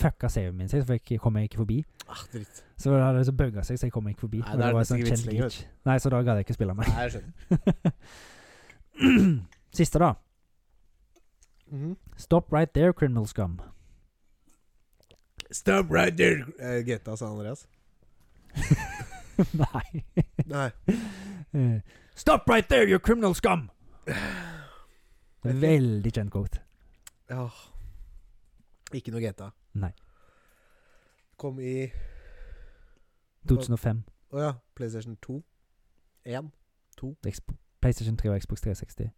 B: fucka saven min seg, så fikk- kom jeg ikke forbi.
A: Ah, dritt.
B: Så da hadde det så bugga seg, så jeg kom ikke forbi.
A: Nei,
B: og
A: da er det
B: var
A: nesten
B: sånn
A: ikke vits
B: kjent
A: lenger,
B: glitch. Nei, så da gadd jeg ikke spille
A: Nei,
B: mer.
A: jeg skjønner.
B: Siste, da.
A: Mhm.
B: Stop right there, criminal scum.
A: Stop right there! Uh, GTA San Andreas.
B: Nei.
A: Nei.
B: Eh, Stop right there, you criminal scum! Det er en Veldig kjent quote.
A: Åh. Ikke noe GTA.
B: Nei.
A: Kom i
B: 2005.
A: Å ja. PlayStation 2. 1.
B: Exp- PlayStation 3 og Xbox 360.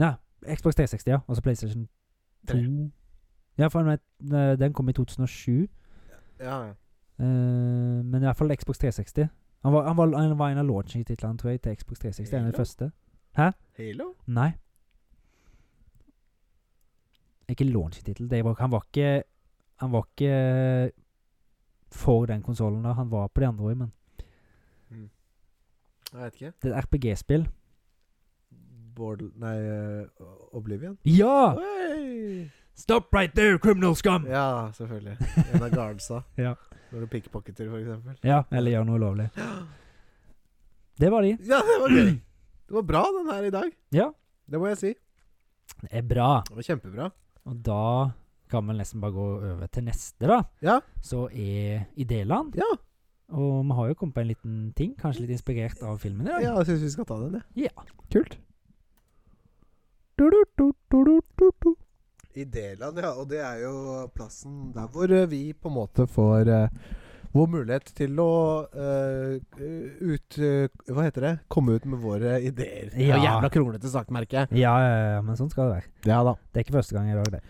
B: Ja, Xbox 360, ja. Og så PlayStation 2.
A: Tre.
B: Ja, for den, eh, den kom i 2007.
A: Ja, ja.
B: Eh, men i hvert fall Xbox 360. Han var, han var, han var en av launching-titlene tror jeg, til Xbox 360. En av de
A: Halo?
B: første.
A: Halo?
B: Nei. Ikke launching-tittel. det var- Han var ikke Han var ikke eh, for den konsollen. Han var på de andre òg, men
A: Jeg vet ikke.
B: Det er et RPG-spill.
A: Bordel... Nei, eh, Oblivion?
B: Ja!
A: Oi!
B: Stop right there, criminal scum! Ja,
A: Ja, selvfølgelig. En av guardsa.
B: Ja.
A: Når du pickpocketer, for eksempel.
B: eller gjør noe ulovlig. Det var de.
A: Ja, det var gøy! Det var bra, den her i dag.
B: Ja.
A: Det må jeg si.
B: Det er bra.
A: Det var kjempebra.
B: Og da kan vi nesten bare gå over til neste, da.
A: Ja.
B: Så er Idéland.
A: Ja.
B: Og vi har jo kommet på en liten ting, kanskje litt inspirert av filmen. i dag.
A: Ja, jeg syns vi skal ta den, jeg.
B: Kult.
A: I Deland, ja. Og det er jo plassen der hvor eh, vi på en måte får eh, vår mulighet til å eh, ut... eh, hva heter det? Komme ut med våre ideer. Det er jo
B: Ja.
A: Jævla kronglete sak, merker jeg.
B: Ja, ja, ja, men sånn skal det være.
A: Ja da.
B: Det er ikke første gang jeg lager det.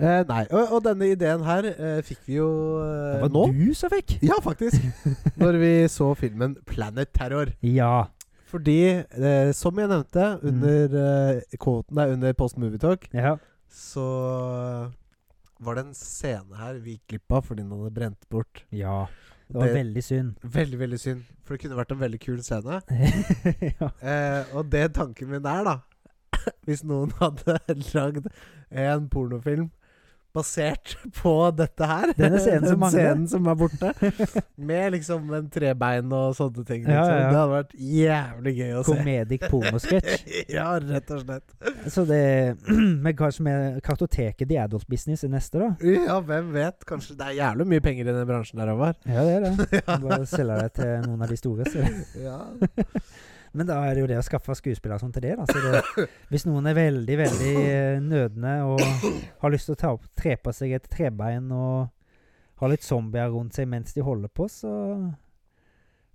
A: Eh, nei, og, og denne ideen her eh, fikk vi jo eh,
B: Det var
A: nå.
B: du som fikk!
A: Ja, faktisk. Når vi så filmen 'Planet Terror'.
B: Ja.
A: Fordi, eh, som jeg nevnte
B: Mm.
A: under eh, kvoten der under Post Movie Talk,
B: ja.
A: så var det en scene her vi gikk glipp av fordi den hadde brent bort.
B: Ja. Det var
A: Det,
B: veldig synd.
A: veldig, veldig synd. For det kunne vært en veldig kul scene.
B: ja.
A: Eh, og det tanken min er, da Hvis noen hadde lagd en pornofilm basert på dette her
B: Denne scenen som
A: Den
B: mangler.
A: scenen som er borte. Med liksom en trebein og sånne ting. Liksom.
B: Ja, ja, ja.
A: Det hadde vært jævlig gøy å
B: altså. Komedic pornosketsj.
A: se. ja, rett og slett.
B: Så det Men hva som er kartoteket The Adult Business er neste, da?
A: Ja, hvem vet? Kanskje det er jævlig mye penger i den bransjen der, Håvard.
B: Ja, det er det. Kan Bare selge det til noen av de store. Så.
A: Ja.
B: Men da er det jo det å skaffe skuespillere og sånn til det, da. Så det, hvis noen er veldig, veldig eh, nødende og har lyst til å ta opp, tre på seg et trebein og har litt zombier rundt seg mens de holder på, så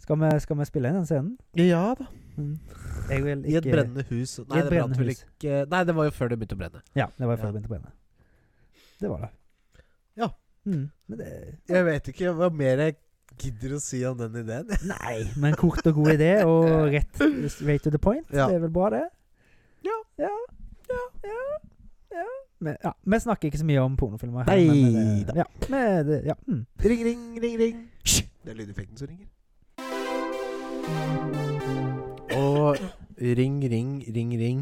B: skal vi, skal vi spille inn den scenen.
A: ja da.
B: Mm. Jeg vil
A: I
B: ikke
A: et brennende hus. Nei,
B: I
A: det
B: et
A: brant
B: brennende
A: vel
B: hus.
A: ikke Nei, det var jo før det begynte å brenne.
B: Ja, det var
A: Ja.
B: før jeg begynte å brenne. Det var det.
A: Ja.
B: Mm. Men det
A: Jeg vet ikke hva mer jeg gidder å si om den ideen.
B: Nei, men kort og god idé, og rett straight to the point.
A: Ja.
B: Det er vel bra, det?
A: Ja.
B: Ja. Ja. ja. ja. Men, ja. Vi snakker ikke så mye om pornofilmer. her,
C: Nei
B: men, eh,
C: da.
B: Ja. Men, det- ja. Mm.
A: Ring, ring, ring, ring. Det er lydeffekten som ringer.
C: Og ring, ring, ring, ring.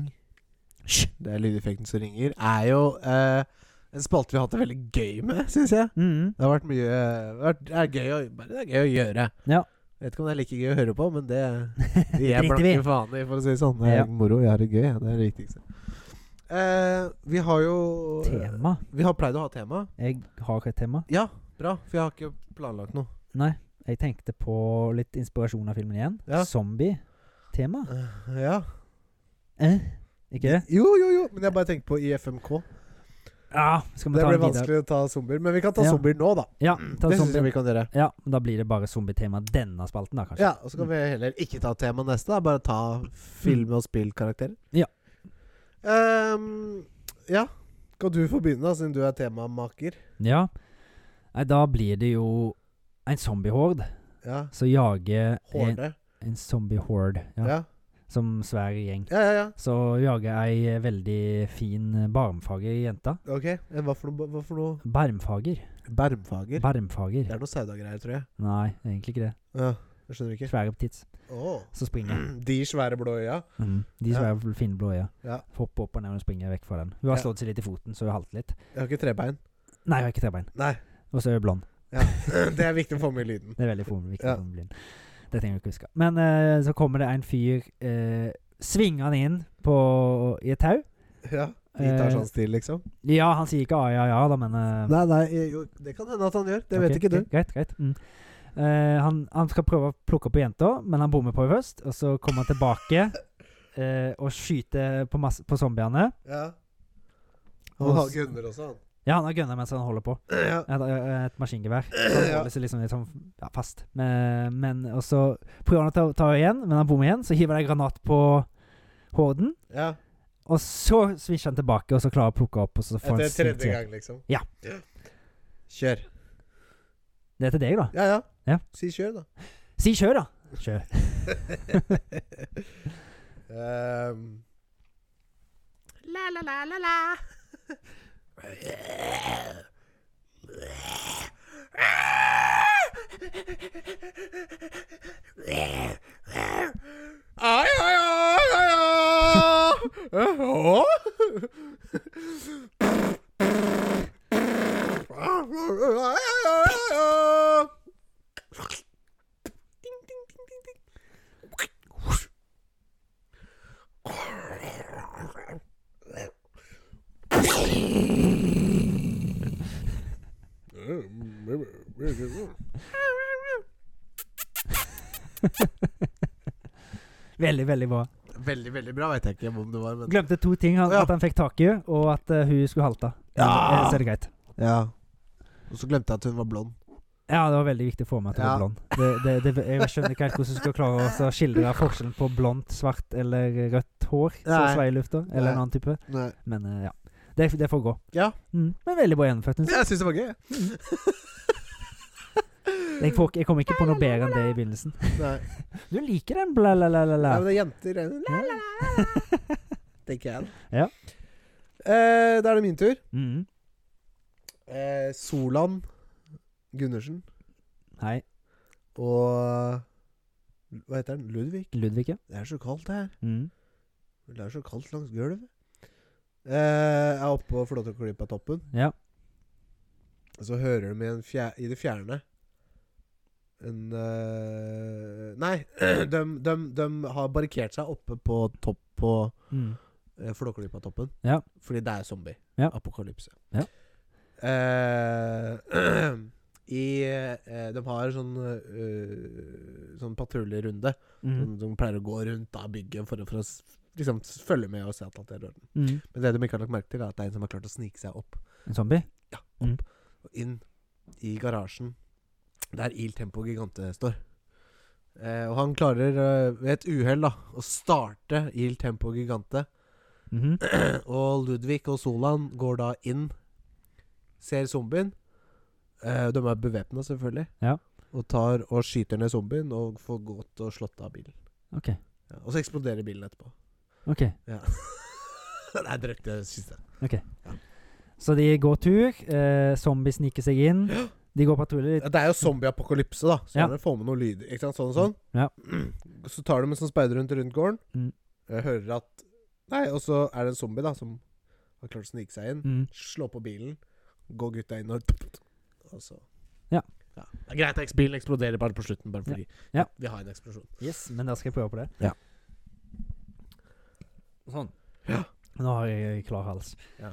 C: Det er lydeffekten som ringer. Er jo eh, en spalte vi har hatt det veldig gøy med, syns jeg.
B: Mm.
C: Det har vært mye det har vært, det, er gøy å, bare det er gøy å gjøre.
B: Ja.
C: Jeg vet ikke om det er like gøy å høre på, men det det gir
B: Driter
C: jeg
B: vi i.
C: blanke faen i, for å si det sånn. Det er
B: Ja.
C: moro. Jeg har det gøy. ja. Det er det viktigste. Eh, vi har jo
B: Tema.
C: Vi har pleid å ha tema.
B: Jeg har et tema.
C: Ja, bra. For jeg har ikke planlagt noe.
B: Nei, jeg tenkte på litt inspirasjon av filmen igjen.
C: Ja.
B: Zombie-tema.
C: Eh, ja.
B: Eh? Ikke det?
A: Jo, jo, jo. Men jeg bare tenker på IFMK.
B: Ja, Ah, skal vi
A: Det blir
B: ta en videre?
A: vanskelig å ta zombier. Men vi kan ta
B: Ja.
A: zombier nå, da.
B: Ja, ta
A: Det syns
B: zombie.
A: jeg vi kan gjøre.
B: Ja, da blir det bare zombie-tema denne spalten, da, kanskje.
A: Ja, og så kan vi heller ikke ta tema neste. Da. Bare ta film- og spillkarakterer.
B: Mm. Ja.
A: Ehm, ja. Kan du få begynne, da, siden du er temamaker?
B: Ja. Nei, da blir det jo en zombiehord
A: Ja.
B: som jager en,
A: Hårde.
B: en zombiehord, ja,
A: Ja.
B: som svær gjeng.
A: ja, ja, ja.
B: Så jager ei eh, veldig fin eh, barmfager jente.
A: Ok. Eh, Hva for noe? Hva for noe?
B: Barmfager?
A: Bermfager.
B: Barmfager.
A: Det er noe sauda-greier, tror jeg.
B: Nei, egentlig ikke det.
A: Ja, jeg skjønner ikke.
B: Svære tits.
A: Åh.
B: Så springer
A: De svære blå øya.
B: Mm. De som er fine blå øyne.
A: Ja.
B: Hopper opp og ned og springer vekk fra den. Hun har
A: Ja.
B: slått seg litt i foten, så hun halter litt.
A: Jeg har ikke trebein.
B: Nei, hun har ikke trebein.
A: Nei.
B: Og så er hun blond.
A: Ja. Det er viktig å få med i lyden.
B: Det er veldig for- viktig.
A: Ja.
B: for den blind. Det trenger du ikke huske. Men eh, så kommer det en fyr eh, svingende inn på, i et tau.
A: Ja.
B: Eh,
A: Gitarsannstil, liksom.
B: Ja, han sier ikke ah, ja, ja, da, men eh,
A: Nei, nei, eh, jo, det kan hende at han gjør. Det vet
B: ok,
A: ikke du.
B: ok, Greit, greit. Mm. Eh, han, han skal prøve å plukke opp på jenta, men han bommer på henne først. Og så kommer han tilbake eh, og skyter på, masse, på zombiene.
A: Ja.
B: Og
A: Han har
B: s-
A: gunner også, han.
B: Ja, han har gunna mens han holder på.
A: Ja.
B: Et, eh, et maskingevær. Så han
A: Ja.
B: holder seg liksom litt sånn ja, fast. Men, men og så prøver han å ta, ta henne igjen, men han bommer igjen. Så hiver han en granat på horden.
A: ja.
B: Og så svisjer han tilbake, og så klarer han å plukke opp. Og så får han
A: Etter
B: svingt
A: tredje
B: igjen.
A: gang, liksom.
B: Ja.
A: Kjør.
B: Det er til deg, da.
A: Ja, ja.
B: Ja.
A: Si kjør, da.
B: Si kjør, da. Kjør.
A: Ehm. La, la, la, la, la. Ai, ai, ai, ai, ai. Åh? Ai, ai, ai, ai, ai.
B: Veldig, veldig bra.
C: Veldig, veldig bra. Vet jeg ikke om det var, men
B: Glemte to ting. Han,
C: Ja.
B: At han fikk tak i henne, og at eh, hun skulle halte.
C: Ja.
B: Eh, Så er det greit.
C: Ja. Og så glemte jeg at hun var blond.
B: Ja, det var veldig viktig å få med at hun
C: Ja.
B: var blond. Det, det, det, jeg skjønner ikke helt hvordan du skal klare å så skildre forskjellen på blondt, svart eller rødt hår som
C: Nei.
B: sveier i lufta, eller
C: Nei.
B: en annen type.
C: Nei.
B: Men eh, ja. Det, det får gå.
C: Ja.
B: Mm. Men veldig bra gjennomført. synes jeg.
A: Jeg syns det var gøy. jeg.
B: Jeg, får ikke- jeg kom ikke på noe bedre enn det i begynnelsen.
A: Nei.
B: Du liker den, bla, la, la, la, la.
A: Nei, men det er jenter. La, la, la, la. Tenker jeg, da.
B: Ja.
A: Eh, da er det min tur.
B: Mm.
A: Eh, Solan Gundersen
B: Hei,
A: og Hva heter han? Ludvig?
B: Ludvig, ja.
A: Det er så kaldt her.
B: Mm.
A: Det er så kaldt langs gulvet. Eh, jeg er oppe og flotter klipp av toppen.
B: Ja.
A: Og så hører de i, en fjer i det fjerne en eh, Nei, de, de, de har barrikert seg oppe på topp på
B: Mm.
A: eh, Flåklypa-toppen.
B: Ja.
A: Fordi det er zombie.
B: Ja.
A: Apokalypse.
B: Ja.
A: Eh, I eh, De har sånn eh, Sånn patruljerunde.
B: Mm.
A: Som De, pleier å gå rundt da bygget for, å- for å s- liksom s- følge med og se at alt er i orden.
B: Mm.
A: Men det de ikke har lagt merke til, er at det er en som har klart å snike seg opp
B: En zombie?
A: og inn i garasjen der Il Tempo Gigante står. Eh, og han klarer eh, ved et uhell da å starte Il Tempo Gigante.
B: Mhm.
A: Og Ludvig og Solan går da inn, ser zombien. Eh, de er bevæpna, selvfølgelig.
B: Ja.
A: og tar og skyter ned zombien og får gått og slått av bilen.
B: Ok.
A: Ja, og så eksploderer bilen etterpå.
B: OK.
A: Ja. det er drøyt, det syns jeg.
B: Så de går tur. Eh, zombie sniker seg inn. De går patrulje.
A: Det er jo zombieapokalypse, da. Sånn Så
B: Ja.
A: må dere få med noe lyd. Ikke sant? Sånn og sånn.
B: Ja.
A: Så tar de en sånn speider rundt rundt gården.
B: Mm.
A: Jeg hører at Nei, og så er det en zombie da som har klart å snike seg inn.
B: Mm.
A: Slå på bilen. Gå gutta inn og Og så
B: Ja.
A: Det er greit at bilen eksploderer bare på slutten, bare fordi
B: Ja.
A: vi har en eksplosjon.
B: Yes, men da skal jeg prøve på det.
A: Ja.
B: Sånn.
A: Ja.
B: Nå har jeg klar hals.
A: Ja.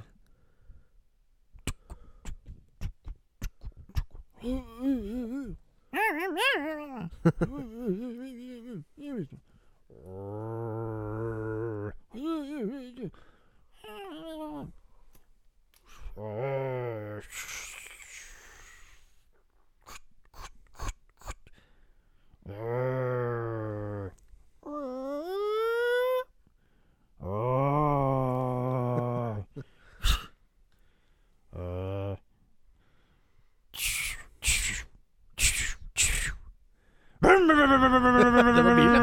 A: Det var bilen.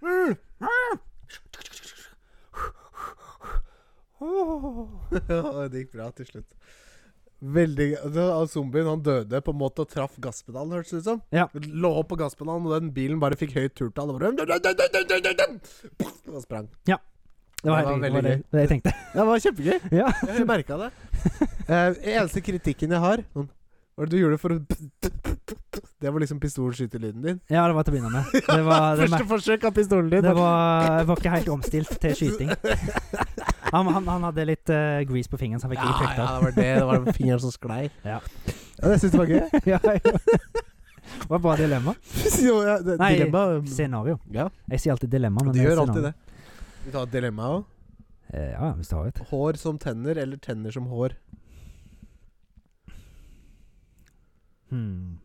A: Ja, det gikk bra til slutt. Veldig det var- Zombien han døde på en måte og traff gasspedalen, hørtes det ut som.
B: Ja.
A: Lå på gasspedalen, og den bilen bare fikk høyt turtall. Og, bare- og sprang.
B: Det var,
A: Det var
B: helt,
A: veldig
B: det, var det,
A: gøy.
B: det jeg tenkte.
A: Det var kjempegøy.
B: Ja.
A: Jeg merka det. Eh, eneste kritikken jeg har sånn, Hva er det du gjorde for å Det var liksom pistolskytelyden din.
B: ja, det var til å begynne med. Det var, det
A: Første forsøk av pistolen din.
B: Det var, jeg var ikke helt omstilt til skyting. Han, han, han hadde litt eh, grease på fingeren, så han fikk ikke
A: ja,
B: trykket
A: ja, det var det. Det var fingeren som sklei.
B: Ja.
A: ja det syns jeg var gøy.
B: ja, ja. Det var et bra dilemma.
A: Jo, ja, det,
B: Nei,
A: dilemma. um,
B: Scenario.
A: Ja,
B: Jeg sier alltid dilemma, men
A: du gjør
B: scenario.
A: alltid det. Vi tar et dilemma òg.
B: Eh, ja, ja, hvis du har et.
A: Hår som tenner, eller tenner som hår?
B: Hmm.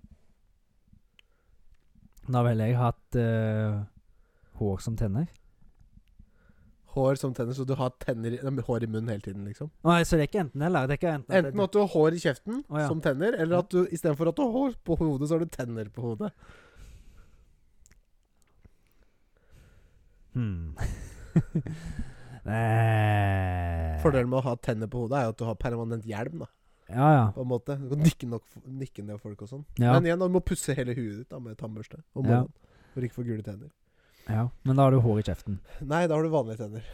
B: Da ville jeg hatt eh, hår som tenner.
A: Hår som tenner, så du har tenner, i- nei, hår i munnen hele tiden, liksom.
B: Nei, så det er ikke enten eller. Det er ikke enten, at
A: Enten at du har hår i kjeften
B: Å, ja.
A: som tenner, eller at du istedenfor at du har hår på hodet, så har du tenner på hodet.
B: Hmm. Eh,
A: Fordelen med å ha tenner på hodet er jo at du har permanent hjelm, da,
B: Ja, ja.
A: på en måte. Du kan nikke, nok, nikke ned folk og sånn.
B: ja.
A: Men igjen, da, du må pusse hele huet ditt da med tannbørste om
B: Ja.
A: morgenen for ikke å få gule tenner.
B: Ja, men da har du hår i kjeften.
A: Nei, da har du vanlige tenner.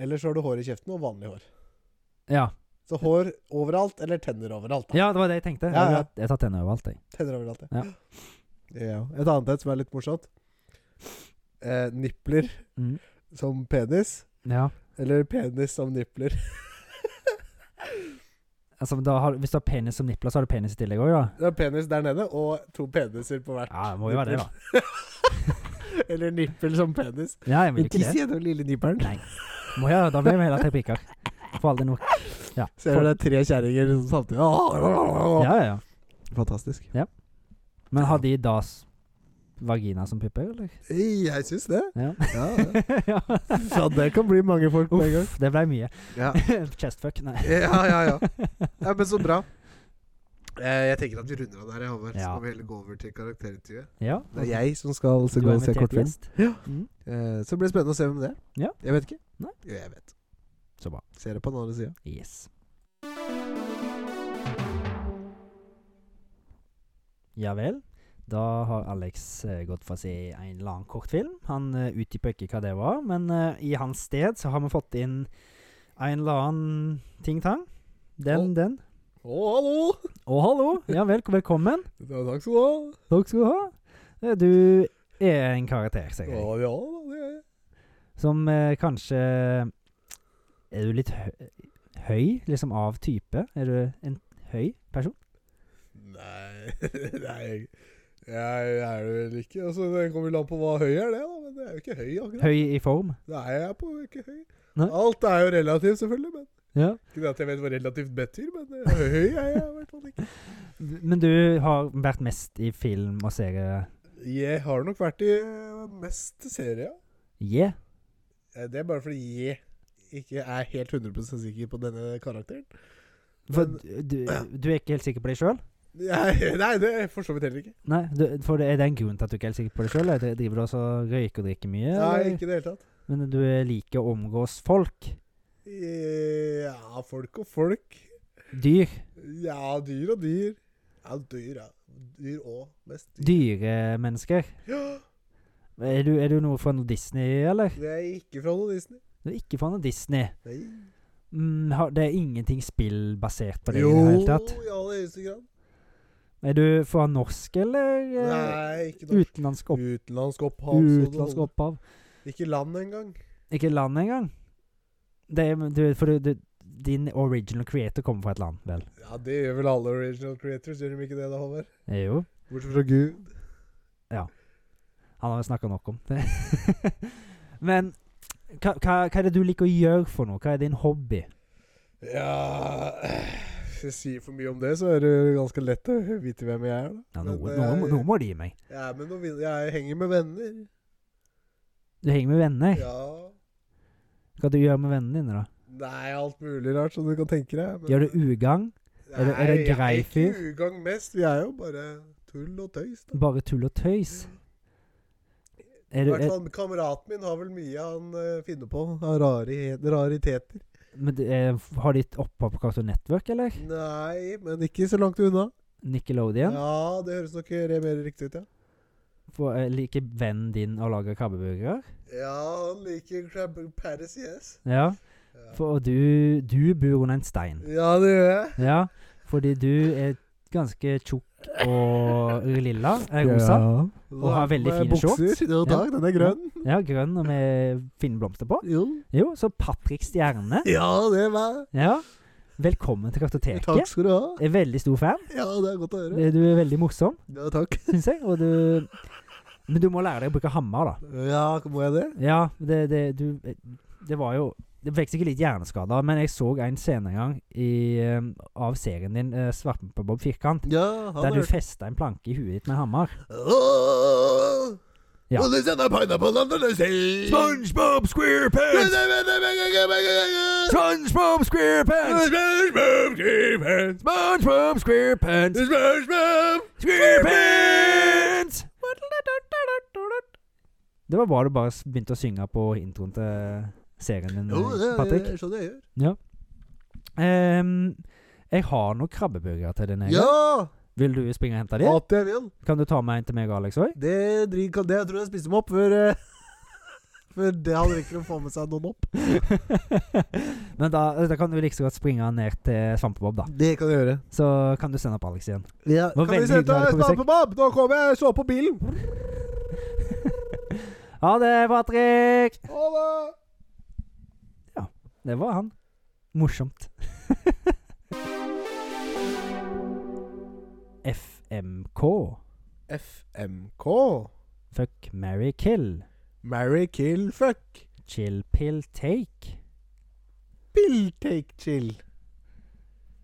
A: Eller så har du hår i kjeften og vanlig hår.
B: Ja,
A: Så hår overalt, eller tenner overalt. Da.
B: ja det var det jeg tenkte.
A: Ja, ja.
B: Jeg, jeg tar tenner overalt, jeg.
A: Tenner overalt, ja.
B: Ja.
A: ja. Et annet et som er litt morsomt. Eh, nipler
B: Mm.
A: som penis,
B: Ja.
A: eller penis som nipler.
B: Altså, men da har, hvis du har penis som nipler, så har du penis i tillegg òg, da?
A: Det er penis der nede, og to peniser på hvert.
B: Ja, det må jo være det, da.
A: Eller nippel som penis.
B: Ja, jeg vil
A: Ikke
B: ikke det.
A: si den lille nippelen.
B: Nei. Må jeg, da blir vi heller tre piker. For aldri nok. Ja.
A: Ser du det er tre kjerringer sånn samtidig. Åh!
B: Ja, ja, ja.
A: Fantastisk.
B: Men har de da s- vagina som pupper, eller?
A: Jeg syns det.
B: Ja.
A: Ja,
B: ja.
A: Så det kan bli mange folk på en gang.
B: Uff, det ble mye.
A: Ja.
B: Chestfuck, nei.
A: Ja, ja, ja. ja men så bra. Eh, Jeg tenker at vi runder av der, Håvard. Så
B: Ja.
A: skal vi heller gå over til karakterintervjuet.
B: Ja.
A: Det er jeg som skal
B: Du
A: gå
B: har
A: og se
B: invitert
A: kortfilm.
B: gjest. Mm.
A: Eh, Så blir det spennende å se hvem det er.
B: Ja.
A: Jeg vet ikke.
B: Nei.
A: Jo, jeg vet.
B: Så bra.
A: Ser det på den andre sida.
B: Yes. Ja vel. Da har Alex eh, gått for å se en lang kortfilm. Han eh, utdyper ikke hva det var, men eh, i hans sted så har vi fått inn en eller annen ting-tang. Den,
A: Å.
B: den.
A: Å, hallo!
B: Å, hallo! Ja vel, velkommen.
A: Ja, takk skal du ha.
B: Takk skal du ha. Eh, Du er en karakter, sikkert.
A: Ja, ja, det er jeg.
B: Som eh, kanskje Er du litt hø høy, liksom av type? Er du en høy person?
A: Nei, nei jeg, jeg er det vel ikke. Altså, det kommer vel an på hva høy er, det. da, Men det er jo ikke høy, akkurat.
B: Høy i form.
A: Nei, jeg er på ikke høy.
B: Nei.
A: Alt er jo relativt, selvfølgelig. men
B: Ja.
A: Ikke det at jeg vet hva relativt betyr, men eh, høy er jeg i hvert fall ikke.
B: Men du har vært mest i film og serie.
A: Jeg har nok vært i eh, mest serier.
B: Yeah.
A: Eh, Det er bare fordi jeg ikke er helt 100 sikker på denne karakteren.
B: For
A: Men-
B: du, du er ikke helt sikker på deg sjøl?
A: Jeg, nei, det er jeg for så vidt heller ikke.
B: Nei, du, for det er det en grunn til at du ikke er helt sikker på deg sjøl? Driver du også og røyker og drikker mye?
A: Nei,
B: eller?
A: ikke i det hele tatt.
B: Men du liker å omgås folk?
A: Ja, folk og folk.
B: Dyr?
A: Ja, dyr og dyr. Ja, dyr, ja. Dyr og mest dyr.
B: Dyremennesker?
A: Ja,
B: Er du, er du noe fra noe Disney, eller?
A: det er ikke fra noe Disney.
B: Du er ikke fra noe Disney.
A: Nei.
B: Mm, har, det er ingenting spillbasert på det i det hele tatt?
A: i aller høyeste grad.
B: Er du fra norsk, eller eh,
A: Nei, ikke noe.
B: utenlandsk opp,
A: Utenlandsk opphav. så det
B: utenlandsk
A: holder.
B: opphav?
A: Ikke land engang.
B: Ikke land engang? Det, er- du, for du, du, din original creator kommer fra et land, vel?
A: Ja, det gjør vel alle original creators, gjør de ikke det da, Håvard?
B: Eh, Jo.
A: Bortsett fra Gud.
B: Han har vi snakka nok om. det. Men hva, hva, hva er det du liker å gjøre for noe? Hva er din hobby?
A: Ja Hvis jeg sier for mye om det, så er det ganske lett å vite hvem jeg er, da.
B: Ja,
A: Men,
B: noe,
A: eh,
B: noe, må- noe må du gi meg.
A: Ja, men nå vil- jeg henger med venner.
B: Du henger med venner.
A: Ja.
B: Hva du gjør med vennene dine, da?
A: Nei, alt mulig rart som du kan tenke deg. men-
B: Gjør du ugagn? er det- er det
A: Nei,
B: grei
A: Jeg er ikke ugagn mest. Vi er jo bare tull og tøys. da.
B: Bare tull og tøys? Er
A: I
B: du,
A: hvert
B: er,
A: fall kameraten min har vel mye han eh, finner på av rari, rariteter.
B: men du, er, har de et opphav på Cartoon Network, eller?
A: Nei, men ikke så langt unna.
B: Nickelodeon?
A: Ja, det høres nok re- mer riktig ut, ja.
B: For, eh, liker vennen din å lage krabbeburgere?
A: Ja, han liker Crab Paris, yes.
B: Ja.
A: Ja,
B: For og du, du bor under en stein.
A: ja det gjør jeg.
B: Ja, fordi du er ganske tjukk og lilla. eh, Rosa.
H: Ja.
B: Og har veldig
A: Med
B: fine shorts.
A: bukser. Jo takk, den er grønn.
B: Ja, grønn og med fine blomster på.
A: Jo.
B: Jo, så Patrick Stjerne.
A: Ja, det er meg.
B: Ja. Velkommen til
A: Takk
B: Kartoteket.
A: skal du ha.
B: Jeg er veldig stor fan.
A: Ja, det er godt å høre.
B: Du er veldig morsom,
A: Ja, takk.
B: syns jeg. Og du Men du må lære deg å bruke hammer, da.
A: Ja, må jeg det?
B: Ja, det, det, du, det var jo Det fikk sikkert litt hjerneskader, men jeg så en scene en gang i, eh, av serien din, uh, Svartebob Firkant,
A: Ja, han
B: der du
A: hørte
B: festa en planke i huet ditt med hammer. Ja.
A: ja.
H: SpongeBob SquarePants! SpongeBob SquarePants! SpongeBob SquarePants! SquarePants!
B: Det var bra du bare s- begynte å synge på introen til serien din,
A: Jo, det er-
B: Patrick.
A: det er sånn jeg gjør.
B: Ehm, jeg har noen krabbeburgere til deg. Nega.
A: Ja!
B: Vil du springe og hente dem?
A: At jeg vil.
B: Kan du ta med en til meg og Alex òg?
A: Det dri- kan- det- Jeg tror jeg spiste dem opp før eh, Før det hadde ikke å få med seg noen opp.
B: Men da, da kan du like så godt springe ned til Svampebob, da.
A: Det kan jeg gjøre.
B: Så kan du sende opp Alex igjen.
A: Ja.
B: var
A: Kan vi
B: veldig
A: sette
B: hyggelig å ha deg på besøk.
A: Stampebob? Nå kommer jeg og så på bilen.
B: Ha det, Patrick!
A: Ha det!
B: Det var han. Morsomt. FMK.
A: FMK.
B: Fuck, marry, kill.
A: Marry, kill, fuck.
B: Chill, pill, take.
A: Bill, take, chill.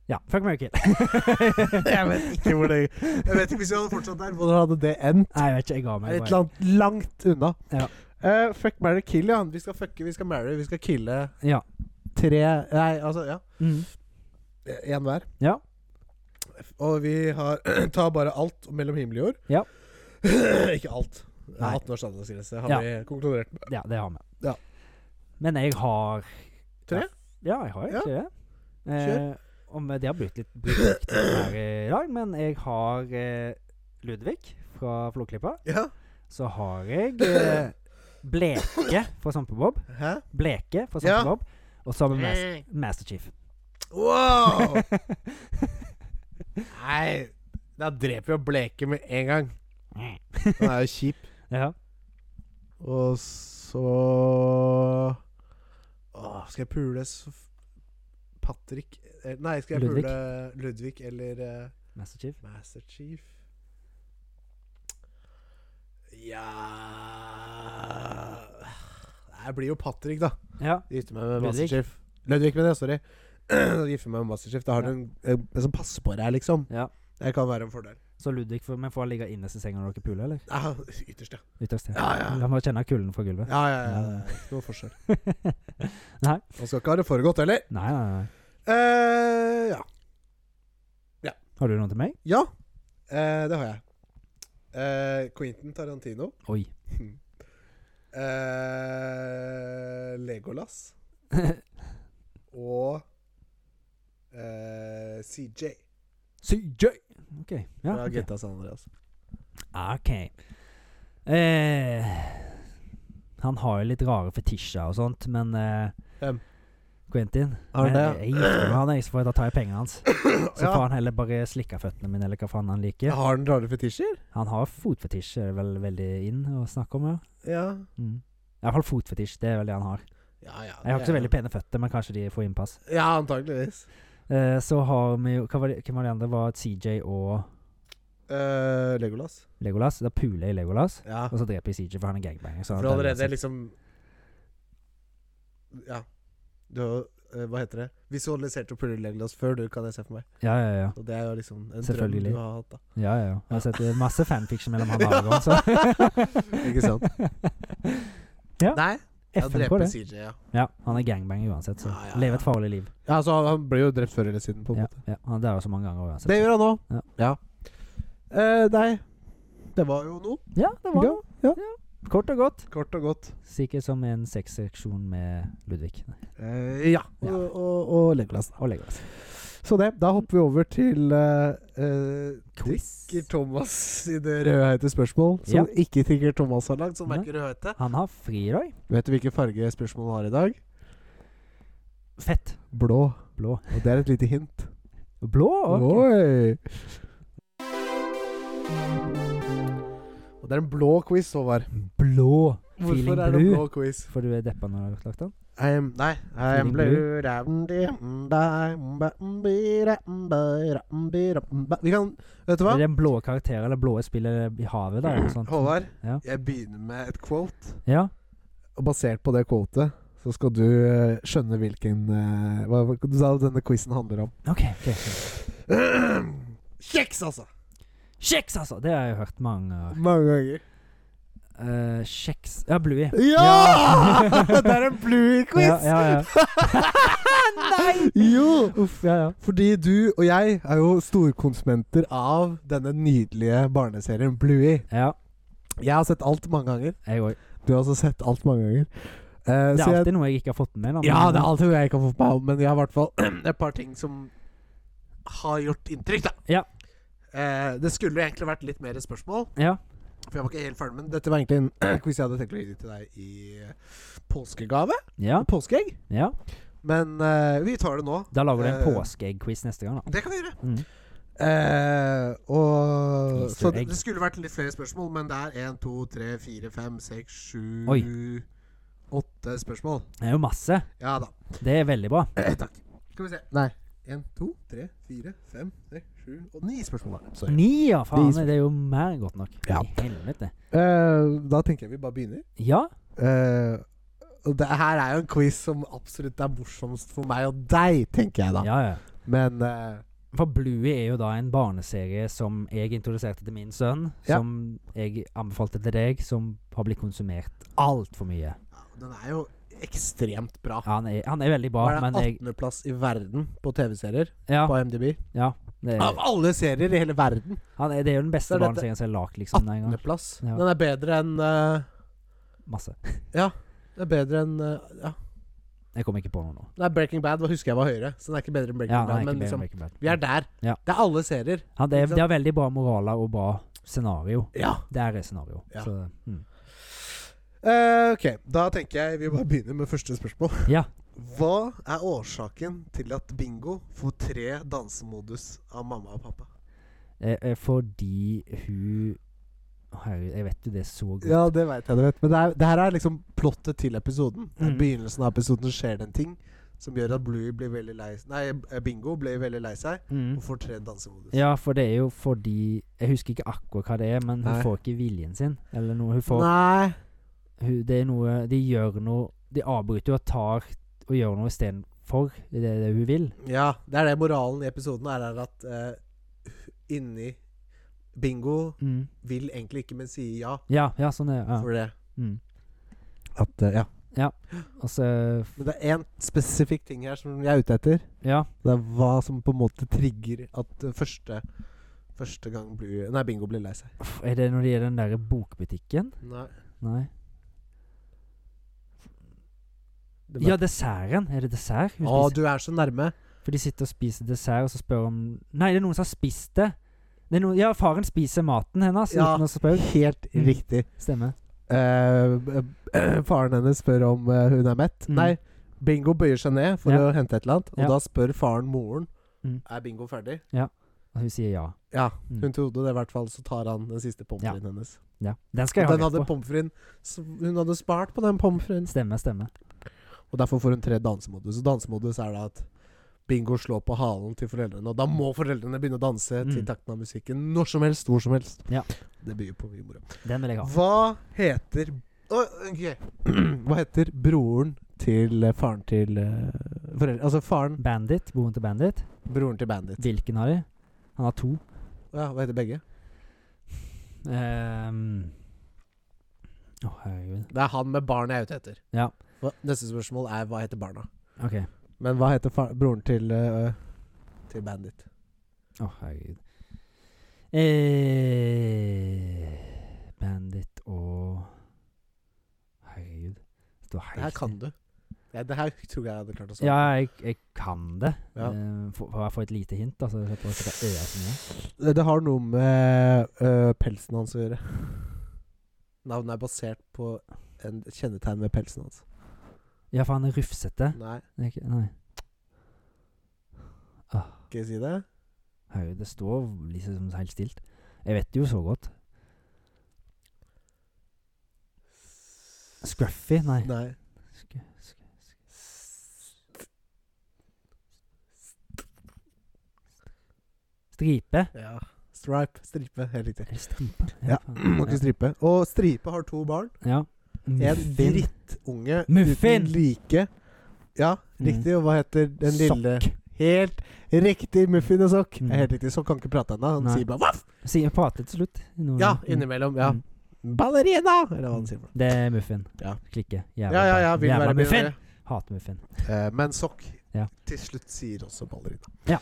B: Ja, fuck, marry, kill.
A: Jeg vet ikke hvor det Jeg vet ikke hvis vi hadde fortsatt der, hvordan hadde det endt?
B: Nei, jeg vet ikke. Jeg ga meg.
A: Et eller
B: bare.
A: annet langt unna.
B: Ja.
A: Eh, fuck, marry, kill, ja. Vi skal fucke, vi skal marry, vi skal kille
B: Ja.
A: tre Nei, altså, ja.
B: Mm.
A: Én hver.
B: Ja.
A: Og vi har tar bare alt mellom himmel og jord.
B: Ja.
A: ikke alt.
B: Nei.
A: 18 års aldersgrense har
B: Ja.
A: vi konkludert med.
B: ja, det har vi.
A: Ja.
B: Men jeg har
A: Tre?
B: Ja, jeg har egentlig det.
A: Kjør.
B: Eh, om det har brukt litt brukt litt her i dag, men jeg har eh, Ludvig fra Flåklypa.
A: Ja.
B: Så har jeg eh, Bleke fra Svampebob.
A: Hæ?
B: Bleke fra
A: Ja.
B: Svampebob. Og så har vi Mas Masterchief.
A: Wow! Nei, da dreper vi jo Bleke med en gang. Han er jo kjip.
B: ja.
A: Og så Åh, Skal jeg pule s- Patrick Eh, Nei, skal jeg
B: Ludvig.
A: pule Ludvig eller eh,
B: Master Chief.
A: Master Chief Ja Det blir jo Patrick, da.
B: Ja.
A: Gifte meg med
B: Ludvig.
A: Master Chief. Ludvig, mener jeg. Sorry. Gifte meg med Master Chief. Da har
B: Ja.
A: du en, en, en som passer på deg, liksom.
B: ja.
A: Det kan være en fordel.
B: Så Ludvig, får- men får han ligge innerst i senga når dere puler, eller?
A: Ja, ytterst, ja.
B: Ytterst.
A: Ja, ja.
B: La meg kjenne kulden fra gulvet.
A: Ja, ja, ja. det er Ikke noe forskjell.
B: Nei.
A: Han skal ikke ha det foregått heller.
B: Nei, nei, nei.
A: eh ja.
B: Har du noe til meg?
A: Ja, eh, det har jeg. Eh, Quentin Tarantino.
B: Oi.
A: Eh, Legolas. Og eh, CJ
B: CJ! OK. Ja,
A: fra
B: ok.
A: GTA San Andreas.
B: Ok. Eh, han har jo litt rare fetisjer og sånt, men eh,
A: Hvem?
B: Quentin.
A: Har han
B: Men
A: det?
B: Jeg, jeg gifter meg med han, jeg, så får jeg da tar jeg pengene hans. Så
A: Ja.
B: får han heller bare slikke føttene mine, eller hva faen han liker.
A: Har han rare fetisjer?
B: Han har fotfetisj, er det vel veldig inn å snakke om, ja.
A: Ja.
B: Mm. I hvert fall fotfetisj, det er vel det han har.
A: Ja, ja,
B: Jeg har ikke så veldig pene føtter, men kanskje de får innpass.
A: Ja, antakeligvis.
B: Eh, så har vi jo hva var det, Hvem var de andre? Var CJ og
A: Eh, Legolas.
B: Legolas? Da puler jeg Legolas,
A: Ja.
B: og så dreper jeg CJ, for han er gangbanger. så
A: For
B: han tar
A: allerede
B: livet
A: liksom Ja. Du har eh, Hva heter det? Visualiserte å pulle Legolas før du, kan jeg se for meg.
B: sitt. Ja, ja, ja.
A: Og det er jo liksom en drøm
B: Selvfølgelig.
A: du har hatt, da.
B: Ja, ja, ja. Jeg har sett eh, masse fanfiction mellom han og Aragorn, så
A: Ikke sant?
B: Ja.
A: Nei, jeg
B: FN på
A: dreper
B: det.
A: CJ, ja.
B: Ja, han er gangbanger uansett, så
A: Ja, ja,
B: leve et
A: ja.
B: farlig liv.
A: Ja, altså Han ble jo drept før eller siden, på en
B: Ja,
A: måte.
B: ja. Han dør jo så mange ganger uansett.
A: Det gjør han nå.
B: Ja.
A: Ja. Eh, nei, det var jo noe.
B: Ja, det var
A: Ja, ja.
B: Kort og godt.
A: Kort og godt.
B: Sikkert som en sexseksjon med Ludvig Nei,
A: Eh, ja. Og,
B: Ja.
A: og, og Legolas. da.
B: og Legolas.
A: Så det. Da hopper vi over til eh, eh,
B: Quiz.
A: Tikker Thomas sine rødhøyte spørsmål, som
B: Ja.
A: ikke Tikker Thomas har lagd, som
B: Nei.
A: er ikke rødhøyte.
B: Han har fri i dag.
A: Vet du hvilken farge spørsmålet har i dag?
B: Fett.
A: Blå.
B: Blå.
A: Og det er et lite hint.
B: Blå? ok.
A: Oi! Og det er en blå quiz, Håvard.
B: Blå. Feeling
A: Hvorfor er det
B: blue.
A: blå quiz?
B: For du er deppa når du har lagt den?
A: I'm, nei,
B: Feeling
A: I'm
B: blue.
A: blue down the- mm, da, mm, ba, mm, bi, da, mm, ba, da, mm, bi, da, mm, ba. Vi kan Vet du
B: Er
A: hva?
B: det en blå karakter eller blå spiller i havet, da? Eller noe sånt?
A: Håvard,
B: Ja.
A: jeg begynner med et quote.
B: Ja.
A: Og basert på det quotet så skal du eh, skjønne hvilken eh, Hva hva- hva denne quizen handler om.
B: OK. ok
A: Kjeks, altså!
B: Kjeks, altså! Det har jeg hørt mange ganger.
A: Mange ganger.
B: Eh, Kjeks Ja, Bluey.
A: Ja! det er en
B: Ja,
A: Bluey-quiz!
B: ja, ja.
A: Nei! Jo!
B: Uff, ja, ja.
A: Fordi du og jeg er jo storkonsumenter av denne nydelige barneserien Bluey.
B: Ja,
A: Jeg har sett alt mange ganger.
B: jeg òg.
A: Du har også sett alt mange ganger. Eh,
B: Det
A: så
B: er
A: jeg,
B: alltid noe jeg ikke har fått med. da,
A: ja,
B: men-
A: det er alltid noe jeg ikke har fått meg om, men jeg har i hvert fall et par ting som har gjort inntrykk, da.
B: Ja.
A: Eh, det skulle jo egentlig vært litt mer spørsmål,
B: Ja.
A: for jeg var ikke helt ferdig med den. Dette var egentlig en quiz jeg hadde tenkt å gi til deg i påskegave.
B: Ja,
A: Påskeegg.
B: ja.
A: Men eh, vi tar det nå.
B: Da lager du en
A: Eh,
B: påskeegg-quiz neste gang, da.
A: Det kan vi gjøre.
B: Mm.
A: Eh, og
B: Easter
A: Så det,
B: egg.
A: det skulle vært litt flere spørsmål, men det er 1, 2, 3, 4, 5, 6, 7
B: Oi.
A: 8 spørsmål.
B: Det er jo masse.
A: Ja da.
B: Det er veldig bra.
A: Takk. Skal vi se. Nei. 1, 2, 3, 4, 5, 6, 7 og 9 spørsmål. er det. Sorry.
B: Ni, ja! Faen,
A: Ni-
B: det er jo mer godt nok.
A: Ja.
B: I helvete.
A: Eh, da tenker jeg vi bare begynner.
B: Ja.
A: Eh, og det her er jo en quiz som absolutt er morsomst for meg og deg, tenker jeg da.
B: ja, ja.
A: Men eh,
B: For Bluey er jo da en barneserie som jeg introduserte til min sønn.
A: Ja.
B: Som jeg anbefalte til deg, som har blitt konsumert altfor mye.
A: den er jo ekstremt bra.
B: Han er, han er veldig bra,
A: Hva er
B: men
A: det
B: jeg
A: 18.-plass i verden på TV-serier
B: Ja,
A: på MDB?
B: det
A: Av
B: er,
A: alle serier i hele verden.
B: han er, det er jo den beste
A: Så er dette-
B: barneserien som er lagd, liksom. Nei, engang.
A: 18.-plass.
B: Ja.
A: Den er bedre enn eh,
B: Masse.
A: Det er bedre enn eh, Ja.
B: Jeg kom ikke på noe nå.
A: Nei, Breaking Bad hva husker jeg var høyere, så den er ikke bedre enn Breaking
B: Ja, han
A: Bad.
B: er
A: Men
B: ikke bedre enn
A: liksom,
B: Breaking Bad.
A: vi er der.
B: Ja.
A: Det er alle serier.
B: Han, det,
A: Ikke
B: er,
A: sant?
B: det er veldig bra moraler og bra scenario.
A: Ja.
B: Der er scenario.
A: Ja.
B: Så, mm.
A: Eh, ok, da tenker jeg vi bare begynner med første spørsmål.
B: Ja.
A: Hva er årsaken til at Bingo får tre dansemodus av mamma og pappa?
B: Eh, eh, fordi hun Herregud, jeg vet jo det så godt.
A: Ja, det veit jeg du vet. Men det, er, det her er liksom plottet til episoden. I
B: Mm.
A: begynnelsen av episoden skjer det en ting som gjør at Bluey blir veldig lei Nei, eh, Bingo blir veldig lei seg
B: Mm.
A: og får trent dansemodus.
B: Ja, for det er jo fordi Jeg husker ikke akkurat hva det er, men hun
A: Nei.
B: får ikke viljen sin. Eller noe. Hun får
A: Nei.
B: hun, Det er noe De gjør noe De avbryter og tar og gjør noe istedenfor det, er det hun vil.
A: Ja, det er det moralen i episoden er, er at eh, inni Bingo
B: Mm.
A: vil egentlig ikke, men sier ja
B: Ja, ja, sånn er det.
A: for det.
B: Ja. Mm.
I: At, eh, ja.
B: Og så
A: Men det er én spesifikk ting her som jeg er ute etter.
B: Ja.
A: Det er hva som på en måte trigger at eh, første Første gang Blue, nei, Bingo blir lei seg.
B: Uff, Er det når det gjelder den derre bokbutikken?
A: Nei.
B: Nei.
A: Det ble-
B: Ja, desserten. Er det dessert? Hun
A: Å,
B: spiser-
A: du er så nærme.
B: For de sitter og spiser dessert, og så spør om Nei, det er noen som har spist det. det er noen, ja, faren spiser maten hennes
A: Ja.
B: uten å spørre.
A: Helt
B: Mm.
A: riktig.
B: Stemmer.
A: Eh, eh, faren hennes spør om eh, hun er mett.
B: Mm.
A: Nei, Bingo bøyer seg ned for
B: Ja.
A: å hente et eller annet, og
B: Ja.
A: da spør faren moren
B: Mm.
A: Er Bingo ferdig.
B: Og hun sier ja.
A: Ja,
B: Mm.
A: hun trodde det, i hvert fall. Så tar han den siste pommes
B: Ja.
A: fritesen hennes.
B: ja. Den skal
A: Og
B: jeg
A: den
B: ha rett
A: hadde
B: på.
A: pommes fritesen så Hun hadde spart på den pommes fritesen,
B: Stemmer, stemmer.
A: og derfor får hun tre dansemodus. Og dansemodus er da at Bingo slår på halen til foreldrene, og da må foreldrene begynne å danse til
B: Mm.
A: takten av musikken når som helst, hvor som helst.
B: Ja.
A: Det byr på mye moro.
B: Den vil jeg ha.
A: Hva heter Å, ok. Hva heter broren til eh, faren til eh, foreldre Altså faren
B: Bandit. Broren til Bandit.
A: Broren til Bandit.
B: Hvilken av de? Han har to.
A: Ja, hva heter begge?
B: Ehm. Å, herregud.
A: Det er han med barn jeg er ute etter.
B: Ja.
A: Hva, neste spørsmål er hva heter barna?
B: OK.
A: Men hva heter fa broren til eh, Til Bandit?
B: Å, herregud. Eh, bandit og Herregud. Det står
A: Det her
B: helt
A: kan du. Ja, det her tror jeg jeg hadde klart å
B: Ja,
A: svare.
B: jeg, jeg kan det.
A: Ja.
B: Eh, for, for jeg får et lite hint, da, så jeg slipper å sitte og øse mye.
A: Det, det har noe med eh, pelsen hans å gjøre. Navnet er basert på en kjennetegn ved pelsen hans.
B: Ja, for han er rufsete.
A: Nei,
B: Det er ikke- Nei.
A: skal jeg si det?
B: Herregud, det står liksom helt stilt. Jeg vet det jo så godt. Scruffy? Nei.
A: Nei.
B: Sk sk stripe?
A: Ja. Stripe. Stripe. Helt riktig.
B: Er det stripe?
A: Ja,
B: faen.
A: Må ikke stripe. Og Stripe har to barn.
B: ja.
A: En
B: Muffin.
A: drittunge
B: Muffin!
A: uten like. Ja,
B: Mm.
A: riktig. Og hva heter den lille
B: Sokk.
A: Helt riktig, Muffin og Sokk.
B: Mm.
A: Er Helt riktig. Sokk kan ikke prate ennå. Han
B: Nei.
A: sier bare vaff!
B: Sier prater til slutt. Noen-
A: Ja,
B: Mm.
A: innimellom. Ja.
B: Mm.
A: Ballerina! Eller hva han sier. for noe.
B: Det er muffin.
A: Ja.
B: Klikke. Jævla,
A: Ja, ja, ja.
B: bra.
A: Vil
B: Jævla
A: være
B: muffin.
A: binarie.
B: Hater muffin.
A: Eh, men Sokk
B: Ja.
A: til slutt sier også ballerina.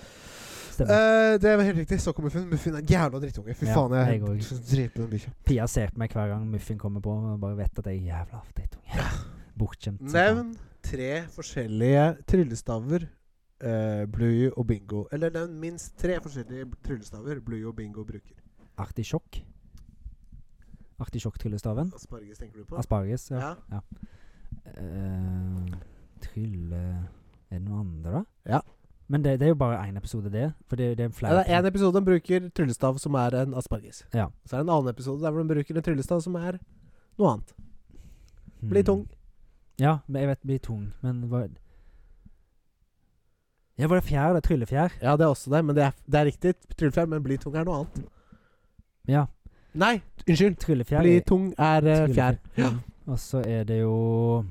B: Stemmer.
A: Eh, det var helt riktig. Sokk og Muffin. Muffin er en jævla drittunge. Fy
B: Ja,
A: faen, jeg,
B: jeg går.
A: dreper den bikkja.
B: Pia ser på meg hver gang muffin kommer på, og bare vet at jeg er jævla drittunge. Bortskjemt. som faen.
A: Nevn tre forskjellige tryllestaver. eh, Bluey og Bingo. Eller nevn minst tre forskjellige tryllestaver Bluey og Bingo bruker.
B: Artisjokk. Artisjokk-tryllestaven.
A: Asparges tenker du på?
B: Asparges. Ja.
A: ja.
B: Eh, trylle Er det noe andre, da?
A: Ja.
B: Men det, det er jo bare én episode, det. For det, det er en
A: Ja,
B: flau
A: det er en episode de bruker tryllestav som er en asparges.
B: Ja.
A: Så er det en annen episode der hvor de bruker en tryllestav som er noe annet.
B: Mm.
A: Blir tung.
B: Hmm. Ja, men jeg vet blir tung, men hva Ja, var det fjær? Det er tryllefjær?
A: Ja, det er også det, men det er, det er riktig. Tryllefjær, men bli tung er noe annet.
B: Ja.
A: Nei, unnskyld.
B: Tryllefjær
A: Bli
B: er-
A: tung er eh, fjær.
B: Tryllefjær. Og så er det jo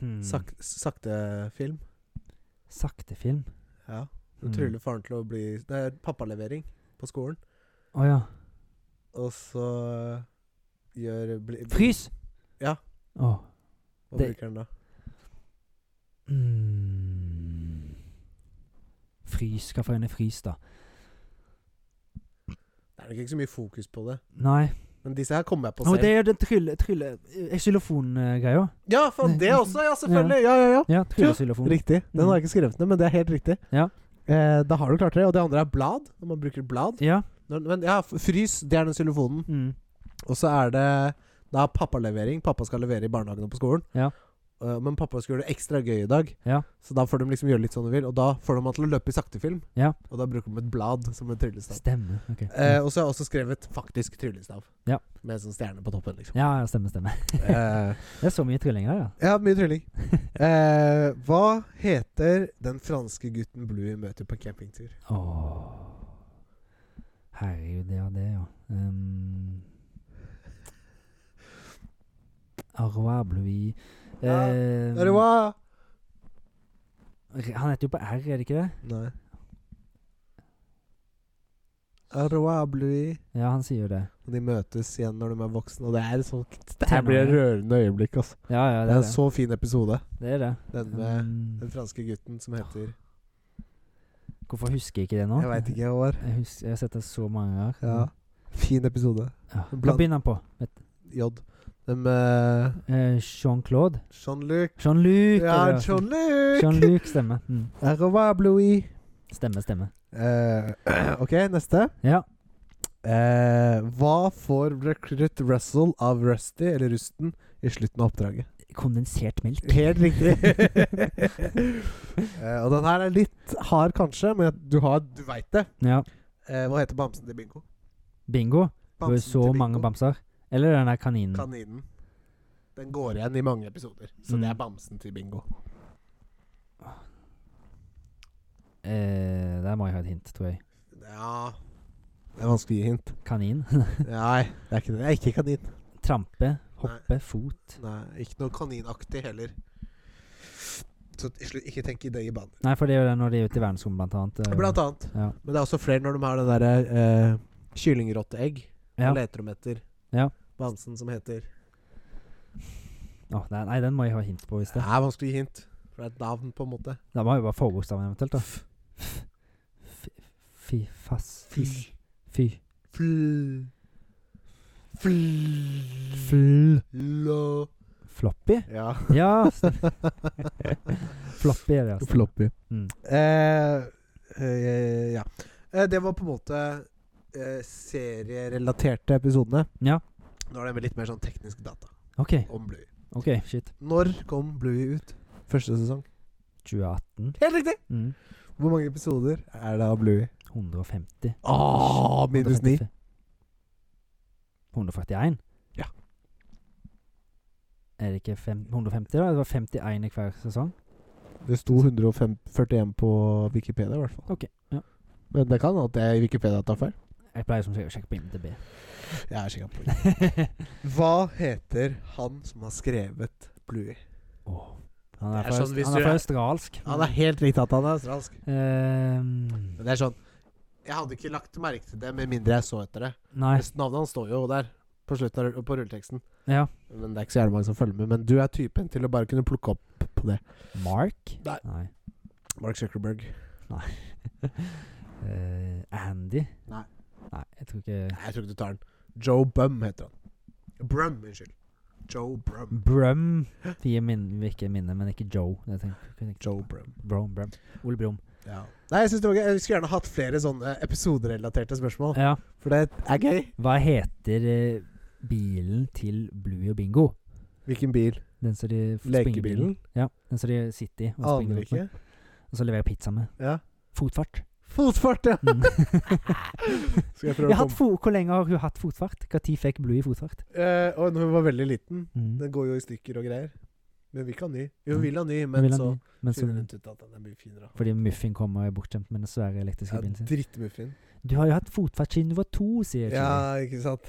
B: hmm.
A: Sak, sakte film.
B: Sakte film.
A: Ja. Du
B: Mm.
A: tryller faren til å bli Det er pappalevering på skolen,
B: Å ja.
A: og så eh, gjør bli,
B: Frys!
A: Ja.
B: Å.
A: Hva
B: Det-
A: bruker den da?
B: Mm. Frys. Hva for en er frys, da?
A: Det er nok ikke så mye fokus på det.
B: Nei.
A: Men disse her kommer jeg på
B: Å,
A: selv.
B: det er jo den trylle... trylle eh, Xylofongreia.
A: Ja, faen, det også! Ja, selvfølgelig! Ja, ja, ja.
B: Ja, tryllesyllofon.
A: Riktig. Den
B: Mm.
A: har jeg ikke skrevet ned, men det er helt riktig.
B: Ja.
A: Eh, da har du klart det. Og det andre er blad. Når man bruker blad.
B: Ja.
A: Når, men ja, f- frys, det er den xylofonen.
B: Mm.
A: Og så er det da pappalevering. Pappa skal levere i barnehagen og på skolen.
B: Ja.
A: øh, Men pappa skulle gjøre det ekstra gøy i dag,
B: Ja.
A: så da får de liksom gjøre litt sånn de vil. Og da får de han til å løpe i saktefilm,
B: Ja.
A: og da bruker de et blad som en tryllestav.
B: Stemmer. ok. Mm.
A: Eh, og så har jeg også skrevet faktisk tryllestav,
B: Ja.
A: med sånn stjerne på toppen, liksom.
B: ja, ja, stemmer, stemmer.
A: Eh,
B: Det er så mye tryllinger, ja.
A: ja, mye trylling. Eh, hva heter den franske gutten Bluey møter på en campingtur?
B: Åh. Herregud, ja, det, ja. Um, au revoir, Bluey.
A: Ja,
B: Ehm,
A: Er det hva?
B: r- han heter jo på R, er det ikke det?
A: Nei. Au revoir, Bluey.
B: Ja, han sier jo det.
A: Og de møtes igjen når de er voksne, og det er sånn Det her
B: Tenåring.
A: blir et rørende øyeblikk, altså.
B: Ja, ja,
A: Det
B: det
A: er
B: er
A: en så eh, fin episode,
B: det. det, er det.
A: den med
B: Um,
A: den franske gutten som heter
B: hvorfor husker jeg ikke det nå?
A: Jeg veit ikke hva det var.
B: Jeg, husker, jeg har sett det så mange ganger.
A: Ja. Fin episode.
B: Ja. Hva
A: Blant-
B: begynner han på? Vet-
A: J. Den med
B: eh, Jean-Claude?
A: Jean-Luc.
B: Jean-Luc!
A: Ja,
B: eller-
A: Jean-Luc! Eh,
B: Jean-Luc, stemmer. Mm.
A: Au revoir, Bluey.
B: Stemmer, stemmer.
A: Eh, ok, neste.
B: Ja.
A: Eh, hva får Recruit Russell av Rusty, eller Rusten, i slutten av oppdraget?
B: Kondensert melk.
A: Helt riktig. Eh, og den her er litt hard, kanskje, men du, har- du veit det.
B: Ja.
A: Eh, hva heter bamsen til Bingo?
B: Bingo. Det var jo
A: Bamsen
B: så
A: til
B: mange
A: Bingo.
B: bamser. Eller den der kaninen.
A: Kaninen. Den går igjen i mange episoder, så det
B: Mm.
A: er bamsen til Bingo.
B: Eh, der må jeg ha et hint, tror jeg.
A: Ja Det er vanskelig å gi hint.
B: Kanin.
A: Nei, det er ikke det. Det er ikke kanin.
B: Trampe, hoppe, fot.
A: Nei, Ikke noe kaninaktig heller. Så til slutt, ikke tenk i det i baner.
B: Nei, for det er jo det når de er ute i verdensrommet, blant annet. eh,
A: Blant annet.
B: Ja.
A: Men det er også flere når de har det derre eh, kyllingrotteegg.
B: Ja.
A: Da leter de etter
B: Ja.
A: bamsen som heter
B: Åh, nei, nei, den må jeg ha hint på, hvis
A: Det
B: det.
A: er vanskelig å gi hint, for det er et navn, på en måte.
B: Da må jeg jo bare forbokstaven eventuelt, da. F- f- Fy, fass. Fys. Fy.
A: Fl... Fl...
B: Fl.
A: Lo...
B: Floppy?
A: Ja.
B: Ja. stemmer. Floppy er det, altså.
A: Floppy.
B: Mm.
A: Eh, eh, ja. Eh, det var på en måte eh, serierelaterte episodene.
B: Ja.
A: Nå er det vel litt mer sånn teknisk data
B: OK.
A: om Bluey.
B: ok, Shit.
A: Når kom Bluey ut? Første sesong.
B: 2018.
A: Helt riktig!
B: Mm.
A: Hvor mange episoder er det av Bluey?
B: 150.
A: Åh, minus ni.
B: 155. 141?
A: Ja.
B: Er det ikke fem, 150, da? Det var 51 i hver sesong?
A: Det sto 141 på Wikipedia, i hvert fall.
B: Ok, ja.
A: Men det kan at jeg i Wikipedia tar feil.
B: Jeg pleier som sagt å sjekke på IMDb.
A: Jeg er sikker på det. Hva heter han som har skrevet Bluey?
B: Åh. Han
A: Det er
B: er, fra,
A: sånn hvis
B: han er
A: du
B: fra
A: er-
B: australsk.
A: Han er helt riktig at han er australsk.
B: Ehm,
A: Men det er sånn Jeg hadde ikke lagt merke til det med mindre jeg så etter det.
B: Nei.
A: Resten av Navnet hans står jo der på slutten av rull- på rulleteksten.
B: Ja.
A: Men det er ikke så jævlig mange som følger med. Men du er typen til å bare kunne plukke opp på det.
B: Mark?
A: Nei.
B: Nei.
A: Mark Zuckerberg.
B: Eh, Andy?
A: Nei.
B: Nei, jeg tror ikke
A: Nei, jeg tror ikke du tar den. Joe Bum heter han. Brum, unnskyld. Joe Brum.
B: Brum. Fie min, virker minne, men ikke Joe. Jeg tenker, kunne ikke-
A: Joe Brum.
B: Brum, Brum. Ole Brum.
A: Ja. Nei, jeg synes det var gøy. Jeg skulle gjerne hatt flere sånne episoderelaterte spørsmål.
B: Ja.
A: For det er gøy.
B: Hva heter eh, bilen til Bluey og Bingo?
A: Hvilken bil?
B: Den som de f-
A: Lekebilen?
B: springer- Ja, den som de sitter i og springer
A: Aner
B: rundt med.
A: ikke.
B: Og så leverer pizza med.
A: Ja.
B: Fotfart.
A: Fotfart, ja!
B: Mm.
A: Skal jeg
B: Jeg
A: prøve
B: har
A: å komme
B: hatt fo Hvor lenge har hun hatt fotfart? Når fikk Bluey fotfart?
A: Eh, Og når hun var veldig liten.
B: Mm.
A: Den går jo i stykker og greier. Men vi kan ny. Jo,
B: Mm.
A: vi vil ha ny,
B: Vil
A: men
B: han
A: så
B: gi- men så
A: finner hun ut at den er mye finere.
B: Fordi Muffin kommer og er bortskjemt med den svære elektriske
A: Ja,
B: bilen sin.
A: Drittmuffin.
B: Du har jo hatt fotfart siden du var to, sier Chili.
A: Ja, ikke sant?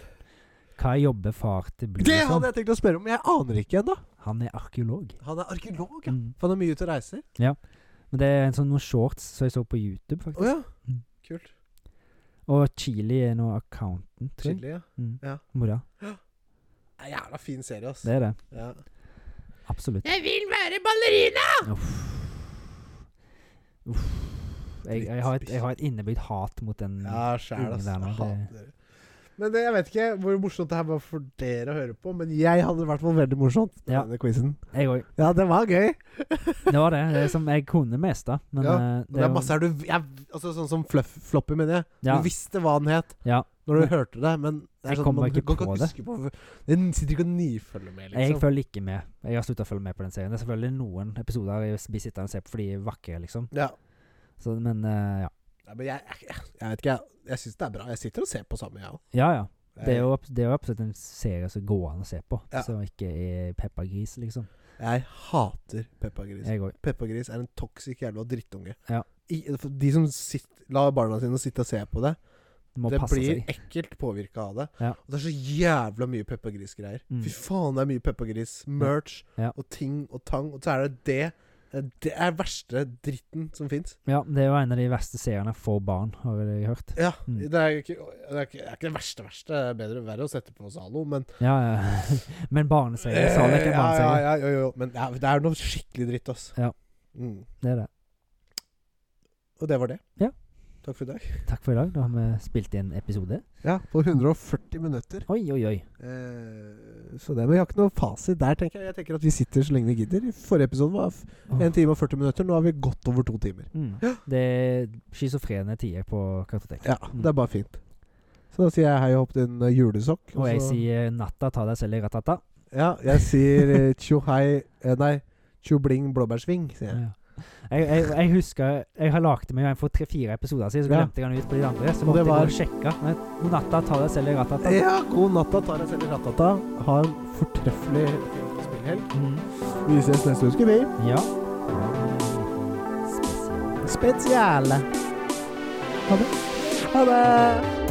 B: Hva jobber far til Bluey
A: Det
B: som?
A: hadde jeg tenkt å spørre om, men jeg aner ikke ennå.
B: Han er arkeolog.
A: Han er arkeolog, ja.
B: Mm.
A: For han er mye ute og reiser.
B: Men det er en sånn noen shorts som jeg så på YouTube,
A: Å
B: faktisk.
A: ja.
B: Mm.
A: Kult.
B: Og Chili er nå accountant, tror jeg.
A: Chili, ja.
B: Mm.
A: Ja.
B: Mora.
A: Det er en Jævla fin serie, ass.
B: Det er det.
A: Ja.
B: Absolutt.
A: Jeg vil være ballerina!
B: Uff. Jeg, jeg, har et, jeg har et innebygd hat mot den.
A: Ja, sjæl, ass.
B: Ingen der nå,
A: Jeg
B: det-
A: hater dere. Men det, jeg vet ikke hvor morsomt det her var for dere å høre på, men jeg hadde det i hvert fall veldig morsomt. med
B: Ja.
A: Denne quizen.
B: Jeg òg.
A: Ja, det var gøy.
B: Det var det, det som jeg kunne mest av. Men
A: Ja,
B: eh,
A: Og det
B: jo-
A: er masse her du jeg, Altså Sånn som Fluff, Floppy, mener jeg.
B: ja,
A: Du visste hva den het.
B: ja,
A: når du hørte det, men det er
B: Jeg
A: sånn,
B: kommer
A: man
B: ikke
A: kan
B: på
A: ikke huske
B: det.
A: på Den sitter ikke og nifølger med,
B: Jeg
A: liksom.
B: følger ikke med. Jeg har slutta å følge med på den serien. Det er selvfølgelig noen episoder jeg blir sittende og se på fordi de er vakre, liksom.
A: Ja.
B: Så, men eh, ja.
A: Ja, men jeg, jeg, jeg vet ikke, jeg, jeg syns det er bra. Jeg sitter og ser på samme, jeg òg.
B: Ja, ja. Det er jo, abs- det er jo absolutt en serie som går an å se på,
A: Ja.
B: som ikke er Peppa Gris, liksom.
A: Jeg hater Peppa Gris.
B: Jeg òg.
A: Peppa Gris er en toxic jævla drittunge.
B: Ja.
A: I, for de som sitter, lar barna sine sitte og se på det,
B: Må
A: det
B: passe
A: blir
B: seg.
A: ekkelt påvirka av det.
B: Ja.
A: Og det er så jævla mye Peppa Gris-greier.
B: Mm.
A: Fy faen, det er mye Peppa Gris. Merch
B: Ja.
A: og ting og tang. Og så er det det. eh, Det er verste dritten som fins.
B: Ja, det er jo en av de verste seriene for barn, har jeg hørt.
A: Ja,
B: Mm.
A: det, er ikke, det, er ikke, det er ikke det verste verste. Det er bedre, verre å sette på Zalo, men
B: Ja, ja. Men barneserie, sa det
A: Eh,
B: ikke en
A: ja, ja,
B: barneserie.
A: ja, jo, jo. Men det er, det er noe skikkelig dritt, ass.
B: Ja.
A: Mm.
B: Det er det.
A: Og det var det.
B: Ja.
A: Takk for i dag.
B: Takk for i dag. Da har vi spilt inn episode.
A: Ja, på 140 minutter.
B: Oi, oi, oi.
A: Eh, så det, men jeg har ikke noe fasit der, tenker jeg. Jeg tenker at vi sitter så lenge vi gidder. I forrige episode var f-
B: Åh.
A: en time og 40 minutter. Nå har vi gått over to timer.
B: Mm. Det er schizofrene tider på kartoteket.
A: Ja,
B: Mm.
A: det er bare fint. Så da sier jeg hei og hopp din eh, julesokk.
B: Og jeg
A: så-
B: sier eh, natta, ta deg selv i ratata.
A: Ja, jeg sier eh, tjo hei eh, Nei, tjo bling blåbærsving, sier jeg.
B: Ja. Jeg, jeg, jeg husker Jeg har lagd meg en for tre-fire episoder siden, så
A: Ja.
B: glemte jeg den ut på de andre. Så
A: Og
B: måtte
A: det
B: jeg gå
A: var-
B: og sjekke. Men Natta, ta deg selv i ratata.
A: Ja, god natta, tar jeg selv i ratata. Ha en fortreffelig spillhelg.
B: Mm.
A: Vi ses neste uke, vi.
B: Ja. Spesielt.
A: Spesiale. Ha det. Ha det.